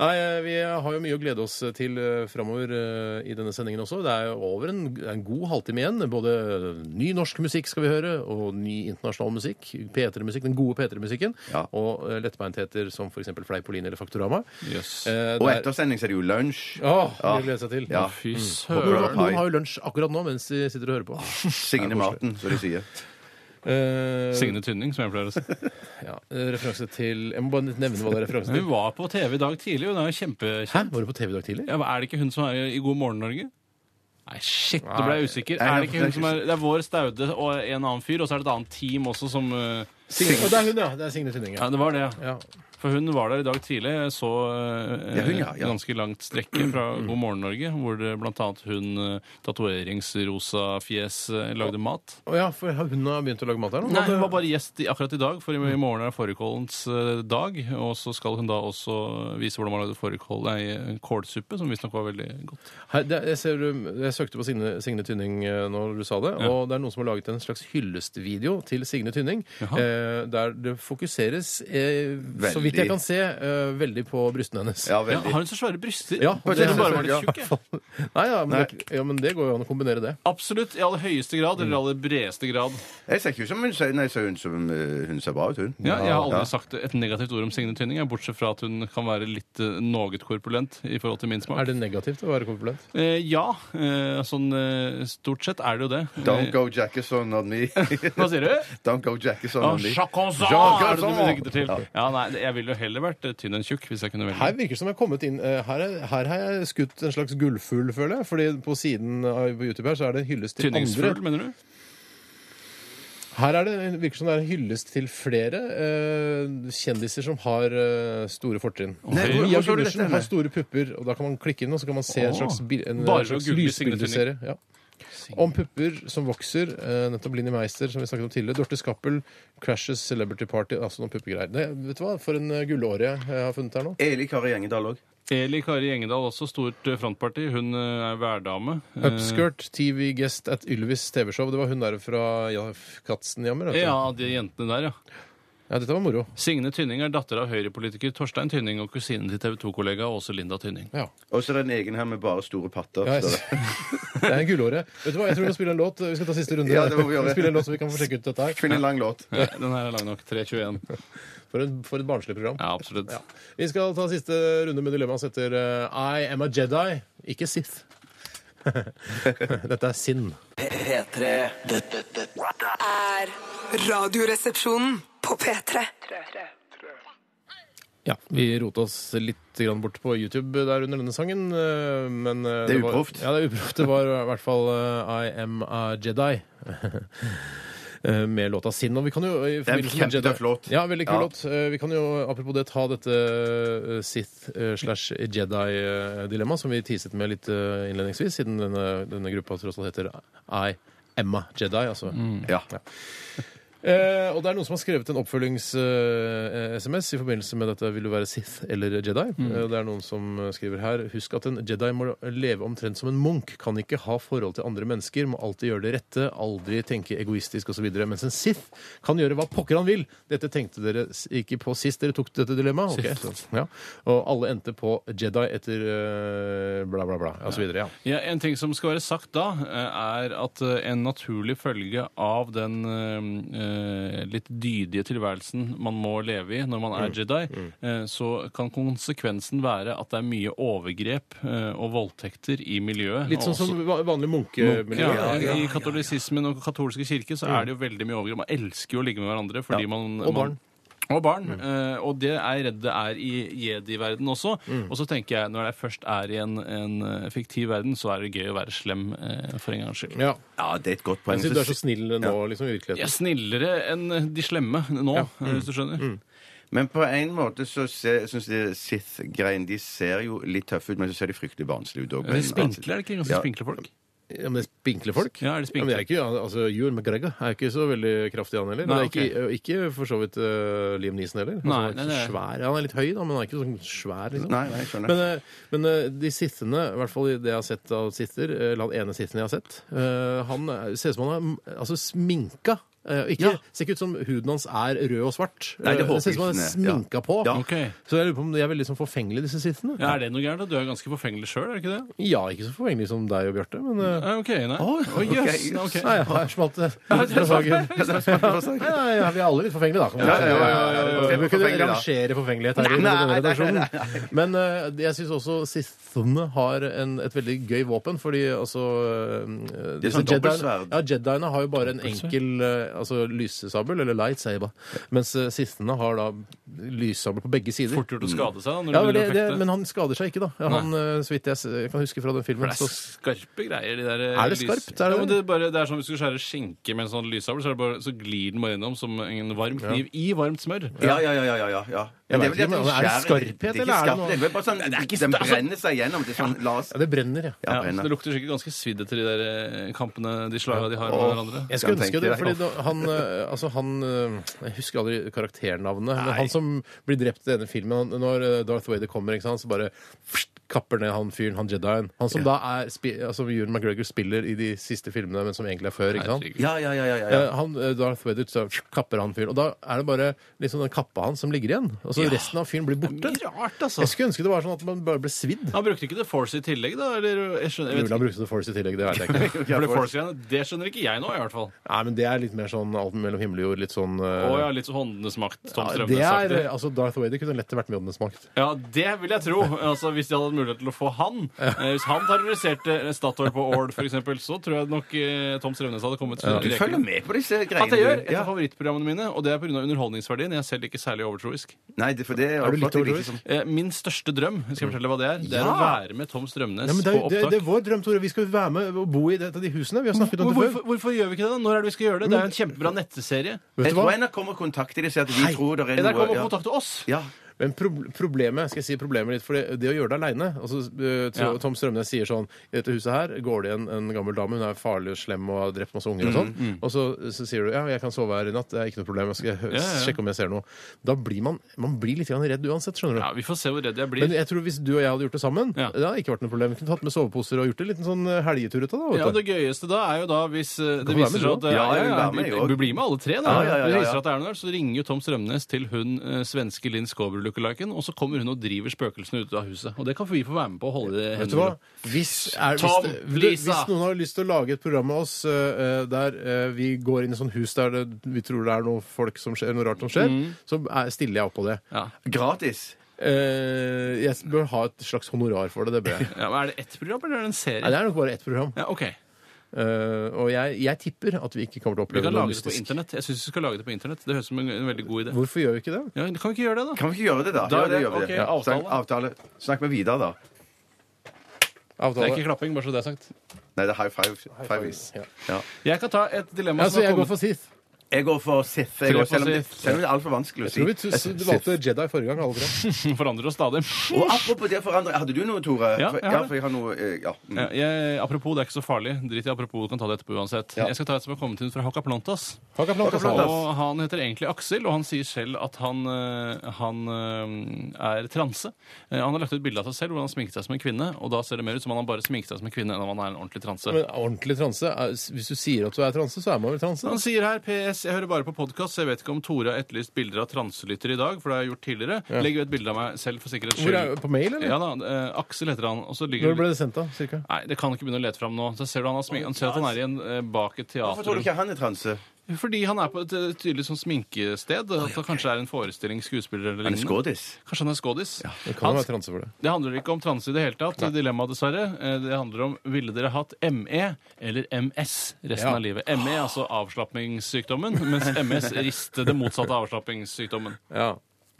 S1: Nei, eh, Vi har jo mye å glede oss til eh, framover eh, i denne sendingen også. Det er jo over en, en god halvtime igjen. Både eh, ny norsk musikk skal vi høre, og ny internasjonal musikk. P3-musikk, Den gode P3-musikken.
S3: Ja.
S1: Og eh, lettbeintheter som f.eks. Fleipolini eller Faktorama.
S2: Jøss.
S1: Eh,
S3: Og
S1: der-
S3: etter sending så er det jo lunsj.
S1: Åh, det gleder jeg seg til.
S3: Ja.
S2: Fy
S3: Håper
S2: søren.
S3: det
S1: Noen, noen har jo lunsj akkurat nå mens de sitter og hører på.
S3: Signe Maten, som de sier.
S1: Eh,
S2: Signe Tynning, som jeg pleier å si.
S1: ja, eh, referanse til Jeg må bare nevne hva det er referanse
S2: Hun
S1: til.
S2: var på TV i dag tidlig. Hun er jo kjempekjent.
S1: Hæ? Var du på TV i dag tidlig?
S2: Ja, men er det ikke hun som er i God morgen Norge? Nei, shit, nå ble jeg usikker.
S3: Nei,
S2: Er det ikke
S3: jeg-
S2: hun som er Det er vår Staude og en annen fyr, og så er det et annet team også som eh,
S1: Signe. Å, det er hun, ja. Det er Signe Tynning.
S2: Ja,
S1: Ja.
S2: det var det, ja.
S1: Ja.
S2: For hun var der i dag tidlig. Jeg så
S3: Ja,
S2: eh,
S3: hun, ja, ja.
S2: ganske langt strekke fra God morgen Norge, hvor det blant annet hun eh, tatoveringsrosa fjes eh, lagde mat.
S1: Å ja, for hun har begynt å lage mat her nå?
S2: Nei, hun var bare gjest i, akkurat i dag, for i i morgen er det fårikålens eh, dag. Og så skal hun da også vise hvordan man lagde fårikål Nei, kålsuppe, som visstnok var veldig godt.
S1: Her, det, jeg, ser, du- jeg søkte på Signe, Signe Tynning eh, når du sa det,
S2: Ja.
S1: og det er noen som har laget en slags hyllestvideo til Signe Tynning,
S2: Jaha.
S1: eh, der det fokuseres, eh, så
S3: Veldig.
S1: vidt jeg kan se, eh, veldig på brystene hennes.
S3: Ja,
S2: Ja,
S3: veldig.
S2: har hun så svære bryster?
S1: Ja,
S2: Hun
S1: det
S2: trodde bare
S3: er-
S2: var litt
S3: ja.
S2: tjukk, jeg.
S1: Nei, ja, men, Det, ja, men det går jo an å kombinere det.
S2: Absolutt. I aller høyeste grad, eller aller bredeste grad.
S3: Jeg ser ikke ut som hun ser, nei, ser hun, som, eh, hun ser bra ut, hun.
S2: Ja, jeg har aldri
S3: Ja.
S2: sagt et negativt ord om Signe Tynning, jeg, bortsett fra at hun kan være litt uh, noget korpulent i forhold til min
S1: Er
S2: smak.
S1: det negativt å være korpulent?
S2: Eh, ja, eh, sånn eh, stort sett er det jo det.
S3: Don't go Jackson on me.
S2: Eh, Hva sier du?
S3: Don't go Jackson
S2: Ah,
S3: on me.
S2: Chaconzon!
S3: Chaconzon!
S2: Er det du sikter til? Ja, nei, jeg ville jo heller vært eh, tynn enn tjukk, hvis jeg kunne
S1: Her
S2: velge.
S1: virker det som jeg har kommet inn eh, Her, er- her har jeg skutt en slags gullfugl, føler jeg. Fordi på siden av på YouTube her så er det en hyllest til andre.
S2: Tynningsfugl, mener du?
S1: Her er det, virker som det er en hyllest til flere eh, kjendiser som har eh, store fortrinn.
S3: Nei, hvor-
S1: Mia
S3: hvor så du
S1: Gundersen
S3: dette
S1: har
S3: henne?
S1: store pupper, og da kan man klikke inn, og så kan man se en
S2: Åh.
S1: slags, bil- en,
S2: Bare
S1: en slags
S2: å google Signe
S1: lysbildeserie. Ja. Om pupper som vokser. eh, nettopp Linni Meister, som vi snakket om tidligere. Dorte Skappel, Crashes Celebrity Party. Altså noen puppegreier. Det, vet du hva, for en eh, gullåre jeg har funnet her nå.
S3: Eli Kari Gjengedal òg.
S2: Eli Kari Gjengedal, også stort eh, frontparti. Hun eh, er værdame. Eh,
S1: Upskirt, TV-guest at Ylvis TV-show. Det var hun der fra ja, Katzenjammer. vet du.
S2: Ja, de jentene der, ja.
S1: ja, dette var moro.
S2: Signe Tynning er datter av høyrepolitiker Torstein Tynning og kusinen til TV 2-kollega Åse Linda Tynning.
S1: Ja.
S3: Og så er det en egen her med bare store patter.
S1: Ja, jeg-
S3: Så det-
S1: Det er en gullåre. Vet du hva, jeg tror vi må spille en låt. Vi skal ta siste runde.
S3: Ja, det må vi gjøre.
S1: spille en låt så vi kan få sjekke ut dette her.
S3: Finn en lang låt.
S2: Ja, Den her er lang nok. 3.21.
S1: For, en, for et barnslig program.
S2: Ja, absolutt.
S1: Vi skal ta siste runde med dilemmas etter eh, I am a Jedi, ikke Sith. dette er Sinn.
S5: P3 Dette, dette
S6: Er radioresepsjonen på P3.
S1: Ja, vi rota oss litt grann bort på YouTube der under denne sangen, eh, men eh,
S3: Det er
S1: var-
S3: uproft.
S1: Ja, det er uproft. Det var i hvert fall eh, I am a Jedi. Eh, Med låta Sinn. Og vi kan jo i
S3: er en
S1: forbindelse med
S3: kjempetøff låt.
S1: Ja, veldig kul
S3: Ja.
S1: låt. Eh, Vi kan jo apropos det ta dette eh, Sith eh, slash Jedi-dilemmaet som vi teaset med litt eh, innledningsvis, siden denne, denne gruppa tross alt heter I am a Jedi. altså
S3: Ja.
S1: Eh, og det er noen som har skrevet en oppfølgings-SMS i forbindelse med dette. Vil du være Sith eller Jedi? Eh, og det er noen som skriver her. Husk at en Jedi må leve omtrent som en munk. Kan ikke ha forhold til andre mennesker, må alltid gjøre det rette, aldri tenke egoistisk osv. Mens en Sith kan gjøre hva pokker han vil. Dette tenkte dere s- ikke på sist dere tok dette dilemmaet. Ok, så- Ja. Og alle endte på Jedi etter eh, bla, bla, bla osv. Ja.
S2: Ja, en ting som skal være sagt da, eh, er at eh, en naturlig følge av den eh, eh, litt dydige tilværelsen man må leve i når man
S1: Mm.
S2: er Jedi, eh, så kan konsekvensen være at det er mye overgrep eh, og voldtekter i miljøet.
S1: Litt
S2: og
S1: sånn
S2: også-
S1: som va- vanlig munkemiljø.
S2: ja, I katolisismen og katolske kirke så er det jo veldig mye overgrep. Man elsker jo å ligge med hverandre fordi man
S1: Og Mm.
S2: man- Og barn. eh, og det er jeg redd det er i jedi-verden også.
S1: Mm.
S2: Og så tenker jeg, når jeg først er i en, en eh, fiktiv verden, så er det gøy å være slem eh, for en gangs skyld.
S1: Ja.
S3: Ja, det er et godt poeng.
S1: Jeg synes du er så snill nå, liksom, i virkeligheten.
S2: Jeg er snillere enn de slemme nå, eh, hvis du skjønner.
S1: Mm.
S3: Men på en måte så ser- synes jeg Sith-greien De ser jo litt tøffe ut, men så ser de fryktelig barnslige ut òg.
S2: De er spinkle, er det ikke? Ganske spinkle folk.
S1: Ja, men det er spinkle folk?
S2: Ja, er det
S1: Ja,
S2: spinkle?
S1: men jeg er ikke, ja, altså, Ewan McGregor er ikke så veldig kraftig, han heller.
S2: Nei,
S1: han er ikke, ikke for så vidt eh, Liam Neeson heller. Altså,
S2: Nei,
S1: han, er ikke så
S2: nei, nei.
S1: svær. han er litt høy, da, men han er ikke sånn svær, liksom.
S3: Nei, nei, jeg skjønner.
S1: Men, eh, men eh, de sittende, i hvert fall i det jeg har sett av sitter, eh, eller han ene sittende jeg har sett, eh, han er- ser ut som han er mm, altså, sminka. Eh, Ikke,
S2: Ja.
S1: Ser ikke ut som huden hans er rød og svart.
S3: Nei, det
S1: Eh,
S3: håper
S1: ser ut som han er
S3: jeg ikke, ja.
S1: sminka på.
S3: Ja.
S2: Ok.
S1: Så jeg lurer på om de er veldig sånn forfengelige, disse sittende.
S2: Ja, er det noe gærent? da? Du er ganske forfengelig sjøl, er du ikke det?
S1: Ja, ikke så forfengelig som deg og Bjarte, men eh,
S2: Eh, OK, nei. Å,
S3: ok,
S2: jøss. Nei,
S3: jøss.
S2: ok.
S1: Nei, jeg har smalt det.
S2: det
S1: Fra
S2: er
S1: saken.
S3: Ja, det er smart å si.
S1: Nei, nei, nei, vi er alle litt forfengelige, da. kan man
S3: Ja, ja,
S1: si.
S3: ja, ja, ja, ja.
S1: Vi bør
S3: Forfengelige,
S1: ikke
S3: da.
S1: rangere forfengelighet her i
S3: Nei,
S1: denne
S3: nei, nei, nei,
S1: redaksjonen. Men eh, jeg syns også Sithene har en, et veldig gøy våpen, fordi altså eh,
S3: Det er
S1: disse
S3: sånn dobbeltsverd.
S1: ja, Jediene har jo bare en enkel eh, altså, lysesabel, eller lightsaber, mens eh, Sithene har da lyssabel på begge sider.
S2: Fort gjort å skade seg da, når
S1: Ja,
S2: du
S1: men, det,
S2: begynner å
S1: det,
S2: fekte.
S1: men han skader seg ikke, da. Ja, Han, eh, så vidt jeg, s- jeg kan huske fra den filmen.
S2: det er
S1: så-
S2: skarpe greier, de der eh,
S1: Er det skarpt? Er det
S2: ja, men
S1: det?
S2: det, er bare, det er som hvis du skulle skjære skinke med en sånn lyssabel, så, er det bare, så glir den bare gjennom som en varm kniv i varmt smør.
S3: Ja, ja, ja. ja, ja, ja. ja.
S1: Jeg
S3: Men
S1: vet ikke,
S3: det
S1: men er det
S3: skjærer-
S1: skarphet,
S3: det er ikke
S1: eller er det
S3: skarpt,
S1: noe-
S3: det er bare sånn, Den brenner seg gjennom. Det er sånn, la oss
S1: Ja, det brenner, ja.
S3: ja,
S2: Ja, så
S3: brenner.
S2: det lukter sikkert ganske svidd etter de der eh, kampene, de slaga de har med
S3: Åh.
S2: hverandre.
S1: Jeg skulle
S3: Kan
S1: ønske
S3: tenke
S1: det,
S3: deg.
S1: fordi da, han, eh, altså han eh, Jeg husker aldri karakternavnet. Men han som blir drept i denne filmen han- Når eh, Darth Vader kommer, ikke sant, så bare fst, kapper ned han fyren, han jedien. Han som da er spi- altså, Ewan McGregor spiller i de siste filmene, men som egentlig er før. ikke sant?
S2: Herregud.
S3: Ja, ja, ja, ja, ja, ja.
S1: Eh, Han, eh, Darth Vader så fst, kapper han fyren. Og da er det bare liksom den kappa hans som ligger igjen. Og så resten av fyren blir borte.
S2: Mye rart, altså.
S1: Jeg skulle ønske det var sånn at man bare ble svidd.
S2: Han brukte ikke The Force i tillegg, da? Eller, jeg skjønner, jeg
S1: Mulig
S2: vet
S1: han
S2: ikke.
S1: brukte The Force i tillegg, det vet jeg ikke.
S2: For The Force-greiene, det skjønner ikke jeg nå, i hvert fall.
S1: Nei, men det er litt mer sånn alt mellom himmel og jord. Litt sånn eh,
S2: Å ja, litt sånn Håndenes makt, Tom
S1: Ja, det er,
S2: Strømnes-aktig.
S1: altså Darth Vader kunne lett vært med i Åndenes makt.
S2: Ja, det vil jeg tro. Altså, Hvis de hadde hatt mulighet til å få han. Eh, Hvis han terroriserte Statoil på Ål, f.eks., så tror jeg nok eh, Tom Strømnes hadde kommet
S3: Du
S2: ja.
S3: følger med på disse greiene.
S2: At jeg gjør
S3: du.
S2: et av favorittprogrammene mine, og det er pga. underholdningsverdien. Jeg er selv ikke særlig overtroisk.
S3: Nei, det, for det er,
S1: du litt
S3: oppfattet jeg
S1: overtroisk?
S3: som-
S2: Eh, Min største drøm skal jeg fortelle hva det er, det er å
S3: Ja!
S2: være med Tom Strømnes
S1: Nei, men det,
S2: på
S1: er, det,
S2: opptak.
S1: det er vår drøm, Tore. Vi skal være med og bo i et av de husene. Vi har snakket om
S2: Men
S1: det før.
S2: hvorfor, hvorfor gjør vi ikke det? da? Når er det vi skal gjøre det? Det er jo en kjempebra nettserie.
S1: Vet
S3: Jeg
S1: du
S3: tror
S1: hva?
S3: NRK må kontakte dem og si at vi tror det er
S2: NRK
S3: noe
S2: må
S3: ja.
S2: kontakte oss!
S3: Ja.
S1: Men prob- problemet skal jeg si problemet litt, for det, det å gjøre det aleine altså, eh, Tro-
S2: Ja.
S1: Tom Strømnes sier sånn I dette huset her går det igjen en gammel dame. Hun er farlig og slem og har drept masse unger og
S2: Mm,
S1: sånn. Og så, så sier du ja, jeg kan sove her i natt. Det er ikke noe problem. Jeg skal hø-
S2: Ja, ja.
S1: sjekke om jeg ser noe. Da blir man, man blir litt grann redd uansett, skjønner du.
S2: Ja, Vi får se hvor redd
S1: Men
S2: jeg blir.
S1: jeg tror hvis du og jeg hadde gjort det sammen,
S2: Ja.
S1: det hadde ikke vært noe problem. Vi kunne tatt med soveposer og gjort en liten sånn eh, helgetur ut av det. vet
S2: Ja,
S1: du.
S2: Det gøyeste da er jo da hvis eh, det
S1: du være med,
S2: viser seg at
S3: du også? Ja, jeg vil være med, jeg
S2: du,
S3: også.
S2: du blir med alle tre, da.
S3: Ja, ja, ja,
S2: Det
S3: ja,
S2: viser
S3: ja.
S2: at det er noe der, Så ringer jo Tom Strømnes til hun eh, svenske Linn Skåber lookaliken, og så kommer hun og driver spøkelsene ut av huset. Og det kan vi få være med på å holde i
S1: Vet du hva?
S2: hendene.
S1: Hvis, er,
S2: Tom,
S1: hvis,
S2: Lisa!
S1: hvis noen har lyst til å lage et program med oss eh, der eh, vi går inn i sånn hus der det, vi tror det er noe folk som skjer, noe rart som skjer,
S2: Mm.
S1: så er, stiller jeg opp på det.
S2: Ja.
S3: Gratis.
S1: Eh, jeg bør ha et slags honorar for det. Det bør jeg.
S2: Ja, men er det ett program, eller er det en
S1: Nei,
S2: serie?
S1: det er nok bare ett program.
S2: Ja, ok.
S1: Eh, og jeg, jeg tipper at vi ikke kommer til å
S2: Vi
S1: oppleve
S2: kan
S1: noe
S2: lage det på
S1: mystisk.
S2: internett. Jeg syns vi skal lage det på internett. Det høres ut som en, en veldig god idé.
S1: Hvorfor gjør vi ikke det?
S2: Ja, kan vi ikke gjøre det, da?
S3: Kan vi ikke gjøre det, da?
S2: Da er
S3: Ja, det
S2: det-
S3: gjør vi
S2: ok,
S3: det. Ja.
S2: avtale.
S3: Snakk- avtale. Snakk med Vidar, da.
S2: Det
S1: Avtale.
S2: er ikke klapping, bare så det er sagt.
S3: Nei, det er high five. Five-is.
S1: Ja.
S3: Ja.
S2: Jeg kan ta et dilemma
S1: Ja, så
S2: som har
S1: jeg går
S2: kommet.
S1: for Sith.
S3: Jeg går for Sith. Jeg går,
S2: Tror jeg på
S3: selv, om det,
S2: Sith.
S3: selv om det er altfor vanskelig å si.
S1: Tror vi t-
S3: Sith.
S1: du valgte Jedi forrige gang, alle tre.
S2: Forandrer oss stadig.
S3: Og apropos det å forandre Hadde du noe, Tore?
S2: Ja,
S3: For-
S2: jeg har
S3: ja
S2: det.
S3: for jeg har noe eh, ja. Mm.
S2: Ja, jeg, apropos, det er ikke så farlig. Drit i apropos, du kan ta det etterpå uansett. Jeg skal ta et som har kommet inn fra Hakaplantas.
S1: Takk, applaus,
S3: Takk,
S1: applaus.
S3: applaus.
S2: Og han heter egentlig Aksel, og han sier selv at han, eh, han eh, er transe. Eh, Han har lagt ut bilde av seg selv hvor han sminket seg som en kvinne, og da ser det mer ut som han har bare sminket seg som en kvinne enn om han er en ordentlig transe.
S1: Men ordentlig transe er- Hvis du sier at du er transe, så er man vel transe?
S2: Han sier her PS, jeg hører bare på podkast, så jeg vet ikke om Tore har etterlyst bilder av transelytter i dag, for det har jeg gjort tidligere. Legg ut et bilde av meg selv for sikkerhets
S1: Hvor er,
S2: skyld.
S1: på mail, eller?
S2: Ja da, eh, Aksel heter han. Og så ligger
S1: Når ble det sendt, da? Cirka?
S2: Nei, det kan han ikke begynne å lete fram nå. Så ser du han, har smink... han ser at han er i en, eh, bak et
S3: Hvorfor tror
S2: teater.
S3: du ikke han er transe?
S2: Fordi han er på et eh, tydelig sånn sminkested. At det kanskje er en forestilling, skuespiller eller
S3: Han er
S2: lignende.
S3: skådis.
S2: Kanskje han er skådis?
S1: Det kan
S2: Han-
S1: jo være transe for det.
S2: det handler ikke om transe i det hele tatt. Dilemma, dessverre. Eh, Det handler om ville dere hatt ME eller MS resten
S1: Ja.
S2: av livet. E, ME, altså avslappingssykdommen, mens MS rister det motsatte av avslappingssykdommen.
S1: Ja.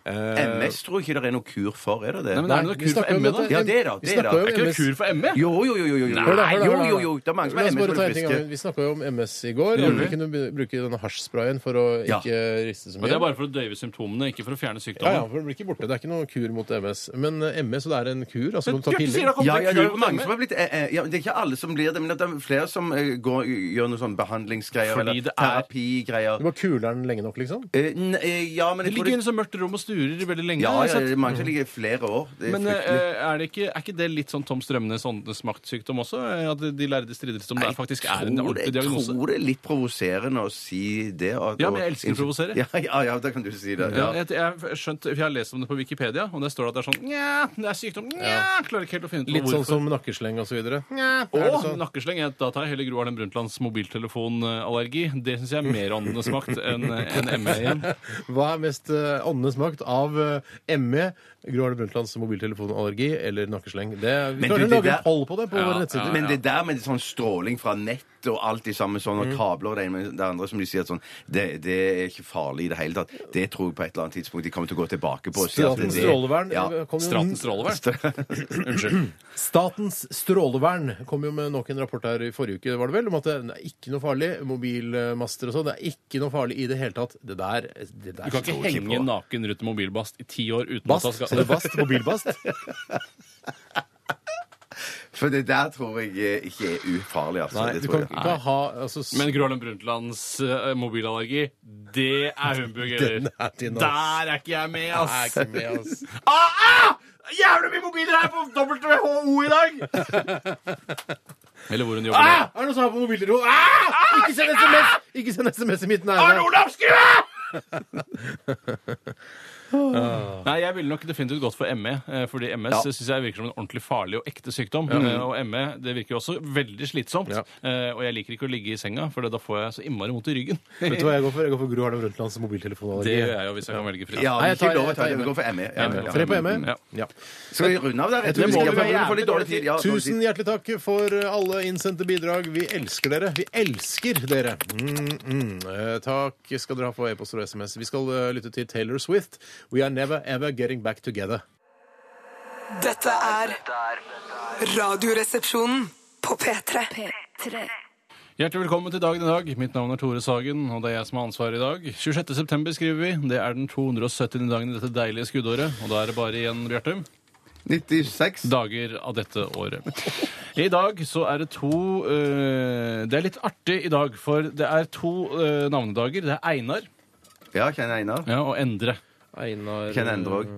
S1: Eh,
S3: MS tror jeg ikke det er noe kur for, er det det?
S2: Nei, men
S1: Nei,
S2: er det noe
S1: vi
S2: kur
S1: snakker
S2: for
S1: jo om
S2: ME,
S1: dette.
S3: da? Ja, det er da,
S1: Vi
S3: det er da.
S1: snakker jo
S2: Er
S1: om
S2: ikke
S1: MS.
S2: det kur for E. ME?
S3: Jo, jo, jo, jo, jo.
S1: Hør da, hør
S3: jo,
S1: da, hør da.
S3: jo, jo. Det er mange som
S1: La
S3: er
S1: oss bare ta en ting av gangen.
S3: MS-friske.
S1: Vi snakka jo om MS i går. Om vi kunne b- bruke denne hasjsprayen for å ikke riste så
S2: Men det er
S1: mye.
S2: bare for å døyve symptomene, ikke for å fjerne
S1: Ja, ja,
S2: sykdommen.
S1: for Det blir ikke borte. Det er ikke noen kur mot MS. Men eh, MS, og det er en kur? Altså, du tar
S2: Bjarte sier
S1: piller?
S2: det kommer
S3: Ja, ja, det
S2: til
S3: er
S2: kur
S3: jo
S2: mot
S3: mange
S2: ME.
S3: som har blitt eh, eh, ja, Det er ikke alle som blir det, men at det er flere som eh, går, gjør noe sånn behandlingsgreier
S2: Fordi
S3: eller
S2: det er-
S3: terapigreier.
S1: Du bare kuler den lenge nok, liksom?
S3: Eh, n- eh, ja, men
S2: De
S3: jeg tror
S2: ligger sånn-
S3: det
S2: inne i så mørkt rom og sturer veldig lenge.
S3: ja,
S2: har jeg
S3: ja,
S2: sett.
S3: det er mange som ligger i flere år. Det er
S2: Men eh,
S3: fryktelig.
S2: er, det ikke, er ikke det litt sånn Tom Strømnes åndenes maktsykdom også? eh, At de lærde strides om det
S3: Jeg
S2: faktisk er en
S3: tror det-
S2: ordentlig
S3: Jeg
S2: diagnose?
S3: tror det er litt provoserende å si det. og-
S2: Ja, men
S3: og-
S2: jeg elsker å provosere.
S3: Ja, ja, ja, da kan du si det. Ja.
S2: Ja, jeg, jeg, har skjønt, for jeg har lest om det på Wikipedia, og der står det at det er sånn Nja, det er sykdom. Nja, klarer ikke helt å finne ut
S1: Litt sånn
S2: hvorfor.
S1: som nakkesleng og så videre?
S2: og
S1: sånn?
S2: nakkesleng. jeg- Da tar jeg heller Gro Harlem Brundtlands mobiltelefonallergi. Det syns jeg er mer åndenes makt enn enn ME igjen.
S1: Hva er mest eh, åndenes makt av eh, ME, Gro Harlem Brundtlands mobiltelefonallergi eller nakkesleng? Det, vi
S3: Men
S1: klarer
S3: du,
S1: å
S3: det
S1: lage
S3: der-
S1: en poll på det på våre nettsider.
S3: Men det der med sånn stråling fra nett og alt det samme sånn, og kabler og det ene med det andre som de sier at sånn det, det er ikke farlig i det hele tatt. Det tror jeg på et eller annet tidspunkt de kommer til å gå tilbake på. og si at det-
S1: Statens strålevern
S3: Ja.
S1: eh, kom jo-
S2: Stratens strålevern. Unnskyld.
S1: Statens strålevern kom jo med nok en rapport her i forrige uke, var det vel, om at det det er ikke noe farlig. Mobilmaster og sånn, det er ikke noe farlig i det hele tatt. Det der, det der
S2: Du kan ikke
S1: står
S2: henge
S1: på.
S2: naken rundt en mobilbast i ti år uten
S1: Bast?
S2: at han
S1: Ser du
S2: skal
S1: bast? Mobilbast?
S3: For det der tror jeg eh, ikke er ufarlig, altså.
S1: Nei,
S3: det
S1: du
S3: tror
S1: kan
S3: jeg.
S1: ikke ha altså, s-
S2: Men Gro Harlem Brundtlands eh, mobilallergi, det er humbug,
S1: Den
S2: eller?
S1: er din, ass.
S2: Der er ikke jeg med,
S1: Nei,
S2: ass!
S1: ikke med, altså. ass.
S2: Ah, ah! Jævlig mye mobiler her på WHO i dag! Eller hvor hun jobber.
S1: Ah!
S2: nå.
S1: Er det noen som har på mobiltelefonen? Ah! Ikke send SMS! Ikke send SMS i mitt nærvær.
S2: Arne Olav, skriv det! Nei, Jeg ville nok definitivt gått for ME, eh, fordi MS synes syns jeg virker som en ordentlig farlig og ekte sykdom. Eh, Og ME det virker jo også veldig slitsomt.
S1: Ja.
S2: Eh, Og jeg liker ikke å ligge i senga, for da får jeg så innmari vondt i ryggen.
S1: Vet du hva jeg går for? Jeg går for Gro Harlem Brundtlands
S2: Det
S1: mobiltelefonallergi.
S2: gjør jeg jo hvis jeg kan velge fritt.
S3: Ja,
S1: Nei, jeg
S3: jeg
S1: tar-
S3: ikke lov å
S1: jeg
S3: ta
S1: tar E.
S3: det. Vi går for ME. Ja,
S2: ME.
S3: ja.
S1: Tre på ME?
S2: Ja.
S1: Ja.
S3: Skal vi runde av der?
S1: tror vi
S3: må vi,
S1: skal gjøre det.
S3: vi får litt dårlig tid. Ja, dårlig
S1: Tusen
S3: tid.
S1: hjertelig takk for alle innsendte bidrag. Vi elsker dere. Vi elsker dere. Mm, mm. Eh, Takk skal dere ha for e-poster og SMS. Vi skal eh, lytte til Taylor Swift. We are never ever getting back together.
S6: Dette er Radioresepsjonen på P3.
S2: Hjertelig velkommen til dagen i dag. Mitt navn er Tore Sagen, og det er jeg som har ansvaret i dag. 26. september skriver vi. Det er den 270. dagen i dette deilige skuddåret, og da er det bare igjen, Bjarte.
S3: 96.
S2: dager av dette året. I dag så er det to eh, Det er litt artig i dag, for det er to eh, navnedager. Det er Einar
S3: Ja, kjenner Einar.
S2: ja, og Endre.
S1: Einar
S3: Kjenner Endre òg.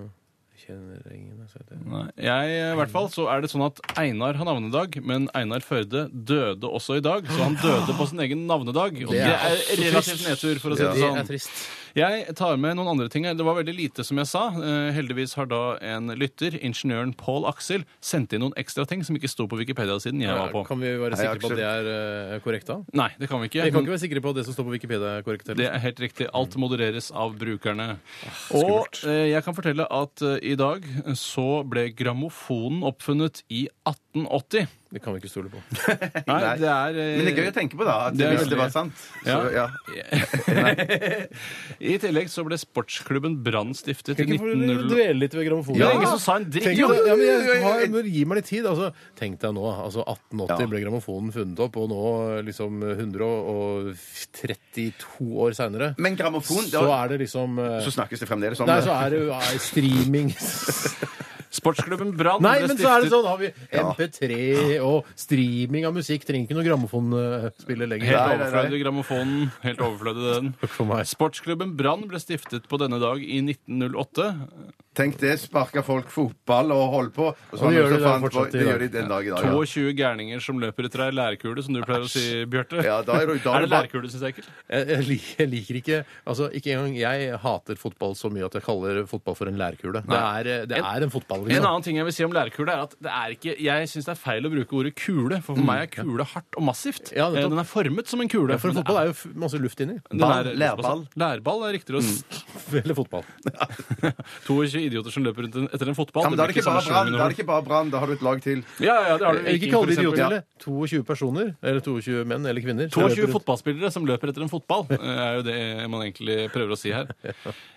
S1: Kjenner ingen, altså. jeg vet ikke.
S2: Nei, Jeg, I hvert fall så er det sånn at Einar har navnedag, men Einar Førde døde også i dag. Så han døde på sin egen navnedag. Og
S1: Det
S2: det
S1: er
S2: er relativt nedtur, for å si det
S1: Det er
S2: sånn.
S1: trist.
S2: Jeg tar med noen andre ting. her. Det var veldig lite, som jeg sa. Eh, Heldigvis har da en lytter, ingeniøren Pål Aksel, sendt inn noen ekstra ting som ikke sto på Wikipedia-siden jeg var på.
S1: Kan vi være sikre på
S3: Aksel.
S1: at det er eh, korrekt, da?
S2: Nei, det kan vi ikke.
S1: Vi kan ikke være sikre på at det som står på Wikipedia, er korrekt.
S2: Det
S1: heller.
S2: er helt riktig. Alt modereres av brukerne. Og eh, jeg kan fortelle at eh, i dag så ble grammofonen oppfunnet i 1880.
S1: Det kan vi ikke stole på.
S2: Nei, det er eh,
S3: Men det er gøy å tenke på, da. At
S2: Det er
S3: hvis det
S2: veldig-
S3: var sant. Så,
S2: Ja.
S3: ja.
S2: I tillegg så ble sportsklubben Brann stiftet i
S1: Kan ikke få
S2: 1900...
S1: dvele litt ved grammofonen?
S2: Det er ingen som sa en dritt!
S1: Tenk,
S2: Jo,
S1: deg- ja, men jeg,
S3: jo,
S1: har,
S3: jo.
S1: men gi meg litt tid. Altså, tenk deg nå. Altså 1880
S3: Ja.
S1: ble grammofonen funnet opp, og nå liksom 132 år seinere
S3: Men grammofon
S1: så
S3: da-
S1: er det liksom eh,
S3: Så snakkes det fremdeles om
S1: Nei,
S3: det.
S1: så er det jo eh, streaming
S2: Sportsklubben Brann
S1: Nei,
S2: ble
S1: men så er det
S2: stiftet
S1: sånn! Har vi MP3 og streaming av musikk? Trenger ikke noe grammofonspiller lenger.
S2: Helt
S3: nei, nei.
S2: overflødig grammofonen. Helt overflødig den.
S1: for meg.
S2: Sportsklubben Brann ble stiftet på denne dag i 1908.
S3: Tenk det, sparka folk fotball og holdt på. Og
S1: Og det
S3: var
S1: gjør
S3: noen
S1: de
S3: som
S1: da
S3: fant på-
S1: fortsatt i
S3: det
S1: dag.
S3: gjør de den dag i dag. Ja.
S2: 22 gærninger som løper etter ei lærkule, som du pleier å si, Bjarte.
S3: Ja, da er det- da er
S2: er
S3: det
S2: det
S3: bare-
S2: lærkule, syns jeg ikke?
S1: Jeg, jeg lik- jeg liker ikke altså Ikke engang jeg hater fotball så mye at jeg kaller fotball for en lærkule. Det er, eh, det er en fotball.
S2: En
S1: Liksom.
S2: annen ting jeg vil si om lærkule, er at det er ikke, jeg syns det er feil å bruke ordet kule,
S3: Mm,
S2: for for meg er kule hardt og massivt.
S1: Ja, nettopp.
S2: Eh, den er formet som en kule.
S1: For
S2: men
S1: fotball er jo f- masse luft inni.
S2: den
S3: Ball, lærball. Mm.
S2: Lærball er riktigere å s-
S1: eller fotball.
S2: 22 idioter som løper rundt en- etter en fotball.
S3: Ja, men da er
S2: blir
S3: det ikke
S2: samme
S3: bare brann,
S2: sjangen
S3: da er det ikke bare brann, da har du et lag til.
S2: Ja, ja, det har du.
S1: Ikke kall det
S2: for eksempel.
S1: idioter heller. 22 personer, eller 22 menn eller kvinner. som
S2: 22
S1: løper rundt.
S2: fotballspillere som løper etter en fotball, eh, er jo det man egentlig prøver å si her.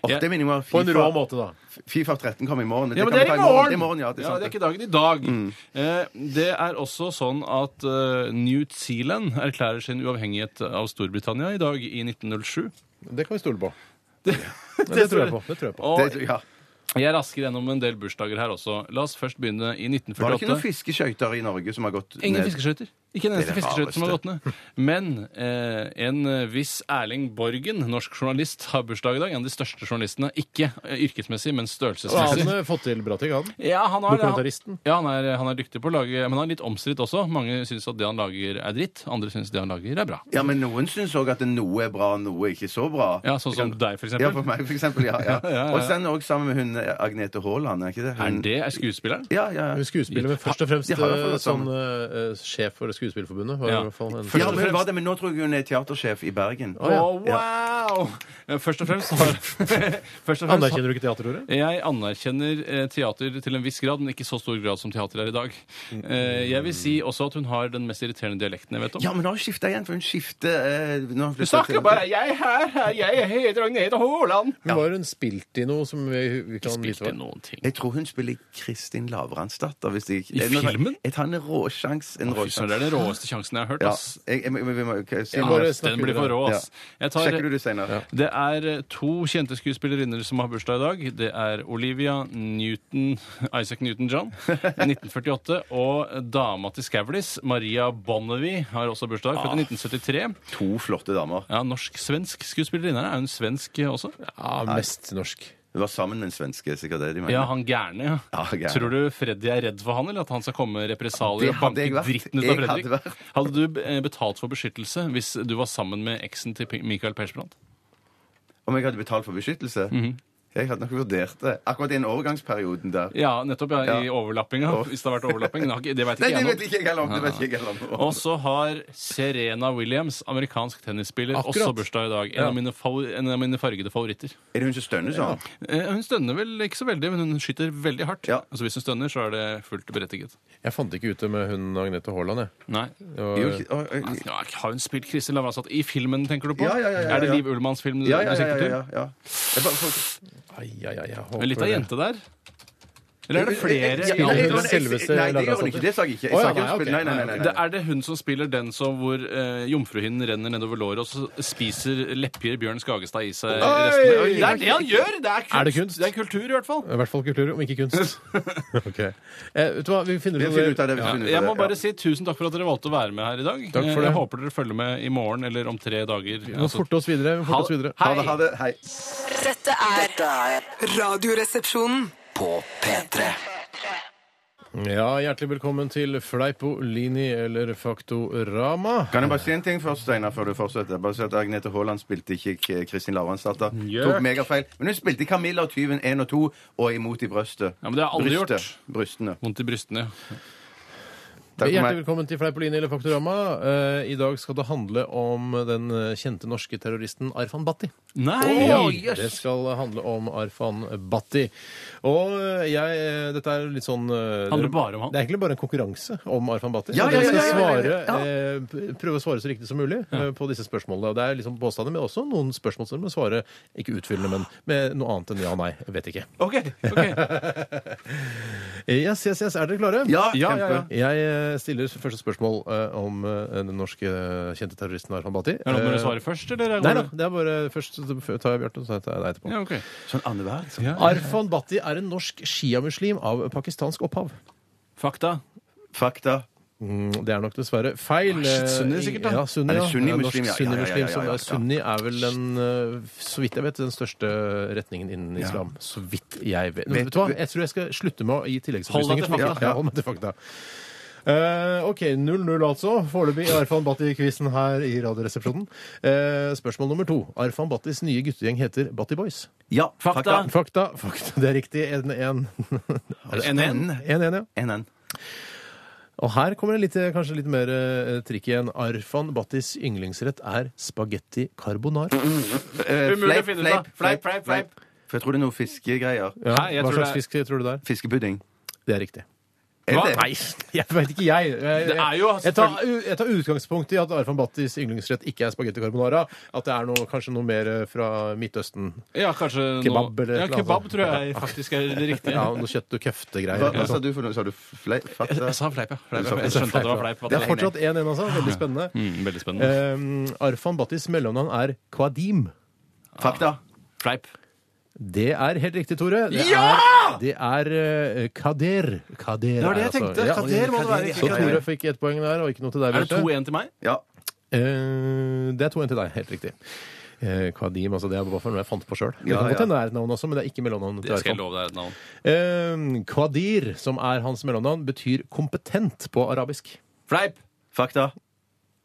S3: Åh, det minner meg om
S1: På en rå
S3: FIFA,
S1: måte, da.
S3: FIFA 13 kommer i morgen.
S2: Ja, men
S3: kan
S2: det
S3: vi
S2: er i
S3: ta
S2: morgen!
S3: Det er i morgen, ja. Det Mm. er
S2: Ja,
S3: sant.
S2: det er ikke dagen i dag. Eh, Det er også sånn at eh, New Zealand erklærer sin uavhengighet av Storbritannia i dag i 1907.
S1: Det kan vi stole på. Det, det tror jeg på. Det tror jeg på.
S2: Og
S3: Det- ja.
S2: jeg rasker gjennom en del bursdager her også. La oss først begynne
S3: Var
S2: i
S3: det ikke noen
S2: 1948.
S3: fiskeskøyter i Norge som har gått ned?
S2: Ingen fiskeskøyter. Ikke en eneste
S3: Det er det
S2: fiskeskøyte som har gått
S3: rareste.
S2: ned. Men eh, en viss Erling Borgen, norsk journalist, har bursdag i dag. En av de største journalistene. Ikke eh, yrkesmessig,
S1: Og
S2: men
S1: han
S2: størrelsesmessig.
S1: har fått til bra ting, han.
S2: Ja, han har,
S1: Dokumentaristen.
S2: Ja, han er, han er dyktig på å lage Men han er litt omstridt også. Mange syns at det han lager, er dritt. Andre syns det han lager, er bra.
S3: Ja, men noen syns òg at noe er bra, noe er ikke så bra.
S2: Ja, Sånn som
S3: Det kan-
S2: deg, for
S3: Ja, for
S2: eksempel.
S3: meg, for eksempel. Ja, ja.
S2: ja, ja.
S3: Og sen òg sammen med hun eh, Agnete Haaland, er ikke det?
S2: Er
S3: Hun,
S2: det er skuespilleren?
S3: Ja, ja. ja.
S1: Hun er skuespiller, men først og fremst
S3: De har i hvert fall
S1: eh,
S3: vært
S1: sånn
S3: sammen.
S1: eh, sjef for Skuespillerforbundet. Var i
S2: Ja.
S1: hvert fall en-
S3: Ja, men hun var det, men nå tror jeg hun er teatersjef i Bergen.
S2: Å, wow! Eh, Først og fremst har Først og fremst har-
S1: Anerkjenner du ikke teaterordet?
S2: Jeg anerkjenner eh, teater til en viss grad, men ikke så stor grad som teater er i dag. Eh, jeg vil si også at hun har den mest irriterende dialekten jeg vet om.
S3: Ja, men nå har hun skifta igjen, for hun skifter eh, når hun
S2: Du
S3: flytter
S2: snakker
S3: til-
S2: bare 'jeg her, her, jeg heter Agnete Haaland'.
S1: Men var hun spilt i noe som vi, vi kan vite
S2: Spilte
S1: hva
S2: noen ting.
S3: Jeg tror hun spiller Kristin Lavransdatter. Hvis jeg,
S2: I filmen?
S3: Jeg tar en råsjans. En
S2: Fy søren,
S3: råsjans.
S2: det er den råeste sjansen jeg har hørt.
S3: Ja.
S2: ass.
S3: Jeg, jeg, vi må- ok, si
S2: Ja,
S3: noe.
S1: bare-
S2: den blir for rå, ass. Jeg tar,
S3: Sjekker du det senere?
S2: det er eh, to kjente skuespillerinner som har bursdag i dag. Det er Olivia Newton, Isaac Newton-John, 1948, og dama til Skavlis, Maria Bonnevie, har også bursdag, født i 1973.
S3: To flotte damer.
S2: Ja, Norsk-svensk skuespillerinne. Er hun svensk eh, også?
S1: Ja, mest norsk.
S3: Hun var sammen med en svenske, sikkert det de mener.
S2: Ja, han gærne. ja.
S3: Ja, gærne.
S2: Tror du Freddy er redd for han, eller at han skal komme med represalier
S3: Det
S2: og
S3: hadde
S2: banke
S3: jeg vært.
S2: dritten ut av
S3: Jeg hadde
S2: Fredrik? Hadde,
S3: vært.
S2: du eh, betalt for beskyttelse hvis du var sammen med eksen til P- Michael Persbrandt?
S3: Om jeg hadde betalt for beskyttelse? Jeg hadde nok vurdert det. Akkurat i den overgangsperioden der.
S2: Ja, nettopp. Ja, I
S3: Ja.
S2: overlappinga.
S3: Og-
S2: Hvis det har vært overlapping. Det, har ikke- det veit
S3: Nei, det
S2: ikke jeg
S3: vet
S2: nå.
S3: ikke jeg heller om. Det vet ikke jeg heller om.
S2: Og så har Serena Williams, amerikansk tennisspiller,
S1: Akkurat.
S2: også bursdag i dag. En, av mine favor- en av mine fargede favoritter.
S3: Er det hun som stønner sånn?
S2: Eh, Hun stønner vel ikke så veldig, men hun skyter veldig hardt.
S3: Ja.
S2: Altså Hvis hun stønner, så er det fullt berettiget.
S1: Jeg fant ikke ut det med hun Agnete Haaland, jeg.
S2: Nei,
S1: Det var-
S3: Jo, ikke- å, å,
S2: Altså, nå Har hun spilt Kristin Lavransdatter i filmen, tenker du på?
S3: Ja, ja, ja, ja, ja.
S2: Er det Liv Ullmanns film? du-
S3: Ja, ja, ja.
S2: du
S3: ja,
S2: sikter til?
S3: ja, ja. Jeg bare får-
S1: Ai, ai, ai, jeg håper
S2: Men litt av
S1: det.
S2: jente der? Eller er det flere?
S3: Ja,
S2: i
S3: nei,
S2: alle-
S3: jeg- jeg-
S1: Selveste
S3: Nei, det gjør hun
S1: Lavransdatter.
S3: ikke. Det sa jeg ikke. Jeg sa
S1: Å, ja,
S3: ikke
S1: nei,
S3: hun
S1: ok.
S3: spilte- Nei, nei, nei. nei,
S2: Det
S3: nei.
S2: er det hun som spiller den som hvor eh, jomfruhinnen renner nedover låret, og så spiser lepper Bjørn Skagestad i seg resten? Det er det han gjør! Det er kunst!
S1: Er det kunst?
S2: Det er kultur, i hvert fall.
S1: I hvert fall kultur, om ikke kunst. ok. Eh, vet du hva, vi finner
S3: Vi
S1: ut
S3: finner ut av
S1: av det.
S3: det. vi finner ut av
S2: Jeg må
S3: det,
S2: bare
S3: ja.
S2: si tusen takk for at dere valgte å være med her i dag. Eh,
S1: Takk for
S2: Jeg
S1: det.
S2: håper dere følger med i morgen eller om tre dager. Altså,
S1: Vi må forte oss videre. Vi må forte oss videre.
S3: Ha det, ha det. Hei.
S6: Dette er
S5: Dette er
S6: Radioresepsjonen.
S5: på P3.
S1: Ja, hjertelig velkommen til Fleipolini eller Faktorama.
S3: Kan jeg bare si en ting først, Steinar, før du fortsetter? Bare si at Agnete Haaland spilte ikke K- Kristin Lavransdatter. Tok megafeil. Men hun spilte Camilla og tyven 1 og 2 og Imot i brøstet.
S2: Ja, men det har jeg aldri
S3: Brystet.
S2: gjort.
S3: Brystene.
S2: Vondt i brystene.
S3: Takk for
S1: Hjertelig
S3: meg.
S1: velkommen til Fleipolini eller Faktorama. Eh, I dag skal det handle om den eh, kjente norske terroristen Arfan Bhatti.
S2: Nei!
S1: Ja, det skal handle om Arfan Bhatti. Og eh, jeg eh, Dette er litt sånn eh,
S2: Handler bare om han?
S1: Det er egentlig bare en konkurranse om Arfan Bhatti.
S3: Ja,
S1: og
S3: ja,
S1: dere
S3: ja, ja,
S1: skal
S3: ja, ja,
S1: svare,
S3: ja.
S1: eh, p- prøve å svare så riktig som mulig eh, på disse spørsmålene. Og det er liksom påstander, men også noen spørsmål som må svare ikke utfyllende, men med noe annet enn ja og nei. Jeg vet ikke.
S2: Ok, ok.
S1: Yes, yes, yes. Er dere klare?
S3: Ja, Ja, ja, kjempe.
S1: Jeg eh, stiller første spørsmål eh, om eh, den norske eh, kjente terroristen Arfan Bhatti.
S2: Er det noe
S1: Eh,
S2: dere svarer først, eller? går
S1: Nei da,
S2: det-
S1: det er bare først så tar jeg Bjarte, og så tar jeg deg etterpå.
S2: Ja, ok.
S3: Sånn annenhver, liksom.
S1: Arfan Bhatti er en norsk sjiamuslim av pakistansk opphav.
S2: Fakta.
S3: Fakta.
S1: Mm, Det er nok dessverre feil.
S3: Ah,
S1: eh,
S2: shit, sunni sikkert, da.
S1: Ja, sunni,
S3: Er det
S1: ja.
S3: sunni
S1: Ja, norsk
S3: muslim, ja. Ja, ja, ja,
S1: sunni-muslim,
S3: ja, ja,
S1: som
S3: ja.
S1: er- Sunni er vel den, eh, så vidt jeg vet, den største retningen innen islam. Så vidt jeg vet. Men,
S3: Vet-
S1: vet du hva? Jeg tror jeg skal slutte med å gi
S2: Hold deg
S1: tilleggsopplysninger.
S2: til fakta.
S1: Ja, ja, hold meg til fakta. Eh, OK, 0-0 altså. Foreløpig i Arfan Bhatti-quizen her i Radioresepsjonen. Eh, spørsmål nummer to. Arfan Bhattis nye guttegjeng heter Bhatti Boys.
S3: Ja.
S2: Fakta.
S1: Fakta. fakta, Det er riktig. 1-1.
S3: En, en.
S1: 1-1, ja.
S3: En, en.
S1: Og her kommer det litt, kanskje litt mer eh, trikk igjen. Arfan Battis yndlingsrett er spagetti carbonara.
S3: Eh,
S2: Umulig å
S3: fleip,
S2: finne ut av.
S3: fleip,
S2: Fleip, fleip, fleip.
S3: For jeg tror det er noe fiskegreier.
S1: Ja,
S2: Nei, jeg
S1: hva
S2: tror
S1: slags
S2: det
S1: fisk tror du det er?
S3: Fiskepudding.
S1: Det er riktig.
S3: Er
S2: Hva?
S3: det?
S2: Nei.
S1: Jeg vet ikke, jeg. Jeg,
S2: Det er jo
S1: jeg, tar, jeg tar utgangspunkt i at Arfan Battis yndlingsrett ikke er spagetti carbonara. At det er noe, kanskje noe mer eh, fra Midtøsten.
S2: Ja, kanskje
S1: Kebab
S2: noe...
S1: eller
S2: Ja,
S1: noe
S2: kebab
S1: annet.
S2: tror jeg faktisk er det riktige.
S1: Ja, Noe kjøtt og
S3: Hva,
S1: keftegreier.
S3: hva sa du for noe? Sa du fleip?
S2: Jeg,
S3: Fatta?
S2: jeg sa fleip, ja. Fleip,
S3: Du sa
S2: ja. Jeg skjønte at det var fleip.
S1: Det er fortsatt 1-1, altså. Veldig spennende.
S2: Mm, veldig spennende.
S1: Eh, Arfan Battis mellomnavn er Kwadim.
S3: Fakta.
S2: Fleip.
S1: Det er helt riktig, Tore. Det er, det er eh, Kader. Kader er
S2: var det jeg
S1: altså-
S2: tenkte. Kader må det være, ikke
S1: Så
S2: Kader.
S1: Tore fikk ett poeng der, og ikke noe til deg,
S2: Er det
S1: Bjarte.
S2: 2-1 til meg?
S3: Ja.
S1: Eh, det er 2-1 til deg, helt riktig. Eh, Kadim, altså det er bare noe jeg fant på sjøl. Det
S3: Ja,
S1: kan
S3: ja.
S1: godt hende det er et navn også, men det er sånn. ikke mellomnavnet. til
S2: Det skal jeg
S1: Arfan.
S2: love deg et navn.
S1: Eh, Qadir, som er hans mellomnavn, betyr kompetent på arabisk.
S2: Fleip!
S3: Fakta.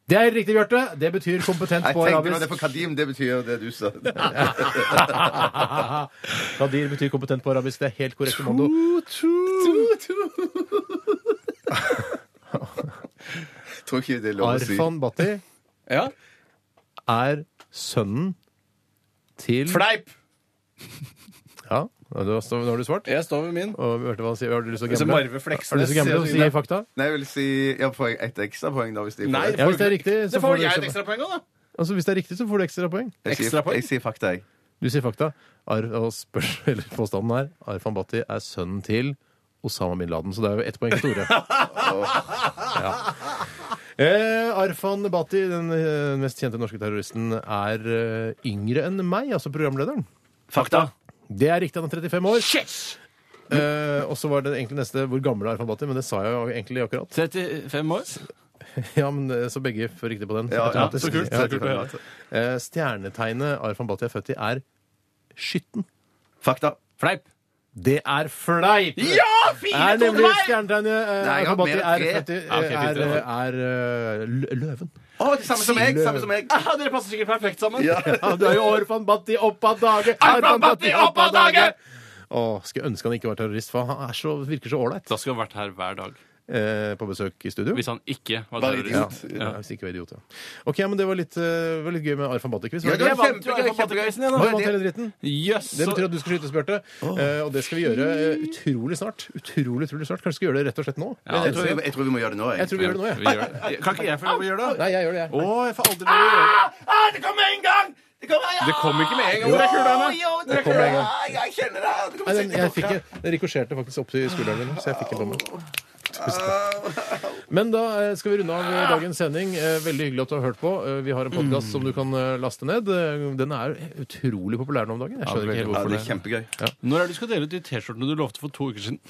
S1: Det er riktig, Bjarte. Det betyr kompetent
S3: Jeg
S1: på
S3: tenkte nå det
S1: arabisk.
S3: på kadim, det betyr det du sa.
S1: Qadir betyr kompetent på arabisk. Det er helt korrekt. Mondo.
S3: Tror ikke det er lov å si.
S1: Arfan Bhatti
S2: Ja.
S1: er sønnen til
S2: Fleip!
S1: Ja, og da står- nå har du svart.
S2: Jeg står ved min.
S1: Og Bjarte, hva sier Har du lyst til å
S2: Hvis
S1: gamble?
S2: Marve
S1: Har du lyst
S2: Fleksnes
S1: til å gamble og si
S2: sier-
S1: fakta?
S3: Nei, jeg vil si Ja, får jeg ett ekstrapoeng, da? Hvis de får
S2: Nei,
S3: det?
S1: Ja, hvis det er riktig, så
S2: Det får
S1: får du
S2: jeg et
S1: ekstra,
S2: ekstrapoeng òg, da!
S1: altså, hvis det er riktig, så får du ekstra poeng.
S3: Jeg sier,
S2: ekstrapoeng?
S3: jeg sier fakta, jeg.
S1: Du sier fakta. Ar og spørs, eller påstanden her. Arfan Bhatti er sønnen til Osama bin Laden, så det er jo ett poeng til Tore. Ja. Eh, Arfan Bhatti, den eh, mest kjente norske terroristen, er eh, yngre enn meg, altså programlederen.
S2: Fakta.
S1: Det er riktig, han er 35 år. Eh, og så var det egentlig neste hvor gammel er Arfan Bhatti, men det sa jeg jo egentlig akkurat.
S2: 35 år.
S1: Ja, men eh, Så begge får riktig på den.
S3: Ja, ja,
S1: automatisk.
S2: Så kult. Så kult å høre.
S1: Eh, Stjernetegnet Arfan Bhatti er født i, er skytten.
S3: Fakta.
S2: Fleip.
S1: Det er fleip!
S2: Ja!
S1: er
S2: 4-2 til
S1: nemlig
S2: meg!
S1: stjernetegnet eh,
S3: Nei, jeg har
S1: Arfan Bhatti
S3: mer
S1: er,
S3: tre.
S1: født i-
S2: Ja, ok, fint,
S1: er,
S2: det
S1: eh,
S2: var-
S1: er eh, lø- løven.
S3: Å, det er samme som jeg! Samme som jeg.
S2: Ah, dere passer sikkert perfekt sammen.
S1: Ja, du er jo Arfan Bhatti opp av dage!
S2: Arfan Bhatti opp av dage!
S1: Åh, skulle ønske han ikke var terrorist, for han er så, virker så ålreit
S2: Da skulle jeg vært her hver dag.
S1: eh, på besøk i studio.
S2: Hvis han ikke var
S3: Bare
S1: ja.
S2: terrorist.
S1: Ja, hvis ikke var idiot, ja. OK, men det var litt, eh, var litt gøy med Arfan Bhatti-quiz.
S3: Ja,
S1: var
S3: det
S1: det
S3: var
S1: ikke?
S3: kjempegøy! kjempegøy.
S1: Nå vant hele dritten.
S2: Jøss.
S1: Det betyr
S2: så-
S1: at du skal skyte spurte, eh, og det skal vi gjøre eh, utrolig snart. Utrolig, utrolig snart. Kanskje vi skal gjøre det rett og slett nå?
S3: Jeg tror, jeg, jeg tror vi må gjøre det nå. Jeg.
S1: Jeg tror vi gjør det nå, jeg.
S2: Vi gjør det. Kan ikke jeg få lov å gjøre det?
S1: Nei, jeg gjør det, jeg.
S2: Å, jeg får aldri lov å gjøre det.
S3: Ah, det kom med en gang! Det kom, ja,
S2: Det kom ikke med en gang. Hvor er kula henne?
S3: Jo, det
S1: kom med en gang.
S3: Ah, jeg kjenner det! Det
S1: Nei,
S3: kommer
S1: den, jeg fikk, en- den rikosjerte faktisk opp til skulderen min, så jeg fikk en tommel. Tusen takk. Men da eh, skal vi runde av eh, dagens sending. Eh, Veldig hyggelig at du har hørt på. Eh, Vi har en podkast som du kan eh, laste ned. Eh, Den er utrolig populær nå om dagen. Jeg skjønner ikke helt
S3: Ja,
S1: hvorfor
S3: det er kjempegøy.
S2: Når er det du skal dele ut de T-skjortene du lovte for to uker siden?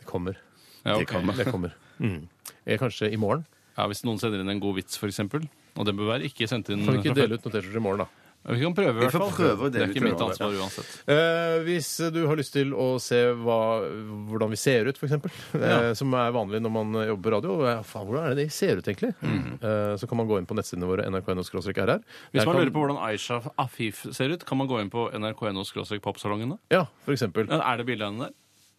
S1: det kommer.
S2: Ja,
S1: Det kommer. Det kommer. Mm. Eh, Kanskje i morgen.
S2: ja, Hvis noen sender inn en god vits, f.eks. Og den bør være ikke sendt inn
S1: Kan vi ikke dele ut noen T-skjorter i morgen, da?
S2: Vi kan prøve, i
S3: Vi
S2: hvert
S3: får
S2: fall.
S3: prøve å
S2: Det
S3: dele
S2: er
S3: ut
S2: ikke
S3: til
S2: mitt
S3: hverandre.
S2: ansvar uansett.
S1: Eh, hvis du har lyst til å se hva, hvordan vi ser ut, f.eks., eh, som er vanlig når man jobber på radio eh, Faen, hvordan er det de ser ut, egentlig? Eh, så kan man gå inn på nettsidene våre nrk.no-rr.
S2: Hvis man lurer på hvordan Aisha Afif ser ut, kan man gå inn på nrk.no-popsalongen. da?
S1: Ja, for eksempel.
S2: Ja, Er det bilde av henne der?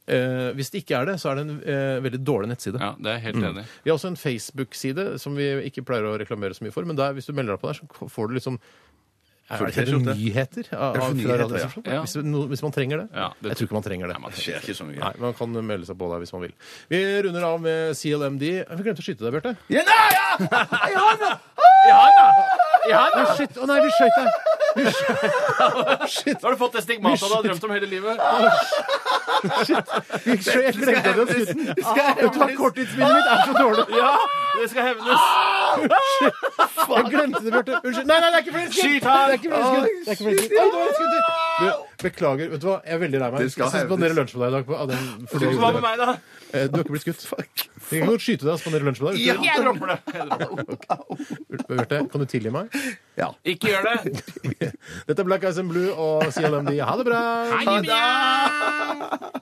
S1: Eh, hvis det ikke er det, så er det en eh, veldig dårlig nettside.
S2: Ja, det er jeg
S1: Mm.
S2: helt enig i.
S1: Vi har også en Facebook-side som vi ikke pleier å reklamere så mye for, men der, hvis du melder deg på der, så får du liksom er det, er det
S3: T-skjorte?
S1: nyheter?
S3: det
S1: av-
S3: for
S1: av- fra
S3: nyheter, ja?
S1: Radioresepsjonen?
S2: Ja.
S1: Hvis, no, hvis man trenger det?
S2: Ja, det
S1: jeg tror ikke man trenger det.
S2: Nei, man
S3: Det skjer ikke så mye.
S1: Nei, Man kan melde seg på der hvis man vil. Vi runder av med CLMD. Vi glemte å skyte deg, Bjarte.
S3: Ja, nei, ja!
S1: Å, shit. Å nei, vi skjøt deg!
S2: Nå har du fått det stigmatet du har drømt om hele livet.
S1: Vi skjøt, jeg glemte at vi hadde skutt den. Vet du hva, korttidsminnet mitt er så dårlig.
S2: Ja, Det skal hevnes.
S1: Jeg glemte det, Bjarte. Unnskyld. Nei, nei, det er ikke flere skudd!
S2: Skyt
S1: Det
S2: her!
S1: er ikke flere skudd! Det er ikke flere skudd. Oi, det var et skudd til. Du, Beklager. vet du hva, Jeg er veldig lei meg.
S3: Det
S1: Jeg
S3: skal
S1: skal spandere lunsj på deg i dag. På, av den, fordi du,
S2: Hva
S1: gjorde
S2: med
S1: det.
S2: meg, da?
S1: Eh, du har ikke blitt skutt. Vi kan godt skyte deg og spandere lunsj på deg.
S3: Ja,
S2: Jeg dropper det.
S1: Bjarte, kan du tilgi meg?
S2: Ikke gjør det.
S1: Dette er Black Eyes and Blue og CLMD. Ha det bra!
S2: Ha det.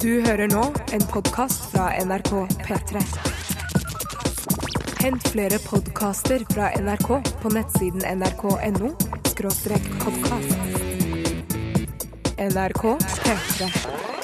S4: Du hører nå en podkast fra NRK P3. Hent flere podkaster fra NRK på nettsiden nrk.no podkast. NRK P3.